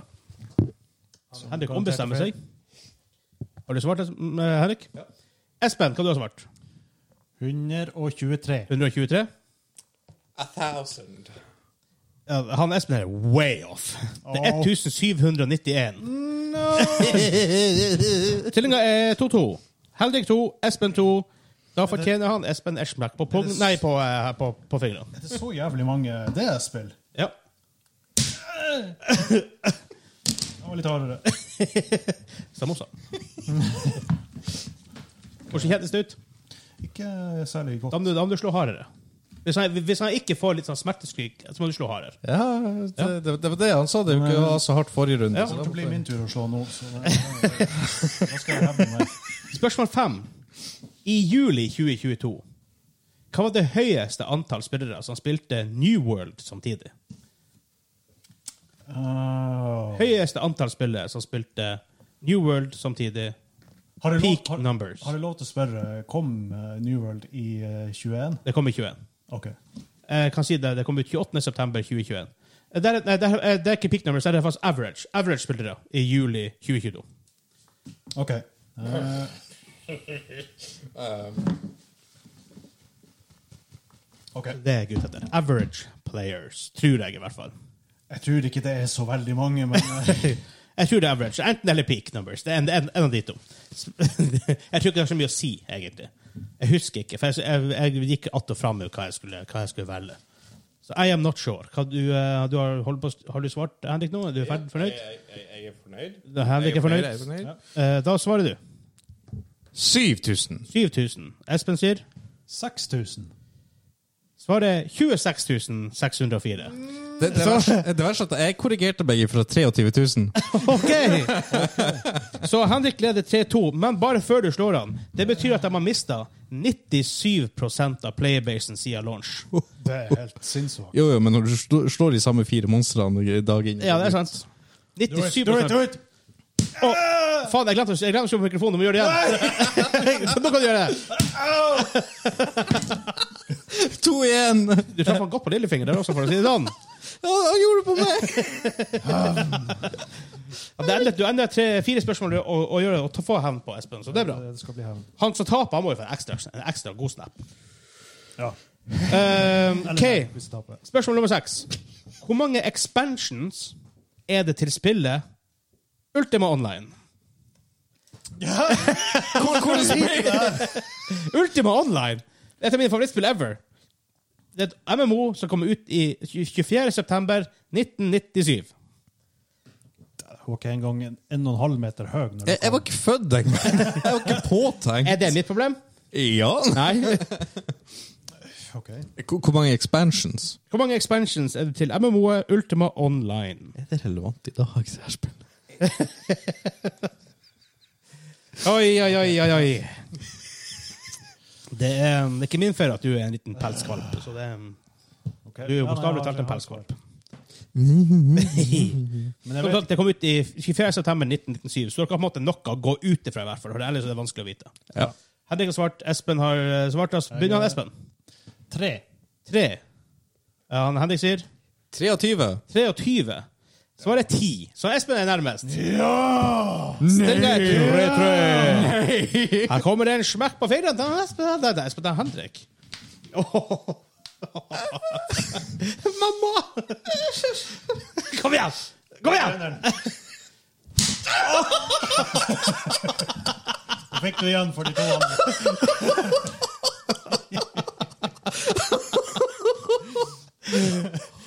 [SPEAKER 1] Henrik ombestemmer seg. Har du svart, Es- mm, Henrik? Espen, hva du har svart?
[SPEAKER 2] 123.
[SPEAKER 1] 123?
[SPEAKER 3] A thousand.
[SPEAKER 1] Ja, han Espen er way off. Det er 1791. No! [LAUGHS] Stillinga er 2-2. Henrik 2, Espen 2. Da fortjener han Espen Eschmack på, pung- nei, på, eh, på, på fingrene.
[SPEAKER 2] Det er så jævlig mange DS-spill.
[SPEAKER 1] Ja.
[SPEAKER 2] Det var litt hardere.
[SPEAKER 1] [LAUGHS] Samosa. Hvordan kjentes det ut?
[SPEAKER 2] Ikke særlig
[SPEAKER 1] Da
[SPEAKER 2] godt.
[SPEAKER 1] må du, da må du slå hardere. Hvis han, hvis han ikke får litt sånn smerteskrik, så må du slå hardere.
[SPEAKER 3] Ja, det, det, det var det han sa. Det var ikke så hardt forrige runde.
[SPEAKER 1] Ja.
[SPEAKER 3] så da
[SPEAKER 2] Det
[SPEAKER 3] måtte
[SPEAKER 2] blir
[SPEAKER 3] jeg-
[SPEAKER 2] min tur å slå nå, så det, da skal jeg hevne [LAUGHS] meg.
[SPEAKER 1] Spørsmål fem. I juli 2022, hva var det høyeste antall spillere som spilte New World samtidig?
[SPEAKER 2] Åh. Ah.
[SPEAKER 1] Høyeste antall spillere som spilte New World samtidig
[SPEAKER 2] Har jeg,
[SPEAKER 1] Peak
[SPEAKER 2] lov, har,
[SPEAKER 1] numbers.
[SPEAKER 2] har jeg lov til å spørre, kom eh, New World i eh, 21?
[SPEAKER 1] Det kommer i 21.
[SPEAKER 2] Ok.
[SPEAKER 1] Jeg kan si det, det kommer ut 28. september 2021. Eh, Det er, nei, det er, eh, det er ikke peak numbers, det er faktisk average. Average spillere i juli 2022.
[SPEAKER 2] Ok. [LAUGHS] Eh, ok.
[SPEAKER 1] Det er gutt etter. Average players, tror jeg i hvert fall.
[SPEAKER 2] Jeg tror ikke det er så veldig mange, men eh, [LAUGHS]
[SPEAKER 1] Jeg tror det er average. Enten eller peak numbers. Det er en, en, en av de to. [LAUGHS] Jeg tror ikke det har så mye å si, egentlig. Jeg husker ikke, for jeg, jeg, jeg gikk att og fram med hva jeg skulle, hva jeg skulle velge. Så I am not sure. Hva du, eh, du har, holdt på, har du svart, Henrik, nå? Er du ferdig fornøyd?
[SPEAKER 3] Jeg, jeg, jeg er fornøyd.
[SPEAKER 1] Da er Henrik er
[SPEAKER 3] Jeg er
[SPEAKER 1] fornøyd.
[SPEAKER 3] fornøyd.
[SPEAKER 1] Eh, Da svarer du.
[SPEAKER 3] 7000.
[SPEAKER 1] 7000. Espen sier
[SPEAKER 2] 6000.
[SPEAKER 1] svaret er 26 604.
[SPEAKER 3] Det, det, verste, det verste er at jeg korrigerte begge fra 23 000.
[SPEAKER 1] OK! Så Henrik leder 3-2, men bare før du slår han. Det betyr at de har mista 97 av playerbasen siden launch.
[SPEAKER 2] Det er helt sinnssvakt.
[SPEAKER 3] Jo, jo, men når du sl- slår de samme fire monstrene i dag inn
[SPEAKER 1] Ja, det er sant. 97
[SPEAKER 2] Do it, do it!
[SPEAKER 1] Å, Faen, jeg glemte å- jeg glemte å slå på mikrofonen. Du må gjøre det igjen. [LAUGHS] Så nå kan du gjøre det.
[SPEAKER 3] To igjen!
[SPEAKER 1] Du traff han godt på lillefinger der også, for å si det sånn.
[SPEAKER 3] Ja, han gjorde det på meg!
[SPEAKER 1] Ja, det endte- Du endret tre- fire spørsmål å, å gjøre og ta få hevn på, Espen, så det er bra.
[SPEAKER 2] Det skal bli hevn.
[SPEAKER 1] Han som taper, han må jo få en ekstra, en ekstra god snap.
[SPEAKER 2] Ja.
[SPEAKER 1] Ehm,
[SPEAKER 2] Eller nei,
[SPEAKER 1] OK.
[SPEAKER 2] hvis du taper.
[SPEAKER 1] Spørsmål nummer seks. Hvor mange expansions er det til spillet Ultima Online? [LAUGHS] Ultima Online! Det er et av mine favorittspill ever. Det er et MMO som kommer ut i 24.9.1997.
[SPEAKER 2] Hun var ikke engang en, en og en halv meter høy. Når
[SPEAKER 3] Jeg, jeg var ikke født engang. Jeg var ikke
[SPEAKER 1] Er
[SPEAKER 3] påtenkt.
[SPEAKER 1] det mitt problem?
[SPEAKER 3] Ja.
[SPEAKER 1] [LAUGHS] Nei.
[SPEAKER 2] Ok.
[SPEAKER 3] Hvor, hvor mange expansions?
[SPEAKER 1] Hvor mange expansions er det til MMO-et Ultima Online?
[SPEAKER 3] Er det relevant i dag, det her spillet?
[SPEAKER 1] Oi, oi, oi, oi, oi. Det er, um, det er ikke min feil at du er en liten pelskvalp. Så det er, um,
[SPEAKER 2] Ok.
[SPEAKER 1] du er jo
[SPEAKER 2] Ja, nei,
[SPEAKER 1] bokstavelig
[SPEAKER 2] jeg
[SPEAKER 1] talt en
[SPEAKER 2] har-
[SPEAKER 1] pelskvalp.
[SPEAKER 2] Men jeg
[SPEAKER 1] Som
[SPEAKER 2] vet,
[SPEAKER 1] sagt, Det kom ut i 24.9.1997, så dere har på en måte noe å gå ut ifra. i hvert fall, for Ellers er det vanskelig å vite.
[SPEAKER 3] Ja.
[SPEAKER 1] Henrik har svart, Espen har eh, svart. altså. Begynner han, Espen?
[SPEAKER 2] tre.
[SPEAKER 1] Tre. Ja, han Henrik sier
[SPEAKER 3] 23.
[SPEAKER 1] 23. Svaret er 10. Så Espen er nærmest.
[SPEAKER 2] Ja!
[SPEAKER 1] Stille tre, tre. Her kommer det en smekk på fingeren. Det er Espen, det er Espen, det er Henrik. Åh. Mamma! Kom igjen! Kom igjen!
[SPEAKER 2] Da fikk du igjen for de to andre.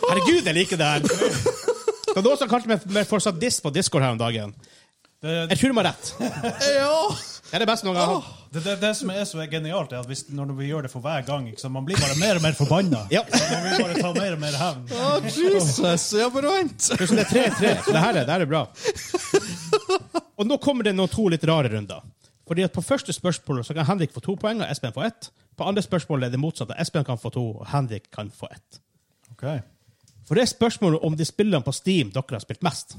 [SPEAKER 1] Herregud, jeg liker det her. Det var noen som kalte meg meg for sadist på Discord her om dagen.
[SPEAKER 2] Det,
[SPEAKER 1] Jeg tror de har rett. Det er det beste noen gang.
[SPEAKER 2] det, det, det som er så genialt, er at hvis, når vi gjør det for hver gang, ikke sant, man blir bare mer og mer forbanna.
[SPEAKER 1] Ja.
[SPEAKER 2] Man vil bare ta mer og mer hevn.
[SPEAKER 3] Oh, Jesus, ja, bare vent!
[SPEAKER 1] Plutselig det er 3-3. Så Det her er, det her er bra. Og nå kommer det noen to litt rare runder. Fordi at På første spørsmål så kan Henrik få to poeng og Espen få ett. På andre spørsmål er det motsatt. Espen kan få to, og Henrik kan få ett.
[SPEAKER 2] Ok.
[SPEAKER 1] For det er spørsmålet om de spillene på Steam dere har spilt mest.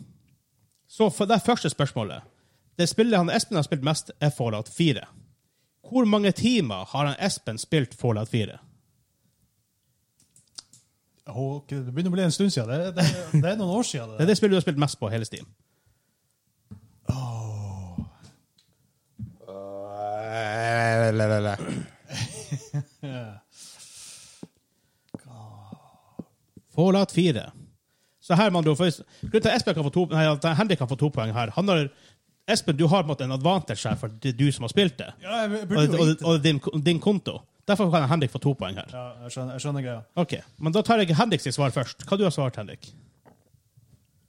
[SPEAKER 1] Så for det første spørsmålet Det spillet han Espen har spilt mest, er Fallout 4. Hvor mange timer har han Espen spilt Fallout 4?
[SPEAKER 2] Ok, Det begynner å bli en stund siden. Det, det, det er noen år siden.
[SPEAKER 1] Det er det spillet du har spilt mest på hele Steam. Fallout 4. Så her man da først, Grunnen til at Espen kan få to, nei, at Henrik kan få to poeng her han har, Espen, du har på en måte en advantage her, for det er du som har spilt det.
[SPEAKER 2] Ja, jeg burde
[SPEAKER 1] Og,
[SPEAKER 2] jo
[SPEAKER 1] og,
[SPEAKER 2] vite.
[SPEAKER 1] og din, din konto. Derfor kan Henrik få to poeng her.
[SPEAKER 2] Ja, jeg skjønner, jeg skjønner greia.
[SPEAKER 1] Ok, Men da tar jeg Henrik sitt svar først. Hva du har svart, Henrik?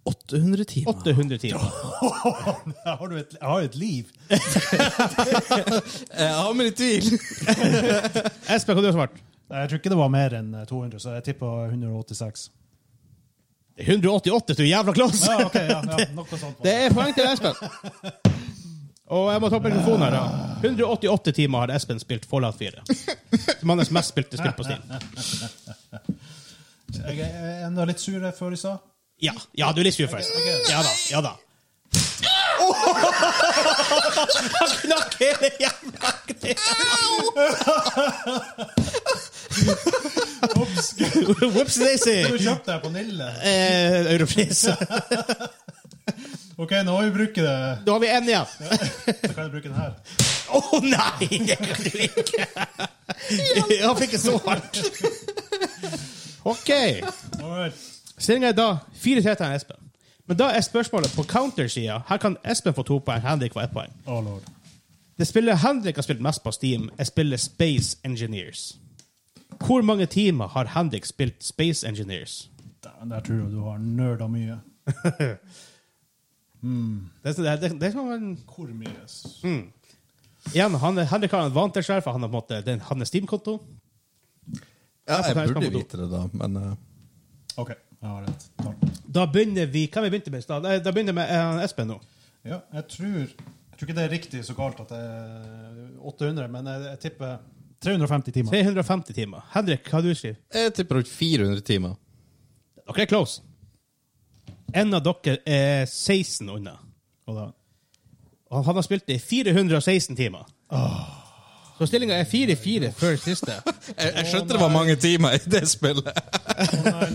[SPEAKER 3] 800 timer.
[SPEAKER 1] 800 timer.
[SPEAKER 2] Jeg har, jo et, jeg har jo et liv.
[SPEAKER 3] Jeg har meg i tvil.
[SPEAKER 1] Espen, hva du har svart?
[SPEAKER 2] Nei, Jeg tror ikke det var mer enn eh, 200, så jeg tippa 186.
[SPEAKER 1] Det er 188, du er jævla close!
[SPEAKER 2] Ja, ok, ja, ja, noe sånt. var
[SPEAKER 1] Det er poeng til Espen. Og jeg må ta opp mikrofonen her, da. 188 timer har Espen spilt Fallout 4. Som hans mest spilte spill på Steam.
[SPEAKER 2] Jeg jeg er enda litt sur jeg før i stad.
[SPEAKER 1] Ja, ja du er litt sur, forresten. Ja da. ja da Han knakk hele jævla kneet! Whoops
[SPEAKER 2] Du
[SPEAKER 1] daisy!
[SPEAKER 2] kjøpte deg på Nille.
[SPEAKER 1] Eh, Europris.
[SPEAKER 2] Ok, nå har vi brukt det.
[SPEAKER 1] Da har vi én igjen.
[SPEAKER 2] Så kan jeg bruke den her.
[SPEAKER 1] Å nei! Det kan du [LAUGHS] ikke. Han fikk det så hardt. OK.
[SPEAKER 2] All right.
[SPEAKER 1] Stillinga er da 4-3 til Espen. Men da er spørsmålet på counter-sida. Her kan Espen få to poeng, Henrik få ett poeng.
[SPEAKER 2] Oh, lord.
[SPEAKER 1] Det spillet Henrik har spilt mest på Steam, er spillet Space Engineers. Hvor mange timer har Henrik spilt Space [LAUGHS] Engineers?
[SPEAKER 2] Dæven, Der tror jeg du har nerda mye.
[SPEAKER 1] Det, det, det, det er som en,
[SPEAKER 2] Hvor mye? s-
[SPEAKER 1] igjen, han, er- Henrik har en vantage her, for han har, på en måte, den, han er Steam-konto.
[SPEAKER 3] Ja,
[SPEAKER 1] Jeg
[SPEAKER 3] jeg
[SPEAKER 1] forteller
[SPEAKER 3] burde
[SPEAKER 1] hva du-
[SPEAKER 3] vite det, da, men eh,
[SPEAKER 2] Ok, jeg har rett. Takk.
[SPEAKER 1] Da begynner vi Hva vi begynte med i stad? Nei, Da begynner vi med eh, Espen nå.
[SPEAKER 2] Ja, jeg tror Jeg tror ikke det er riktig så galt at det er 800, men jeg, jeg tipper 350 timer.
[SPEAKER 1] 350 timer. Henrik, hva har du skrevet?
[SPEAKER 3] Jeg tipper rundt 400 timer.
[SPEAKER 1] Dere er close. En av dere er 16 unna.
[SPEAKER 2] Og da,
[SPEAKER 1] Og han har spilt i 416 timer. Så stillinga er 4-4 før siste.
[SPEAKER 3] Jeg, jeg skjønte det var mange timer i det spillet.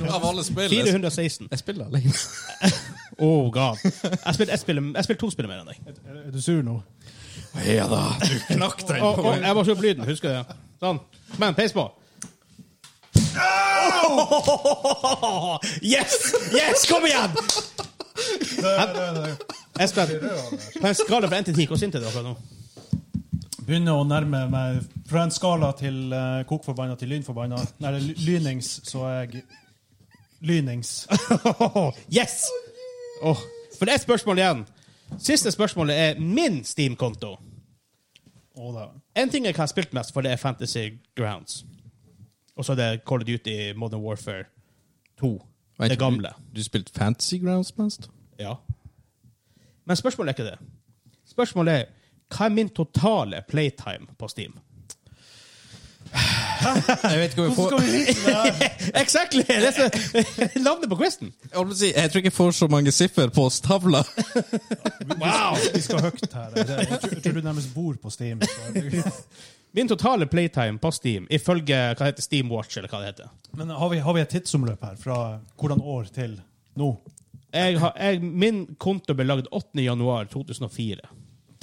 [SPEAKER 3] Av alle spill. Jeg
[SPEAKER 1] 416.
[SPEAKER 3] jeg spiller alene.
[SPEAKER 1] Oh god. Jeg spilte spill, jeg spilte to spill mer enn deg.
[SPEAKER 2] er, er du sur nå?
[SPEAKER 3] Ja da, du knakk den
[SPEAKER 1] Og,
[SPEAKER 3] på
[SPEAKER 1] og
[SPEAKER 3] meg.
[SPEAKER 1] jeg var så opp lyden, husker du det? Sånn. Men peis på. Yes! Yes, kom igjen!
[SPEAKER 2] Der, der, der.
[SPEAKER 1] Espen, på en skala fra 1 til 10, hvor sint er du akkurat nå?
[SPEAKER 2] Begynner å nærme meg fra en skala til uh, kokforbanna til lynforbanna. Nei, det er ly- lynings, så er jeg Lynings.
[SPEAKER 1] Yes! Åh, for det er et spørsmål igjen. Siste spørsmålet er min Steam-konto.
[SPEAKER 2] Og da.
[SPEAKER 1] En ting jeg har spilt mest, for det er Fantasy Grounds. Og så er det Call of Duty Modern Warfare 2. Det gamle.
[SPEAKER 3] Du, du spilte Fantasy Grounds mest?
[SPEAKER 1] Ja. Men spørsmålet er ikke det. Spørsmålet er hva er min totale playtime på Steam?
[SPEAKER 3] Jeg vet ikke om jeg får
[SPEAKER 1] exactly! Det er så- [LAUGHS] Navnet på quizen!
[SPEAKER 3] Jeg holdt på å si, jeg tror ikke jeg får så mange siffer på oss-tavla.
[SPEAKER 1] Wow!
[SPEAKER 2] Vi skal høyt her. Jeg tror, jeg tror du nærmest bor på Steam. så-
[SPEAKER 1] Min totale playtime på Steam ifølge hva heter Steam Watch, eller hva det heter.
[SPEAKER 2] Men har vi, har vi et tidsomløp her? Fra hvordan år til nå?
[SPEAKER 1] Jeg har, jeg, min konto ble lagd 8.1.2004.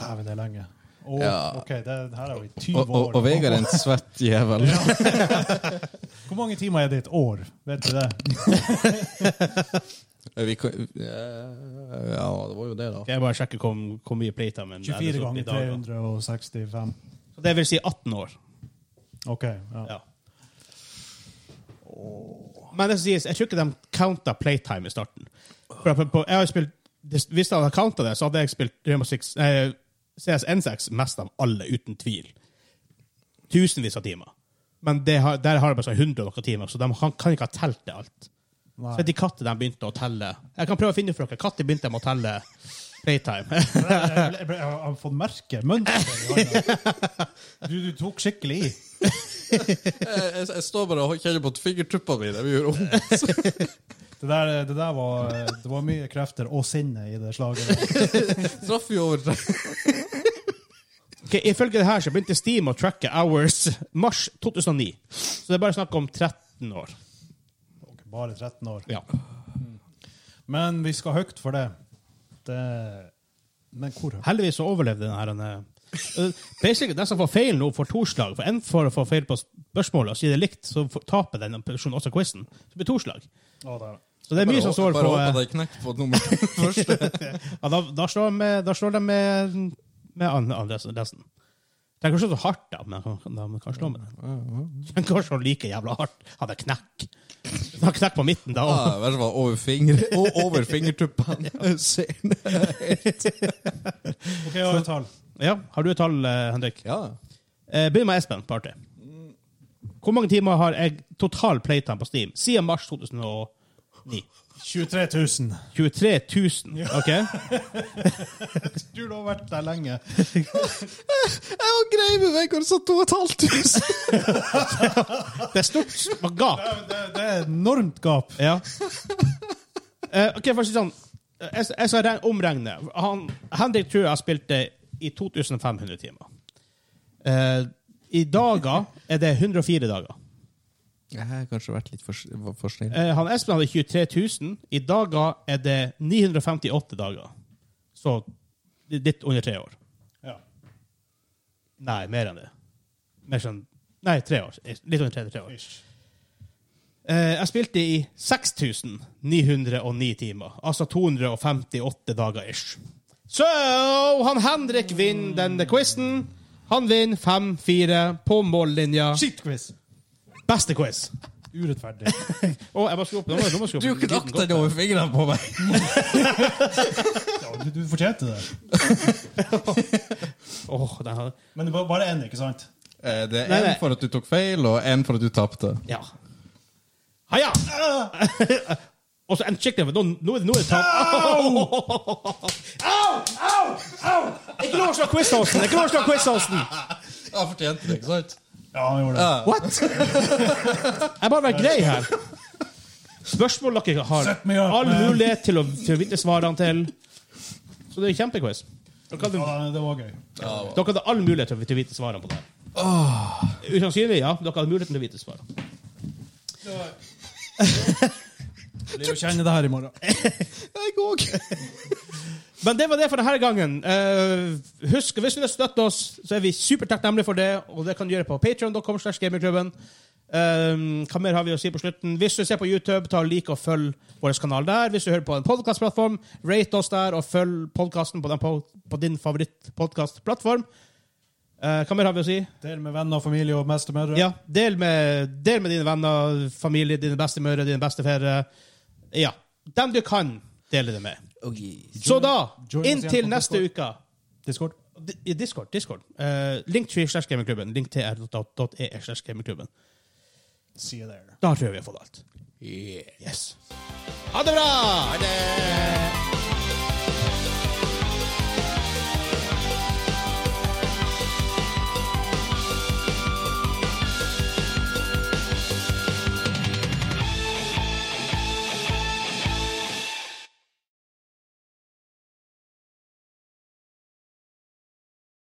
[SPEAKER 2] Dæven, det er lenge. Å,
[SPEAKER 3] Ja.
[SPEAKER 2] OK, det, her er vi i 20
[SPEAKER 3] Og,
[SPEAKER 2] år.
[SPEAKER 3] og, og Vegard er en svett jævel.
[SPEAKER 2] Hvor mange timer er det i et år? Vet du det?
[SPEAKER 3] Vi kan, ja, det var jo det, da.
[SPEAKER 1] Skal jeg bare sjekke hvor, hvor mye playtime
[SPEAKER 2] 24 ganger 365.
[SPEAKER 1] Så det vil si 18 år.
[SPEAKER 2] OK. ja.
[SPEAKER 1] Ja. Men det som sies, jeg tror ikke de counta playtime i starten. For på, på, jeg har jo spilt, hvis de hadde counta det, så hadde jeg spilt Rainbow Six, eh, CSN6 mest av alle, uten tvil. Tusenvis av timer. Men det har, der har de bare sånn 100 og noen timer, så de kan, kan ikke ha telt det alt.
[SPEAKER 2] Nei.
[SPEAKER 1] Så de kattene de begynte å telle Jeg kan prøve å finne ut for dere. Katter begynte de å telle playtime. [LAUGHS]
[SPEAKER 2] Jeg, ble- jeg, ble- jeg har fått merke mønster i hånda. Du, du tok skikkelig i.
[SPEAKER 3] Jeg, jeg, jeg står bare og kjenner på fingertuppene mine. Vi gjør om.
[SPEAKER 2] Det der, det der var, det var mye krefter og sinne i det slaget.
[SPEAKER 3] Traff vi over
[SPEAKER 1] Ok, ifølge det her så begynte Steam å tracke hours mars 2009. Så det er bare snakk om 13 år.
[SPEAKER 2] Og Bare 13 år.
[SPEAKER 1] Ja.
[SPEAKER 2] Men vi skal høyt for det. det men hvor høyt?
[SPEAKER 1] Heldigvis så overlevde den her. Den, eh, eh, basically, den som får feil nå, får to slag. For en får får feil på spørsmålet, og sier det likt, så får- taper den personen også quizen. Så blir det to slag.
[SPEAKER 2] Å, der.
[SPEAKER 1] Så det er mye som står
[SPEAKER 3] Bare
[SPEAKER 1] på
[SPEAKER 3] håper
[SPEAKER 1] eh,
[SPEAKER 3] de knekker på nummer [LAUGHS] første.
[SPEAKER 1] ja, da, da slår de- Da slår de med, med an- adressen. adressen. Trenger ikke å slå så hardt, da, men kan- de kan slå med den. Den kan slå like jævla hardt. Han er knekk. Han knekk på midten, da.
[SPEAKER 3] Ja, I hvert fall over, finger, [LAUGHS] og over fingertuppene. Senere.
[SPEAKER 2] OK, jeg har et tall.
[SPEAKER 1] Ja, har du et tall, eh, Henrik?
[SPEAKER 3] Ja.
[SPEAKER 1] Eh, Begynn med Espen. Party. Hvor mange timer har jeg total playtime på Steam siden mars 2009?
[SPEAKER 2] 23 000.
[SPEAKER 1] 23 000. OK?
[SPEAKER 2] Du har vært der lenge.
[SPEAKER 3] Jeg var grei med Vegard, så 2500.
[SPEAKER 1] Det er stort spagat.
[SPEAKER 2] Det, det er et enormt gap.
[SPEAKER 1] Ja. Eh, OK, for å si det sånn. eh, Jeg, jeg skal regn- omregne. Han, Henrik tror jeg har spilt det i 2500 timer. Eh, I dager er det 104 dager.
[SPEAKER 3] [LAUGHS] Jeg har kanskje vært litt for, var for snill.
[SPEAKER 1] Eh, han Espen hadde 23 000. I dager er det 958 dager. Så litt under tre år.
[SPEAKER 2] Ja.
[SPEAKER 1] Nei, mer enn det. Mer sånn Nei, tre år. Litt under tre, tre år.
[SPEAKER 2] Ish.
[SPEAKER 1] Eh, jeg spilte i 6909 timer, altså 258 dager ish. Så han Henrik vinner denne quizen. Han vinner 5-4 på mållinja.
[SPEAKER 2] Shitquiz!
[SPEAKER 1] Beste quiz.
[SPEAKER 2] Urettferdig.
[SPEAKER 1] Å, jeg må skru opp. Nå må jeg- nå må jeg skru opp.
[SPEAKER 3] Du knakk den over fingrene på meg!
[SPEAKER 2] Ja, du, du fortjente det.
[SPEAKER 1] Åh, den her.
[SPEAKER 2] Men det var bare én, ikke sant?
[SPEAKER 3] Eh, Det er
[SPEAKER 1] Nei,
[SPEAKER 3] én
[SPEAKER 1] nei.
[SPEAKER 3] for at du tok feil, og én for at du tapte.
[SPEAKER 1] Ja. Heia! [LAUGHS] Og så en skikkelig Nå, nå, er det- nå er det tap. Au! Au! Au! Au! Ikke lov å slå quiz-hosten! Ikke lov å slå quiz-hosten!
[SPEAKER 3] Jeg fortjente det, ikke sant?
[SPEAKER 2] Ja, han gjorde det.
[SPEAKER 1] What? Jeg bare være grei her. Spørsmål dere har
[SPEAKER 2] Set me up,
[SPEAKER 1] all
[SPEAKER 2] man.
[SPEAKER 1] mulighet til å, til å vite svarene til. Så det er en kjempequiz. Dere hadde,
[SPEAKER 2] Ja, det var gøy.
[SPEAKER 1] dere hadde all mulighet til å vite svarene på det. Usannsynlig, ja. Dere hadde muligheten til å vite svarene.
[SPEAKER 2] Det er jo å kjenne det her i morgen.
[SPEAKER 3] Jeg òg.
[SPEAKER 1] [LAUGHS] Men det var det for denne gangen. Eh, husk, Hvis du vil støtte oss, så er vi supertakknemlige for det. Og det kan du gjøre på patreon.com slash gamingklubben. Eh, hva mer har vi å si på slutten? Hvis du ser på YouTube, ta og like og følg vår kanal der. Hvis du hører på en podcastplattform, rate oss der og følg podkasten på, den po- på din favorittpodkastplattform. Uh, hva mer har vi å si?
[SPEAKER 2] Del med venner og familie og mestemødre.
[SPEAKER 1] Ja, del med, del med dine venner, familie, dine bestemødre, dine bestefedre. Ja. Dem du kan dele det med.
[SPEAKER 5] Oh,
[SPEAKER 1] Så da,
[SPEAKER 2] join oss igjen
[SPEAKER 1] inntil
[SPEAKER 2] på
[SPEAKER 1] neste
[SPEAKER 2] Discord.
[SPEAKER 1] uke
[SPEAKER 2] Discord.
[SPEAKER 1] Di- I Discord. Discord. Uh, link til slash gamingklubben. Link til r.e slash gamingklubben.
[SPEAKER 2] See you there.
[SPEAKER 1] Da tror jeg vi har fått alt. Yes. Ha det bra!
[SPEAKER 3] Ha det!